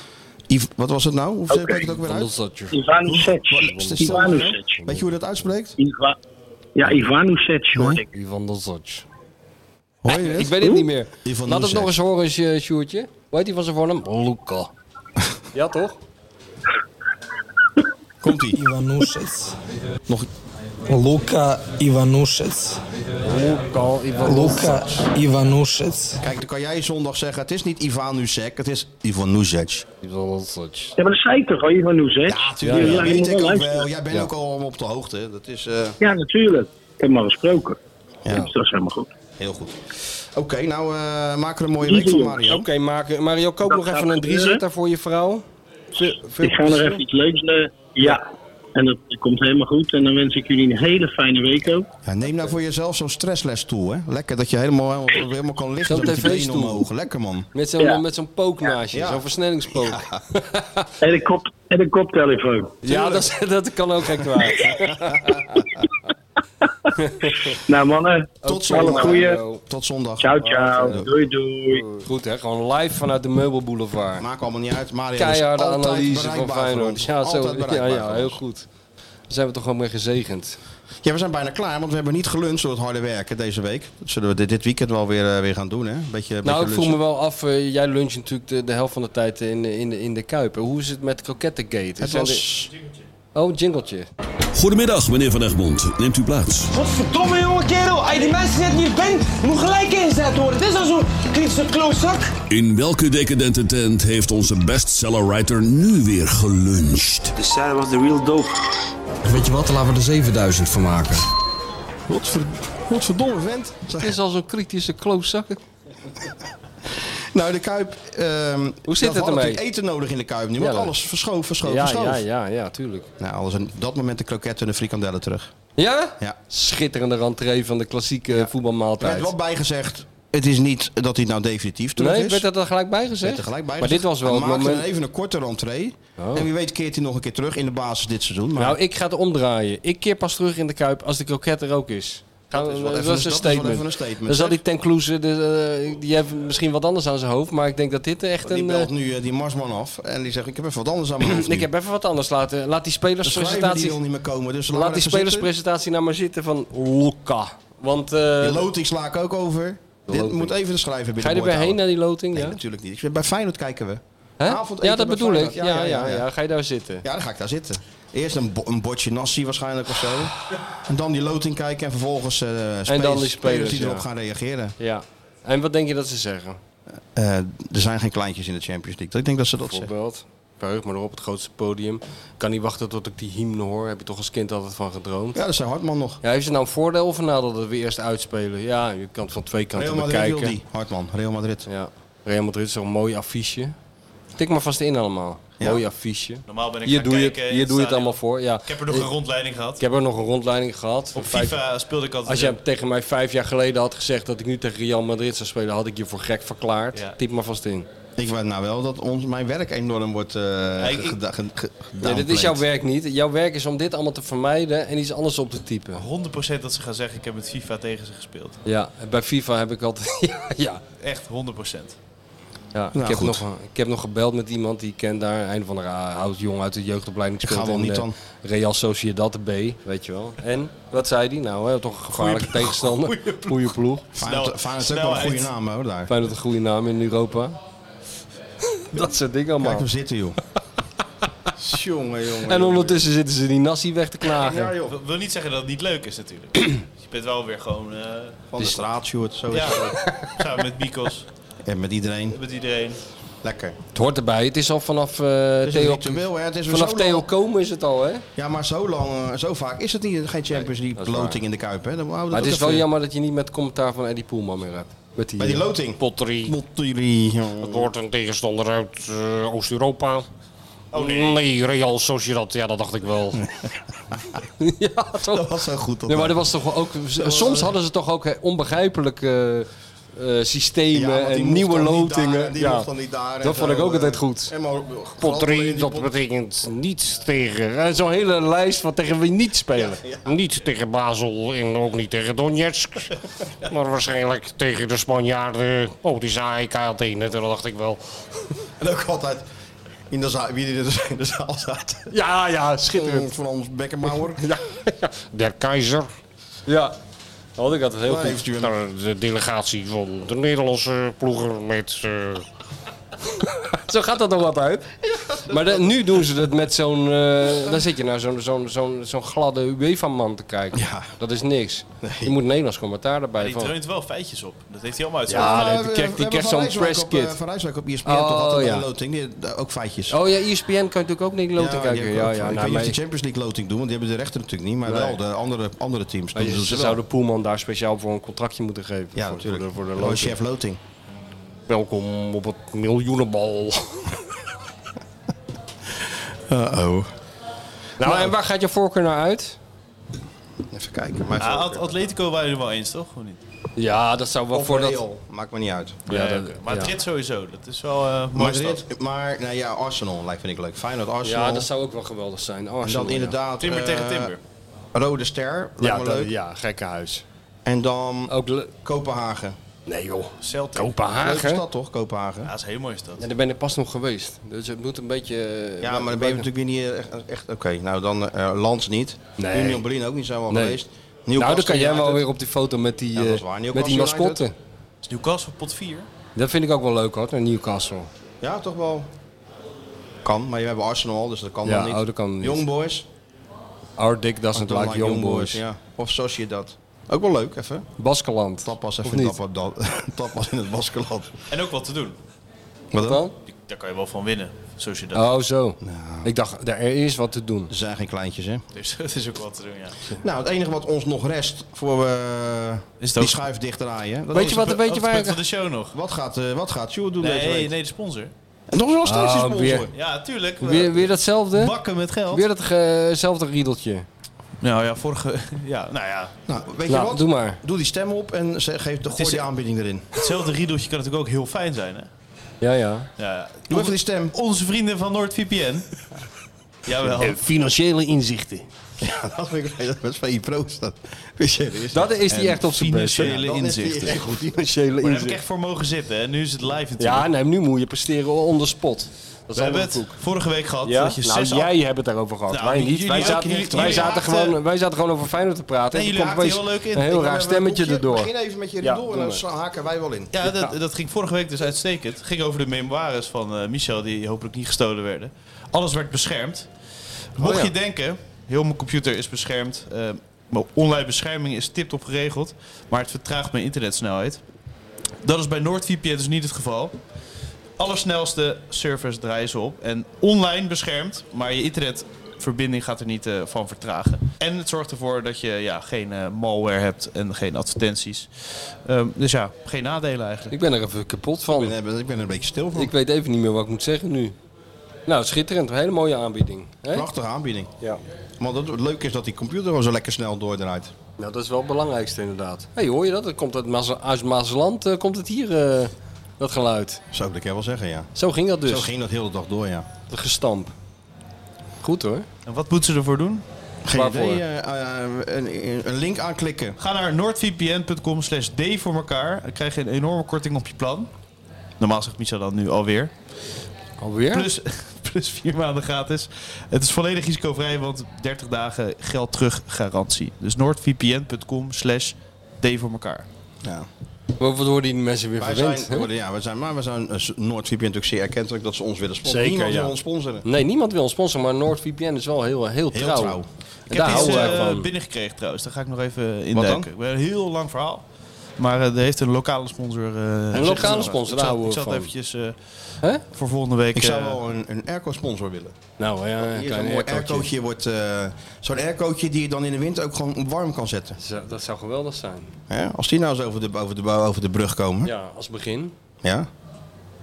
Iv- wat was het nou? Hoe spreek je het ook weer uit?
Ivanušec.
Wat- is het zo,
Ivanušec.
hè? Weet je hoe je dat uitspreekt?
Iva ja, Ivanušec hoor ik.
Ivan Dozac.
Hoor je
Ik weet het niet meer.
Ivan
Laat het
Dozac.
nog eens horen, Sj- Sjoerdje. Hoe heet die van zijn voornaam? Luca.
<laughs>
Ja, toch?
Komt-ie.
Ivanušec.
Nog...
Ah,
Luka Ivanušec.
Luka
Luka Ivanušec.
Kijk, dan kan jij zondag zeggen, het is niet Ivanusek, het is Ivanusec.
Ivanusec.
Ja, maar dat zei ik toch al, Ivanušec?
Ja, natuurlijk.
Ja,
dat
je
weet ik
moet wel
ook
luisteren.
wel. Jij bent ook al op de hoogte. Dat is... eh,
Ja, natuurlijk. Ik heb hem al gesproken. Dus dat is helemaal goed.
Heel goed. Oké, nou eh maak er een mooie
Drie
week van
jongens.
Mario.
Oké, Mario, Mario, koop nog
gaat
even een
gebeuren.
driezitter voor je vrouw. Veel, veel
Ik ga nog
plezier.
even iets leuks. eh, ja, en dat komt helemaal goed. En dan wens ik jullie een hele fijne week ook.
Ja, neem nou voor jezelf zo'n stressles toe, hè. Lekker dat je helemaal, helemaal, helemaal kan liggen
Zo'n
met die benen
tv-stoel.
omhoog. Lekker, man.
Met zo'n
Ja.
met zo'n pook naast je,
Ja.
zo'n versnellingspook. Ja,
En een, kop, en een koptelefoon.
dat, is- <laughs> dat kan ook geen kwaad.
Nou mannen,
Tot
alle
zondag.
goeie.
Tot zondag.
Ciao, ciao. Doei, doei.
Goed hè, gewoon live vanuit de meubelboulevard.
Maakt allemaal niet uit. Mario
Keiharde
is altijd
analyse van
bereikbaar voor
Feyenoord.
ons.
Ja, zo,
Altijd
ja,
bereikbaar
ja,
voor
heel
ons.
goed. Daar zijn we toch gewoon mee gezegend.
Ja, we zijn bijna klaar, want we hebben niet geluncht door het harde werken deze week. Dat zullen we dit, dit weekend wel weer, eh, weer gaan doen, hè. Beetje,
Nou,
beetje
ik vroeg me
lunchen.
wel af, eh, jij luncht natuurlijk de, de helft van de tijd in, in, de- in de Kuip. Hoe is het met Krokettengate?
Het
Zijn
was...
er- Oh, jingletje.
Goedemiddag, meneer Van Egmond. Neemt u plaats.
Godverdomme jonge kerel, als je die mensen net niet bent, moet gelijk ingezet worden. Dit is al zo'n kritische klootzak.
In welke decadente tent heeft onze bestseller writer nu weer geluncht?
De Sarah was de real dope.
Weet je wat, laten we er 7000 van maken.
Wat verdomme vent.
Het is al zo'n kritische klooszakken.
Nou, de Kuip... ehm,
Hoe zit het ermee?
eten nodig in de Kuip nu,
Ja,
want
dat-
alles verschoof, verschoof,
Ja,
verschoof.
ja, ja, ja, tuurlijk.
Nou, alles en op dat moment de kroketten en de frikandellen terug.
Ja?
Ja.
Schitterende rentree van de klassieke
Er werd
voetbalmaaltijd.
wel bijgezegd, het is niet dat hij nou definitief terug
Nee,
is.
werd dat er gelijk bij gezegd?
Werd er gelijk bij
Maar dit was wel het
Hij maakte
moment...
even een korte rentree.
Oh.
En wie weet keert hij nog een keer terug in de basis dit seizoen. Maar
Nou, ik ga het omdraaien. Ik keer pas terug in de Kuip als de kroket er ook is. Gaan we-
is wel even-
dat, is
dat is wel
een statement.
even een statement,
Dan zal
zeg.
die ten Kloeze, de, eh, die heeft misschien wat anders aan zijn hoofd, maar ik denk dat dit echt
die
een...
belt
eh,
nu eh, die Marsman af en die zegt, ik heb even wat anders aan mijn
<clears throat>
hoofd nu.
ik heb even wat anders laten. Laat die
de schrijver die
spelerspresentatie...
wil niet meer komen. Dus
Laat die spelerspresentatie naar maar zitten van Luca. Want... eh,
loting sla ik ook over. Dit
loting.
moet even de schrijver
ga
binnen
je er weer heen
Nee,
naar die loting? Ja?
natuurlijk niet. Ik zeg, Bij Feyenoord kijken we. Avondeten
ja, dat
bij
bedoel ik.
Feyenoord.
Ja, ja, ja, Ga je daar zitten?
Ja, dan ga ik daar zitten. Eerst een, bo- een bordje nasi waarschijnlijk of zo.
<laughs>
En dan die loting kijken en vervolgens eh spelers,
en dan die
spelers
spelers
die
ja.
erop gaan reageren.
Ja. En wat denk je dat ze zeggen?
Eh, er zijn geen kleintjes in de Champions League. Ik denk dat ze dat zeggen.
Bijvoorbeeld. Verheug me erop, het grootste podium. Kan niet wachten tot ik die hymne hoor. Heb je toch als kind altijd van gedroomd?
Ja, dat zijn Hartman nog.
Ja, heeft het nou een voordeel of een nadeel dat we eerst uitspelen? Ja, je kan het van twee kanten
Real Madrid
bekijken.
wil die, Hartman. Real Madrid.
Ja, Real Madrid is zo'n mooi affiche. Tik maar vast in allemaal. Mooi affiche.
Normaal ben ik
hier
gaan
doe je, het-
kijken in
Hier
het
doe je het
stadion.
allemaal voor. Ja.
Ik heb er nog een rondleiding gehad.
Ik heb er nog een rondleiding gehad.
Op
Vijf-
FIFA speelde ik altijd.
Als jij tegen mij vijf jaar geleden had gezegd dat ik nu tegen Real Madrid zou spelen, had ik je voor gek verklaard.
Ja.
Typ maar vast in.
Ik weet nou wel dat ons, mijn werk enorm wordt eh
ik-
ge- geda- ge- ge-
Nee, dit
gedownplayed.
is jouw werk niet. Jouw werk is om dit allemaal te vermijden en iets anders op te typen.
100% dat ze gaan zeggen, ik heb met FIFA tegen ze gespeeld.
Ja, bij FIFA heb ik altijd. <laughs> ja, ja.
Echt 100%.
Ja,
Nou,
ik, heb
goed.
nog, een- ik heb nog gebeld met iemand die ik ken daar. Een van de oud jong uit de jeugdopleiding.
Ik ga
speelt
wel
in,
niet
eh,
dan.
Real Sociedad B, weet je wel. En wat zei die? Nou, hè, toch een gevaarlijke
Goeie-
tegenstander.
goeie ploeg.
Goeie ploeg.
Feyenoord- Feyenoord heeft ook wel een goede naam hoor daar.
Fijn dat een goede naam in Europa. Dat soort dingen allemaal.
Kijk hem zitten
<laughs>
joh. jongen, jongen.
En ondertussen zitten ze die nasi weg te klagen.
wil, wil niet zeggen dat het niet leuk is
<clears throat>
natuurlijk. je bent wel weer gewoon... eh,
Van de straat, Sjoerd, zo
ja,
is het.
samen met Mikos,
En met iedereen.
met iedereen.
Lekker.
Het hoort erbij. Het is al vanaf eh,
is een
Theo,
ritueel, hè. Het is weer
vanaf
zo
Theo
lang-
Komen is het al, hè?
Ja, maar zo lang, eh, zo vaak is het niet. Geen Champions League
dat is
loting
waar.
in de Kuip, hè. Dan houden we
Maar
dat
het is
ook
wel
even-
jammer dat je niet met commentaar van Eddie Poelman meer hebt. Met die,
Bij die
eh,
loting.
Potterie.
Potterie.
Het wordt een tegenstander uit eh, Oost-Europa. Oh nee. Real Sociedad. Ja, dat dacht ik wel. <laughs> ja, toch? Dat
was zo goed.
Nee, maar dat was toch ook... soms hadden ze toch ook eh, onbegrijpelijke eh,
Ja,
systemen
want die
en
mocht
eh, nieuwe
dan niet
lotingen.
daar en die
ja.
mocht dan niet daar en
dat vond
zo,
ik ook
eh.
altijd goed.
En maar-
Potterie, dat betekent niets tegen. eh, En zo'n hele lijst van tegen wie niet spelen. Niet tegen Basel en ook niet tegen Donetsk. <laughs> maar waarschijnlijk tegen de Spanjaarden. Oh, die zei ik had één, dat dacht ik wel.
<laughs> En ook altijd in de zaal, wie er dus in de zaal
<laughs>
zat.
Ja, ja, schitterend.
Frans Beckenbauer.
<laughs> ja, ja. Der Keizer. Ja, had ik dat heel
goed.
goed. Nou, de delegatie van de Nederlandse ploegen met... eh, Zo gaat dat nog wat uit. Maar de- nu doen ze dat met zo'n... eh dan zit je naar zo'n zo'n zo'n zo'n gladde UEFA-man te kijken. Dat is niks. Je moet Nederlands commentaar erbij.
Die
van.
dreunt wel feitjes op. Dat heeft hij allemaal uit zijn
Ja,
hoofd.
Nou,
nee, die krijgt, die krijgt zo'n press
Op, eh,
kit.
van Rijswijk op ESPN
Oh,
toch altijd
ja.
een loting. Die- daar ook feitjes.
Oh ja, ESPN kan je natuurlijk ook niet loten
die
kijken.
heb ik
Ja,
ook.
ja,
ik weet
nou,
niet of
maar-
de Champions League loting doen, want die hebben de rechter natuurlijk niet. Maar
Nee.
wel de andere, andere teams.
Maar
doen
je-
ze
ze
wel.
zouden Poelman daar speciaal voor een contractje moeten geven.
Ja,
voor,
natuurlijk.
Voor de, voor de
Gewoon
loting.
chef loting.
Welkom op het <laughs> miljoenenbal. Nou,
Uh-oh.
Nou, en waar gaat je voorkeur naar uit?
Even kijken.
Ah,
Mijn voorkeur.
At- Atletico waren we er wel eens, toch? Of niet?
Ja, dat zou wel
Of
voor dat...
Real, Maakt me niet uit.
Ja,
Nee,
dat-
oké. Maar
ja.
Madrid sowieso. Dat is wel eh mooi stad.
Madrid, maar nou ja, Arsenal lijkt vind ik leuk. Feyenoord, Arsenal.
Ja, dat zou ook wel geweldig zijn.
en
Arsenal,
dan
ja.
inderdaad...
Timber
eh,
tegen Timber.
Rode Ster, lijkt
Ja,
me
dat-
leuk.
ja, gekke huis.
En dan
Ook le-
Kopenhagen.
nee joh,
Celtic.
Leuke
Kopenhagen.
stad toch, Kopenhagen?
Ja, dat is een hele mooie stad.
En daar ben ik pas nog geweest. Dus het moet een beetje... eh,
Ja, maar dan ben je natuurlijk weer niet echt... echt Oké, nou dan eh Lans niet.
Nee.
Union Berlin ook niet, zijn we al
Nee.
geweest.
nou, dan
Newcastle
kan jij wel
United.
weer op die foto met die,
Ja, dat is
eh,
waar.
met
Newcastle
die
United.
mascotte.
Is Newcastle pot 4?
Dat vind ik ook wel leuk hoor, naar Newcastle.
Ja, toch wel. Kan, maar je hebt Arsenal al, dus dat kan
Ja,
dan niet.
oh, dat kan niet.
Young Boys.
Our dick doesn't
Dan
like,
like
young boys.
Ja. Of Sociedad. Ook wel leuk, even.
Baskeland.
Tapas
Of
even
niet?
tappen, dan- tapas <laughs> in het Baskeland.
En ook wat te doen.
Wat dan? Nou.
Die- Daar kan je wel van winnen, zoals je dat.
Oh, zo. Ik dacht, er is wat te doen.
Er zijn geen kleintjes, hè?
Oh.
Dus het is <laughs> ook wat te doen, ja.
Nou, het enige wat ons nog rest voor we
Is het
die
ook-
schuif dichtdraaien. dat
Weet
is-
je wat,
het
weet je
het
waar
punt
ik-
van de show nog.
Wat gaat, eh wat gaat Sjoerd doen deze
Nee,
week?
nee, de sponsor.
En toch is nog steeds
Ah,
een sponsor.
weer.
Ja, tuurlijk. We-
Weer, weer datzelfde?
Bakken met geld.
Weer datzelfde riedeltje.
Nou ja, vorige... <laughs> Ja, nou ja.
Nou, weet je
Nou,
wat?
doe maar.
Doe die stem op en ze- geef de, gooi
is-
die aanbieding erin.
Hetzelfde riedeltje kan natuurlijk ook heel fijn zijn, hè?
Ja, ja.
Ja, ja.
Doe even die stem. <laughs>
Onze vrienden van
<laughs>
NordVPN. Jawel.
Eh, financiële inzichten.
Ja, dat vind ik dat is van je proost. Dat <laughs> is serieus.
Dat is die
En
echt op zijn best. hè?
financiële inzichten.
<laughs>
echt goed.
Financiële
Dus Maar daar heb ik
inzichten.
echt voor mogen zitten. En nu is het live natuurlijk.
Ja, nee, nu moet je presteren onder spot.
We hebben het vorige week gehad
Ja?
dat je
nou,
zes...
jij hebt het daarover gehad.
Nou,
wij niet.
jullie
wij,
ook
zaten,
niet.
wij,
Jullie
zaten
haakten-
gewoon, wij zaten gewoon over Feyenoord te praten.
Nee,
en
jullie
toen kwam
haakten
opeens
heel leuk in.
Een heel
Ik
raar
heb
stemmetje erdoor.
Begin even met je
Ja,
door
doe
en
maar.
dan haken wij wel in.
Ja, dat, dat ging vorige week dus uitstekend. Het ging over de memoires van eh, Michel, die hopelijk niet gestolen werden. Alles werd beschermd.
Oh,
Mocht
ja.
je denken, heel mijn computer is beschermd. eh, mijn online bescherming is tip-top geregeld. Maar het vertraagt mijn internetsnelheid. Dat is bij NordVPN dus niet het geval. Allersnelste servers draaien ze op. En online beschermd, maar je internetverbinding gaat er niet eh, van vertragen. En het zorgt ervoor dat je ja, geen eh, malware hebt en geen advertenties. Ehm, dus ja, geen nadelen eigenlijk.
Ik ben er even kapot van. Ik ben, er een beetje stil van. Ik weet even niet meer wat ik moet zeggen nu. Nou, schitterend. Een hele mooie aanbieding. hè?
Prachtige aanbieding.
Ja.
Maar dat, het leuke is dat die computer gewoon zo lekker snel doordraait.
Nou, dat is wel het belangrijkste inderdaad. Hé, hey, hoor je dat? Dat komt uit, Maas, uit Maasland eh, komt het hier, eh, dat geluid.
Zou ik dat wel zeggen, ja.
Zo ging dat dus.
Zo ging dat heel de dag door, ja.
De gestamp. Goed hoor.
En wat moeten ze ervoor doen?
Geen
Waarvoor?
idee. eh, eh, een, een link aanklikken.
Ga naar noordvpn.com slash d voor elkaar. Dan krijg je een enorme korting op je plan. Normaal zegt Michel dan nu alweer.
Alweer?
eh. Plus, <laughs> plus vier maanden gratis. Het is volledig risicovrij, want 30 dagen geld terug garantie. Dus noordvpn.com slash d voor elkaar.
Ja.
Wat worden die mensen weer
Wij
verwend?
zijn, worden- ja, we zijn, maar we zijn uh, NoordVPN natuurlijk zeer erkentelijk dat ze ons willen sponsoren.
Zeker,
Niemand
ja.
wil ons sponsoren.
Nee, niemand wil ons sponsoren, maar NordVPN is wel heel, heel,
Heel
trouw.
trouw.
En
Ik
daar
heb iets
houden wij
eh,
van.
binnengekregen trouwens. Daar ga ik nog even
Wat
induiken.
dan?
Ik ben een heel lang verhaal. Maar eh, er heeft een lokale sponsor... eh,
Een lokale
Ik zal-
sponsor, daar houden
Ik
we
zal het
van.
eventjes eh, voor volgende week...
Ik zou
eh,
wel een, een airco-sponsor willen.
Nou ja, een
Hier
klein
zo'n mooi
aircootje.
aircootje. wordt, eh, Zo'n aircootje die je dan in de winter ook gewoon warm kan zetten.
Zo- Dat zou geweldig zijn.
Hè? Als die nou eens over de, over de, over de brug komen.
Ja, als begin.
Ja?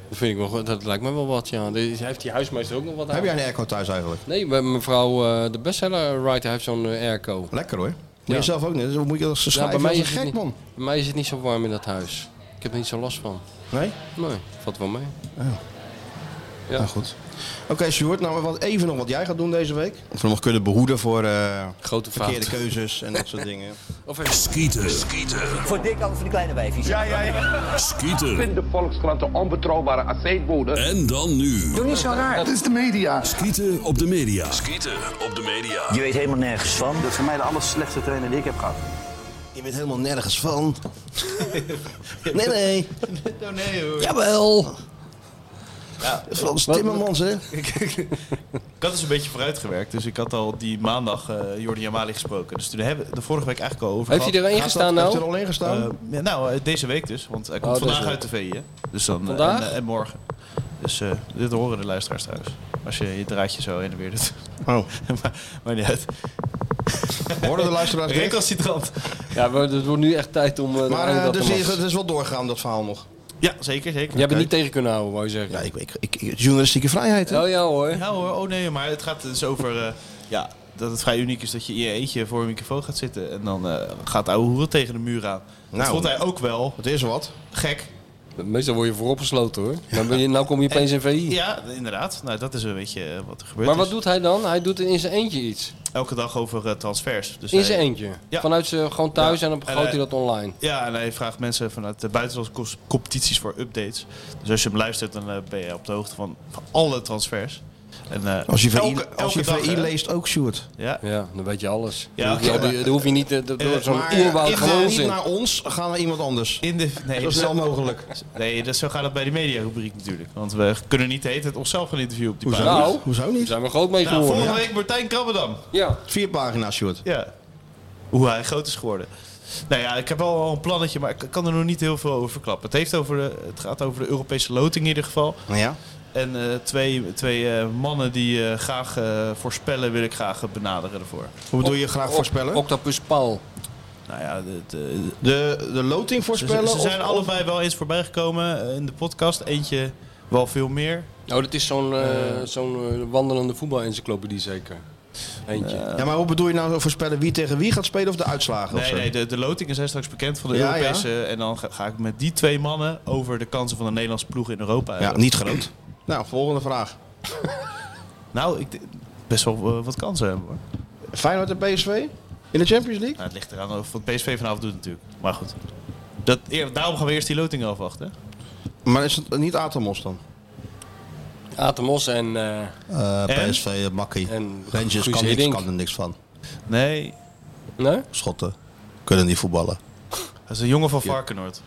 Dat, vind ik wel, goed. dat lijkt me wel wat, ja. Die- Heeft die huismeester ook nog wat aan?
Heb jij een airco thuis eigenlijk?
Nee, maar mevrouw eh, de bestseller writer heeft zo'n eh, airco.
Lekker hoor. Moet je zelf ook niet. Dan moet je dat zo
Nou,
schrijven als een
is het
gek
niet-
man.
Bij mij is het niet zo warm in dat huis. Ik heb er niet zo last van.
Nee?
Nee, valt wel mee. Ja.
Nou goed. Oké, Sjoerd, nou wat, even nog wat jij gaat doen deze week. Of we nog kunnen behoeden voor eh,
Grote fout.
verkeerde keuzes en dat soort dingen.
Of even
skieten. skieten.
Voor dik als voor die kleine wijfjes. Ja, ja, ja.
Skieten.
Ik vind de Volkskrant een onbetrouwbare aceetbode.
En dan nu.
Doe niet zo raar. Dat is de media.
Skieten op de media. Skieten op de media.
Je weet helemaal nergens van. Dat is voor mij de aller slechtste trainer die ik heb gehad.
Je bent helemaal nergens van. <laughs> nee, nee.
Oh nee hoor.
Jawel.
Ja.
Frans Timmermans, hè?
Ik had dus een beetje vooruitgewerkt, dus ik had al die maandag eh Jordi Amali gesproken. Dus toen hebben we de vorige week eigenlijk al over
Heeft
gehad.
hij er al in
Gaat dat-
gestaan nou?
Heeft hij er al in gestaan? Eh, ja, nou, eh, deze week dus, want hij komt
Oh,
vandaag
deze
uit de VI, hè? Dus dan, eh,
Vandaag?
En, eh, en morgen. Dus eh, dit horen de luisteraars trouwens. Als je je draadje zo heen en weer doet.
Oh.
<laughs> maar, maar niet uit.
Hoorden Eh, de luisteraars dit?
Recalcitrant.
Ja, maar het wordt nu echt tijd om... eh,
Maar
aan
eh,
dat te
dus
maken.
is- het is wel doorgaan, dat verhaal nog.
Ja, zeker, zeker.
Jij bent niet tegen kunnen houden, wou je zeggen.
Ja, ik, ik, ik, journalistieke vrijheid, hè?
Oh ja hoor.
Ja hoor, oh nee, maar het gaat dus over eh, ja, dat het vrij uniek is dat je in je eentje voor een microfoon gaat zitten. En dan eh, gaat ouwe hoeren tegen de muur aan. dat
Nou,
vond hij ook wel.
Het is wat.
Gek.
Meestal word je vooropgesloten hoor. Dan ben je, nou kom je opeens in VI.
Ja, inderdaad. Nou, dat is een beetje eh, wat er gebeurt.
Maar wat doet hij dan? Hij doet in zijn eentje iets.
Elke dag over eh, transfers. Dus
in
hij-
zijn eentje.
Ja.
Vanuit zijn gewoon thuis
Ja.
en dan
En
begroot
hij-
hij dat online.
Ja, en hij vraagt mensen vanuit de buitenlandse cos- competities voor updates. Dus als je hem luistert, dan eh, ben je op de hoogte van, van alle transfers. En, eh,
Als je VI,
elke-
als je
elke dag,
VI
hè.
leest ook, Sjoerd.
Ja.
ja, dan weet je alles.
Ja,
dan, hoef je,
oké,
al die-
maar-
dan hoef je niet eh, door
Eh,
zo'n
maar
oerwoud
in de-
gewoon
Niet
zin.
naar ons, ga naar iemand anders.
In de, nee, <laughs>
Zo snel mogelijk.
Nee, dat, zo gaat het bij de mediarubriek natuurlijk. Want we kunnen niet de hele tijd onszelf gaan interviewen op die
Hoezo
pagina.
niet? Hoezo
Daar
niet?
zijn we groot mee
Nou,
geworden.
vorige week Martijn Krabbedam.
Ja.
Vier pagina's, Sjoerd.
Ja. Hoe hij groot is geworden. Nou ja, ik heb wel al een plannetje, maar ik kan er nog niet heel veel over verklappen. Het, heeft over de, het gaat over de Europese loting in ieder geval.
Ja.
En eh, twee, twee eh, mannen die eh, graag eh, voorspellen, wil ik graag eh, benaderen ervoor.
Hoe bedoel je graag voorspellen?
Octopus Paul.
Nou ja, de, de,
De, de loting voorspellen?
Ze, ze zijn
of- of-
allebei wel eens voorbijgekomen eh, in de podcast. Eentje wel veel meer.
Nou, dat is zo'n eh, zo'n eh, wandelende voetbalencyclopedie zeker. Eentje.
Ja, maar hoe bedoel je nou voorspellen wie tegen wie gaat spelen of de uitslagen? of
Nee,
zo?
nee de, de loting is hè, straks bekend van de
Ja,
Europese. En dan ga, ga ik met die twee mannen over de kansen van de Nederlandse ploeg in Europa.
Ja,
hebben.
niet groot. nou, volgende vraag.
<clears throat> Nou, ik, d- best wel eh, wat kansen hebben hoor.
Feyenoord en PSV in de Champions League?
Nou, het ligt eraan of wat PSV vanavond doet natuurlijk. Maar goed. Dat, eer- daarom gaan we eerst die loting afwachten.
Maar is het niet Atomos dan?
Atemos en... eh,
Eh,
en?
PSV, eh, Makkie.
En
Rangers
Guus
kan, niks,
Hiddink.
kan er niks van.
Nee.
Nee?
Schotten kunnen niet voetballen.
Dat is een jongen van Varkenoord.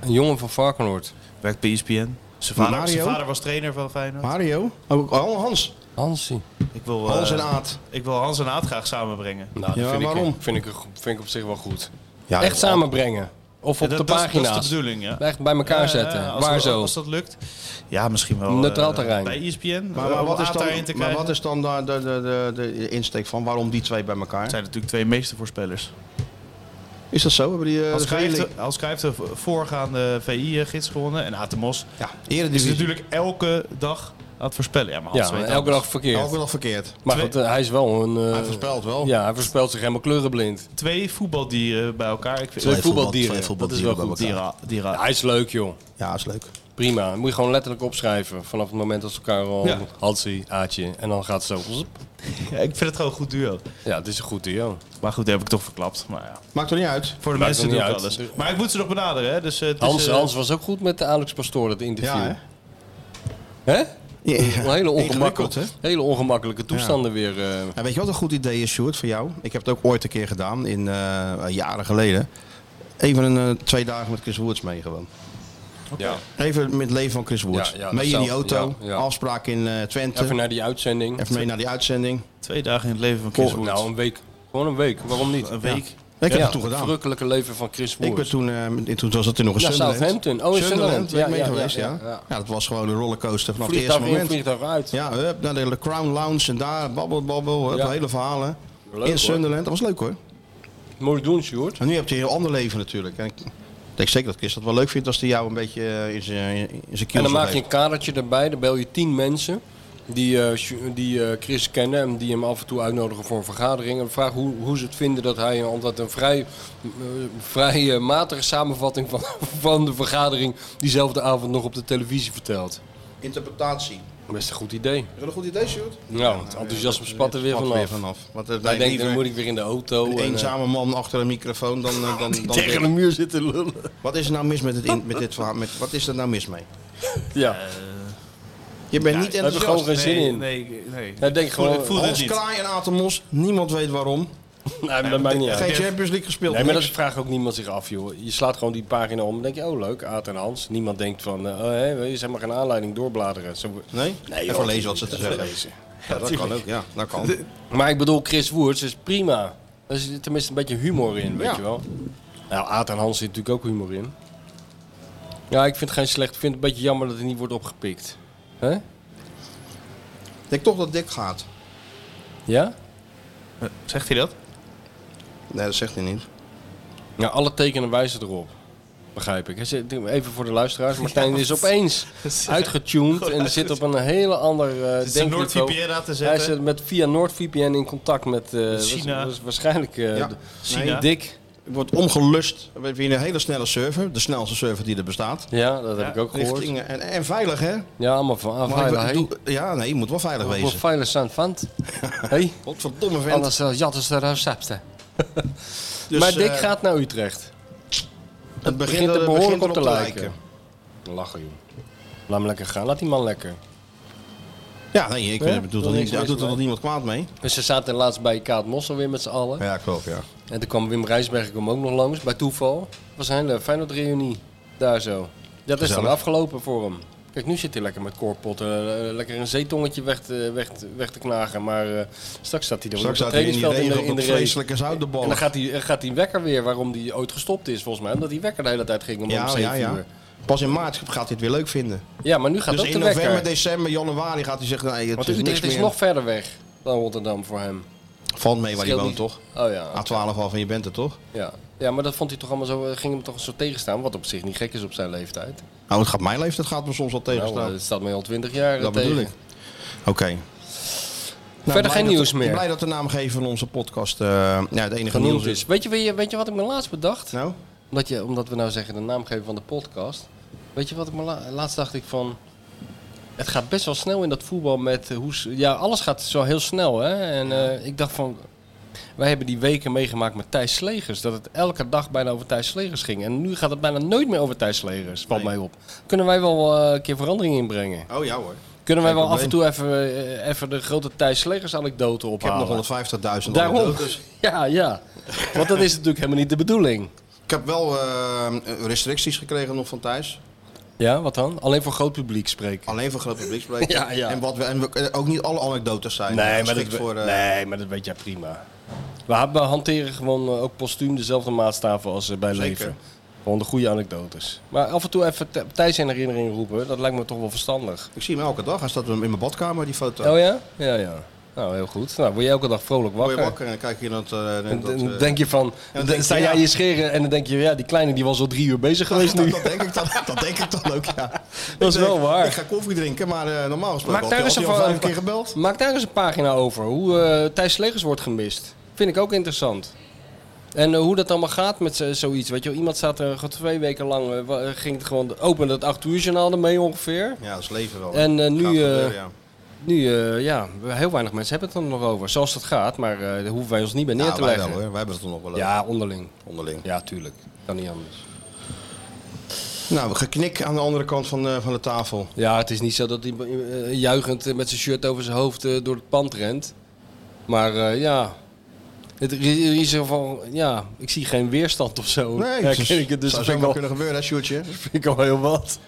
Een jongen van Varkenoord.
Werkt bij E ESPN. Zijn
Maar
vader, zijn
Mario?
vader was trainer van Feyenoord.
Mario? Oh, oh, Hans.
Hansie.
Ik wil,
Hans
eh,
en Aad.
Ik wil Hans en Aad graag samenbrengen.
Nou, dat
Ja,
vind,
waarom?
Ik, vind, ik, vind ik op zich wel goed.
Ja,
Echt
dat-
samenbrengen. Of
Ja,
op
dat-
de
dat is- dat is de
pagina's.
bedoeling, ja.
Echt bij
eh,
elkaar
Ja,
zetten.
ja, als
Waar
dat-
zo.
als dat lukt. Ja, misschien wel.
Neutraal
eh,
terrein.
Bij ESPN.
Maar, maar
om
wat is
Aad
dan,
daarin te
maar
krijgen.
wat is dan daar de, de, de, de insteek van? Waarom die twee bij elkaar?
Het zijn natuurlijk twee meestervoorspellers.
Is dat zo? Hebben die eh,
Als
de
Cruijff
verdeling?
de- Als Cruijff de voorgaande VI-gids gewonnen en Atemos.
Ja,
is
eredivisie.
natuurlijk elke dag aan het voorspellen. Ja, maar Hans
Ja,
weet
maar elke
alles.
dag verkeerd.
Elke dag verkeerd.
Maar
Twee-
goed, eh, hij is wel een... eh,
Hij voorspelt wel.
Ja, hij voorspelt zich helemaal kleurenblind.
Twee voetbaldieren bij elkaar. Ik vind-
Twee voetbaldieren.
twee
dat is wel
voetbaldieren
goed.
bij elkaar.
Dieren- dieren-
Ja, hij is leuk, joh.
Ja, is leuk.
Prima. Moet je gewoon letterlijk opschrijven. Vanaf het moment dat ze elkaar al...
Ja.
Hansie, Aatje. En dan gaat het zo...
Ja, <laughs> ik vind het gewoon een goed duo.
Ja, het is een goed duo.
Maar goed, dat heb ik toch verklapt. Maar ja.
Maakt toch niet uit?
Voor de
Maakt
mensen
het
doe
niet
ik
uit.
alles. Maar ik moet ze nog benaderen. Hè? Dus, eh, het is,
Hans,
eh,
Hans was ook goed met de Alex Pastoor, dat interview.
Ja,
hè?
Ja.
Een hele,
Ingewikkeld, hè?
ongemakkelijke, hele ongemakkelijke toestanden weer. eh.
Ja, weet je wat een goed idee is, Sjoerd, voor jou? Ik heb het ook ooit een keer gedaan, in, eh, jaren geleden. Even een, eh, twee dagen met Chris Woerts mee gewoon.
Ja.
Even met het leven van Chris Woerts.
Ja, ja,
mee in die
zelf-
auto,
ja, ja.
afspraak in eh, Twente.
Even
Even,
naar die uitzending.
mee naar die uitzending.
Twee dagen in het leven van Chris Woerts.
nou, een week. Gewoon een week. Waarom niet?
Een week.
Ik heb
Ja,
het toen gedaan.
Het verrukkelijke leven van Chris
Ik ben
Woerts.
toen, eh, in- toen was dat in nog een
Ja,
Sunderland.
Southampton. Oh, in Sunderland.
ben ik
Ja,
mee
ja,
geweest,
ja,
ja,
ja, ja.
dat was gewoon een rollercoaster vanaf het eerste
Vliegtuig in,
moment.
vliegtuig uit.
Ja, hup, naar de Crown Lounge en daar, babbel, babbel, hup,
Ja.
hele verhalen.
Leuk,
in
hoor.
Sunderland, dat was leuk hoor.
Mooi doen, Sjoerd.
En nu heb je een heel ander leven natuurlijk. En ik denk zeker dat Chris dat wel leuk vindt als hij jou een beetje eh, in zijn in zijn
En
kiel
dan maak je
geeft.
een kadertje erbij. Dan bel je tien mensen die, eh, Sjo- die eh, Chris kennen en die hem af en toe uitnodigen voor een vergadering. En vraag hoe, hoe ze het vinden dat hij, eh, omdat een vrij, eh, vrij eh, matige samenvatting van, <laughs> van de vergadering diezelfde avond nog op de televisie vertelt.
Interpretatie.
Best een goed idee.
Is dat een goed idee, Sjoerd?
Nou, het enthousiasme spat er weer
Spat
vanaf.
Want eh, nee,
Hij denkt,
liever
dan moet ik weer in de auto.
een
en, eh,
eenzame man achter een microfoon dan... eh,
<laughs>
dan, dan
tegen de muur zitten lullen.
Wat is er nou mis met, het in, met dit verhaal? Met, wat is er nou mis mee?
Ja.
Je bent
Ja,
niet
we
hebben
enthousiast.
gewoon geen
nee,
zin in.
Nee, nee.
Hij denkt gewoon,
Ik voel dit
Hans
niet.
Kraai en Atemos, niemand weet waarom.
Oh, nee, maar dat maakt niet uit.
Geen Champions League gespeeld.
Nee, maar dat
niks.
vraagt ook niemand zich af, joh. Je slaat gewoon die pagina om en denk je, oh leuk, Aad en Hans. Niemand denkt van, eh, oh, hé, je zijn maar geen aanleiding doorbladeren. Zo,
Nee?
Nee,
Even
joh.
lezen wat ze te zeggen hebben. Ja, dat kan ook, ja. Dat kan.
Maar ik bedoel, Chris Woerts is prima. Er zit tenminste een beetje humor in, weet
Ja.
je wel. Nou, Aad en Hans zit natuurlijk ook humor in. Ja, ik vind het geen slecht. Ik vind het een beetje jammer dat het niet wordt opgepikt. Hè?
Ik denk toch dat Dick gaat.
Ja?
Zegt hij dat?
Nee, dat zegt hij niet.
Nou, alle tekenen wijzen erop. Begrijp ik. Hij zit- Even voor de luisteraars. Martijn is opeens
<laughs>
uitgetuned en zit op een hele ander eh
Zit zijn
denkniveau.
NordVPN aan te
Hij
zetten.
zit met, via NordVPN in contact met eh, waars-
China.
waars- waarschijnlijk eh,
Ja,
de-
China.
Dick.
Het wordt omgelust. We hebben hier een hele snelle server. De snelste server die er bestaat.
Ja, dat heb ik ook gehoord.
Richting, en, en veilig, hè?
Ja, allemaal van
Maar
ah,
ik
veilig.
wil-
hey.
doe- ja, nee, je moet wel veilig
Voor
wezen.
veilig zijn <laughs> van. Hey,
Wat verdomme vent.
anders eh, jatten ze de recepten.
Dus,
maar Dick
eh,
gaat naar Utrecht.
het
begint er behoorlijk op te lijken.
lijken.
Lachen, joh. Laat hem lekker gaan. Laat die man lekker.
Ja, nee, ik
Ja?
eh, doe
Wil
er
niks
niet- daar
mis
doet er
mee.
nog niemand kwaad mee.
Dus ze zaten laatst bij Kaat Mossel weer met z'n allen.
Ja, klopt, ja.
En toen kwam Wim Rijsberg kwam ook nog langs, bij toeval. Het was een hele fijne reunie daar zo. Dat is dan
Gezellig.
afgelopen voor hem. Kijk, nu zit hij lekker met koorpotten, eh, lekker een zeetongetje weg te, weg, te- weg te knagen. Maar eh, straks staat hij er
Straks
op
staat
het
hij in die
trainingsveld in
regen
de,
op
in de
dat
race.
vreselijke zoutdebal.
En dan gaat die, eh, gaat die wekker weer, waarom die ooit gestopt is volgens mij. Omdat die wekker de hele tijd ging om om
Ja,
zeven
ja, ja.
uur.
Pas in maart gaat hij het weer leuk vinden.
Ja, maar nu gaat
dus
ook
in
de
november,
wekker.
december, januari gaat hij zeggen, nee, het
Want
is niks
Utrecht is
meer.
nog verder weg dan Rotterdam voor hem.
Valt mee waar hij
Scheelt
woont,
niet-
toch?
Oh ja,
A12 Ah, al van je bent er, toch?
ja. Ja, maar dat vond hij toch allemaal zo, eh, ging hem toch zo tegenstaan. Wat op zich niet gek is op zijn leeftijd.
Nou, het gaat mijn leeftijd gaat me soms wel
Nou,
tegenstaan.
eh, het staat mij al 20 jaar
dat
tegen.
bedoel ik. Oké.
Verder
blij
geen
dat-
nieuws meer.
Blij dat de naamgever van onze podcast eh ja, de enige nieuws
Genoemd is. Weet je, weet, je, weet je wat ik me laatst bedacht?
Nou?
Omdat, je, omdat we nou zeggen de naam geven van de podcast. Weet je wat ik me la- laatst dacht ik van... Het gaat best wel snel in dat voetbal met eh, hoe... s- Ja, alles gaat zo heel snel hè. En eh, ik dacht van... Wij hebben die weken meegemaakt met Thijs Slegers. Dat het elke dag bijna over Thijs Slegers ging. En nu gaat het bijna nooit meer over Thijs Slegers. Valt mij op. Kunnen wij wel eh, een keer verandering inbrengen?
Oh ja hoor.
Kunnen wij
Geen
wel af en toe
probleem.
even, eh, even de grote Thijs Slegers anekdote
Ik heb
ophalen?
nog 150.000
Daarom.
anekdotes.
Ja, ja. Want dat is natuurlijk helemaal niet de bedoeling.
Ik heb wel eh, restricties gekregen nog van thuis.
Ja, wat dan? Alleen voor groot publiek spreken.
Alleen voor groot publiek spreken.
<laughs> Ja, ja.
En, wat we, en we- eh, ook niet alle anekdotes zijn.
Nee maar,
geschikt
dat,
voor, eh,
nee, maar dat weet jij prima. We, ha- we hanteren gewoon eh, ook postuum dezelfde maatstaven als eh, bij
Zeker.
Leven. Gewoon de goede anekdotes. Maar af en toe even Th- Thijs in herinnering roepen, dat lijkt me toch wel verstandig.
Ik zie hem elke dag. Hij staat in mijn badkamer, die foto.
Oh ja? Ja, ja. Nou, heel goed. Nou, word je elke dag vrolijk
Word
wakker.
je wakker en dan kijk je dat... eh,
En
dat,
dan
eh,
denk je van,
dan
dan
denk je,
sta
ja.
jij je scheren en dan denk je, ja, die kleine die was al drie uur bezig geweest nu.
Dat denk ik dan, dat denk ik dan ook, ja.
Dat is
Ik denk,
wel waar.
Ik ga koffie drinken, maar eh, normaal gesproken
Maak daar,
had
eens
hij-
een,
had hij al
va-
vijf keer gebeld.
maak daar eens een pagina over. Hoe eh Thijs Slegers wordt gemist. Vind ik ook interessant. En eh, hoe dat allemaal gaat met z- zoiets. Weet je, wel, iemand staat er gewoon twee weken lang. eh, wa- eh, ging het gewoon open dat 8 uur journaal ermee ongeveer.
Ja, dat is leven wel.
En eh, nu,
Gaat
eh,
gebeuren, ja.
nu eh, ja, heel weinig mensen hebben het er nog over. Zoals dat gaat, maar eh, daar hoeven wij ons niet bij neer
Ja,
te
Nou, wij
leggen.
wel, hoor. Wij hebben het er nog wel over.
ja, onderling.
Onderling.
Ja, tuurlijk. Kan niet anders.
Nou, geknik aan de andere kant van, eh, van de tafel.
Ja, het is niet zo dat hij eh, juichend eh, met zijn shirt over zijn hoofd eh, door het pand rent. Maar eh, ja, het, er is- er is in ieder geval, ja, ik zie geen weerstand of zo.
Nee,
Herken
dus-
ik het, dus
zou zomaar
dat vind ik al,
kunnen gebeuren, hè, Sjoerdje?
vind ik al heel wat.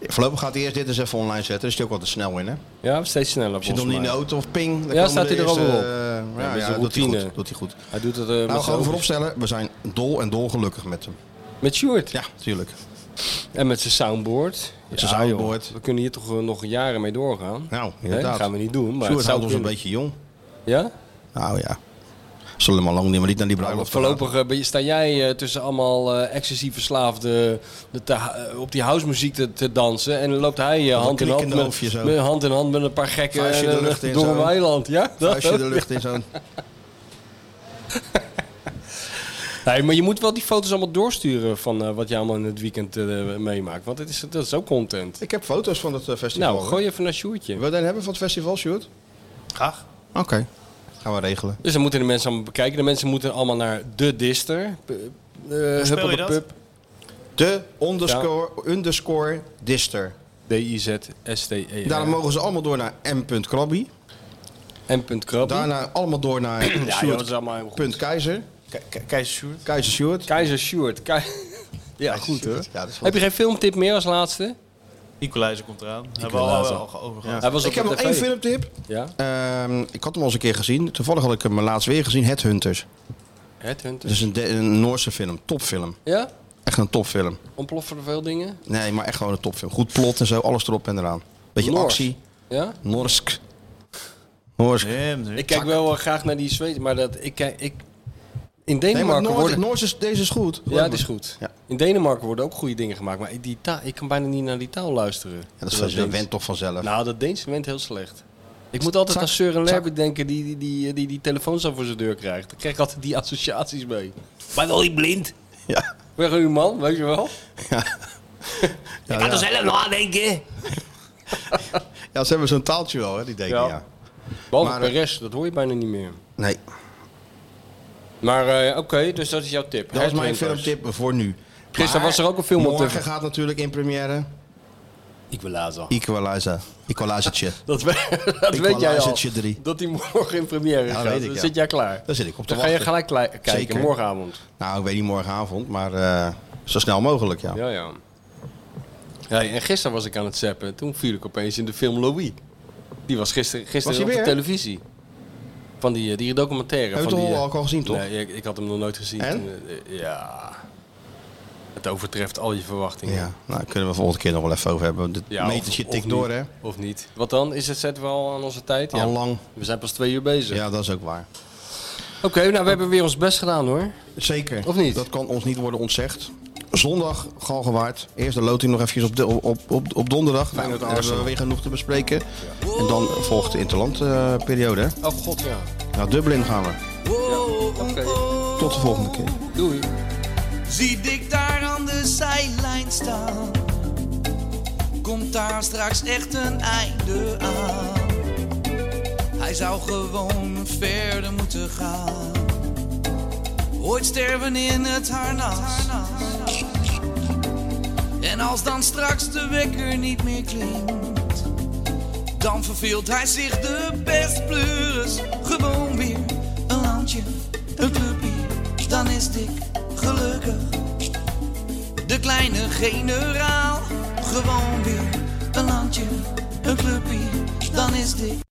Voorlopig gaat hij eerst dit eens even online zetten. Daar is hij ook wel te snel in, hè?
Ja, steeds sneller
Zit nog
volgens
niet in de
mij.
auto of ping. dan
Ja,
komen
staat
de
hij er al
eerste,
wel op.
eh,
Ja, dat
ja,
is
ja,
een
doet hij
routine.
goed. Doet hij goed.
Hij doet het eh, met
Nou,
zijn
gewoon
ogen.
vooropstellen. We zijn dol en dol gelukkig met hem.
Met Sjoerd.
Ja, tuurlijk.
En met zijn soundboard.
Met zijn
Ja,
soundboard.
joh, We kunnen hier toch eh, nog jaren mee doorgaan.
Nou,
Hè,
inderdaad.
Dat gaan we niet doen. Maar
Sjoerd
het zou
houdt ons een
kunnen.
beetje jong.
Ja?
Nou ja. Zullen we maar lang niet, maar niet naar die bruiloft.
Voorlopig eh, ben je- sta jij eh, tussen allemaal eh excessief verslaafde de, te- eh, op die housemuziek te, te dansen. En dan loopt hij eh,
een
hand, in hand,
knikkende
met,
hoofdje zo.
met- hand in hand met een paar gekken
Vuistje
en,
de lucht
eh,
in
door
zo.
een weiland. Ja? Dat
Als je
<laughs>
de
ook.
lucht in zo'n...
Nee, maar je moet wel die foto's allemaal doorsturen van eh, wat je allemaal in het weekend eh, meemaakt. Want het is, dat is ook
<laughs>
content.
Ik heb foto's van het eh, festival.
Nou,
hoor.
gooi even naar Sjoerdje.
Wil je een hebben van het festival, Sjoerd?
Graag.
Oké. Gaan we regelen.
Dus dan moeten de mensen allemaal bekijken. De mensen moeten allemaal naar de Dister. P- eh,
speel je dat?
Huppelepup.
De underscore, underscore dister.
D-I-Z-S-T-E.
Daarna mogen ze allemaal door naar m.krabby.
M.Krabby.
Daarna allemaal door naar
Ja, joh, dat is allemaal helemaal goed.
Punt Keizer.
Keizer Sjoerd.
Keizer Sjoerd.
Keizer Sjoerd. Kei- <laughs> ja, goed hoor.
Ja, dat is wel-
Heb je geen filmtip meer als laatste?
Nicolaisen komt eraan. Hebben we al,
Nicolaisen.
al, al over gehad.
Hij was op
Ik heb
de
nog
TV.
één filmtip.
Ja?
Ehm, ik had hem al eens een keer gezien. Toevallig had ik hem laatst weer gezien. Headhunters.
Headhunter.
Dat is een, de- een Noorse film. Topfilm.
Ja?
Echt een topfilm.
Ontploffen er veel dingen?
Nee, maar echt gewoon een topfilm. Goed plot en zo. Alles erop en eraan. Beetje
Noors.
actie.
Ja?
Norsk. Norsk.
Ik kijk wel eh, graag naar die Zweden, maar dat, ik kijk... Ik,
Nee,
in
maar
Denemarken
Noors,
worden...
Noors is, deze is goed.
Ja, het is goed.
Ja.
In Denemarken worden ook goede dingen gemaakt, maar die taal, ik kan bijna niet naar die taal luisteren.
Ja, dat, is,
Terwijl
dat
Deens-
went toch vanzelf.
Nou, dat Deens went heel slecht. Ik moet altijd
Zak,
aan Søren
zak.
Lerby denken die die, die, die die telefoons al voor zijn deur krijgt. Daar krijg ik altijd die associaties mee. Maar wel die blind.
Ja.
Weg uw man, weet je wel? <laughs>
Ja, ja.
zelf nadenken.
Ja, ze hebben zo'n taaltje wel, hè, die denken,
Ja.
ja.
Behalve
Maar, eh,
Perez, dat hoor je bijna niet meer.
Nee,
Maar eh, oké, dus dat is jouw tip.
dat is mijn
Headhunters.
filmtip voor nu.
Gisteren
Maar
was er ook een film op
morgen
tv.
gaat natuurlijk in première.
Ik wil lazen.
Equalizer. Equalizertje.
Dat, we- <laughs> dat
Ik
weet jij al.
Equalizertje drie.
Dat die morgen in première
Ja,
gaat.
weet ik,
Dan
ja.
zit jij klaar.
Daar zit ik op te
Dan ga je
wachten.
gelijk klei- kijken,
Zeker.
morgenavond.
Nou, ik weet niet morgenavond, maar eh, zo snel mogelijk, ja.
Ja, ja. Hey, en gisteren was ik aan het zappen. Toen viel ik opeens in de film Louis. Die was gisteren,
Was
gisteren
hij
op de
weer?
televisie. Van die, eh, die documentaire.
Heb je
van
toch
die, eh,
al- al gezien, toch?
Nee, ik, ik had hem nog nooit gezien.
En?
Toen, eh, ja. Het overtreft al je verwachtingen.
Ja, nou, kunnen we volgende keer nog wel even over hebben. Dit
Ja,
metertje
of- of
tikt
niet.
door, hè?
Of niet. Wat dan? Is het set wel aan onze tijd? Ja.
Al lang.
We zijn pas twee uur bezig.
Ja, dat is ook waar.
Oké, nou we hebben weer ons best gedaan hoor.
Zeker.
Of niet?
Dat kan ons niet worden ontzegd. Zondag, Galgenwaard. Eerst de loting nog eventjes op, de, op, op, op donderdag. Nou, dan hebben we weer genoeg te bespreken. En dan volgt de interlandperiode. periode. hè?
Oh god ja.
Naar Dublin gaan we.
Oké.
Tot de volgende keer.
Doei.
Zie ik daar aan de zijlijn staan. Komt daar straks echt een einde aan? Hij zou gewoon verder moeten gaan. Ooit sterven in het harnas. En als dan straks de wekker niet meer klinkt, Dan verveelt hij zich de best pleuris. Gewoon weer een landje, een clubje. Dan is Dick gelukkig. De kleine generaal. Gewoon weer een landje, een clubje. Dan is Dick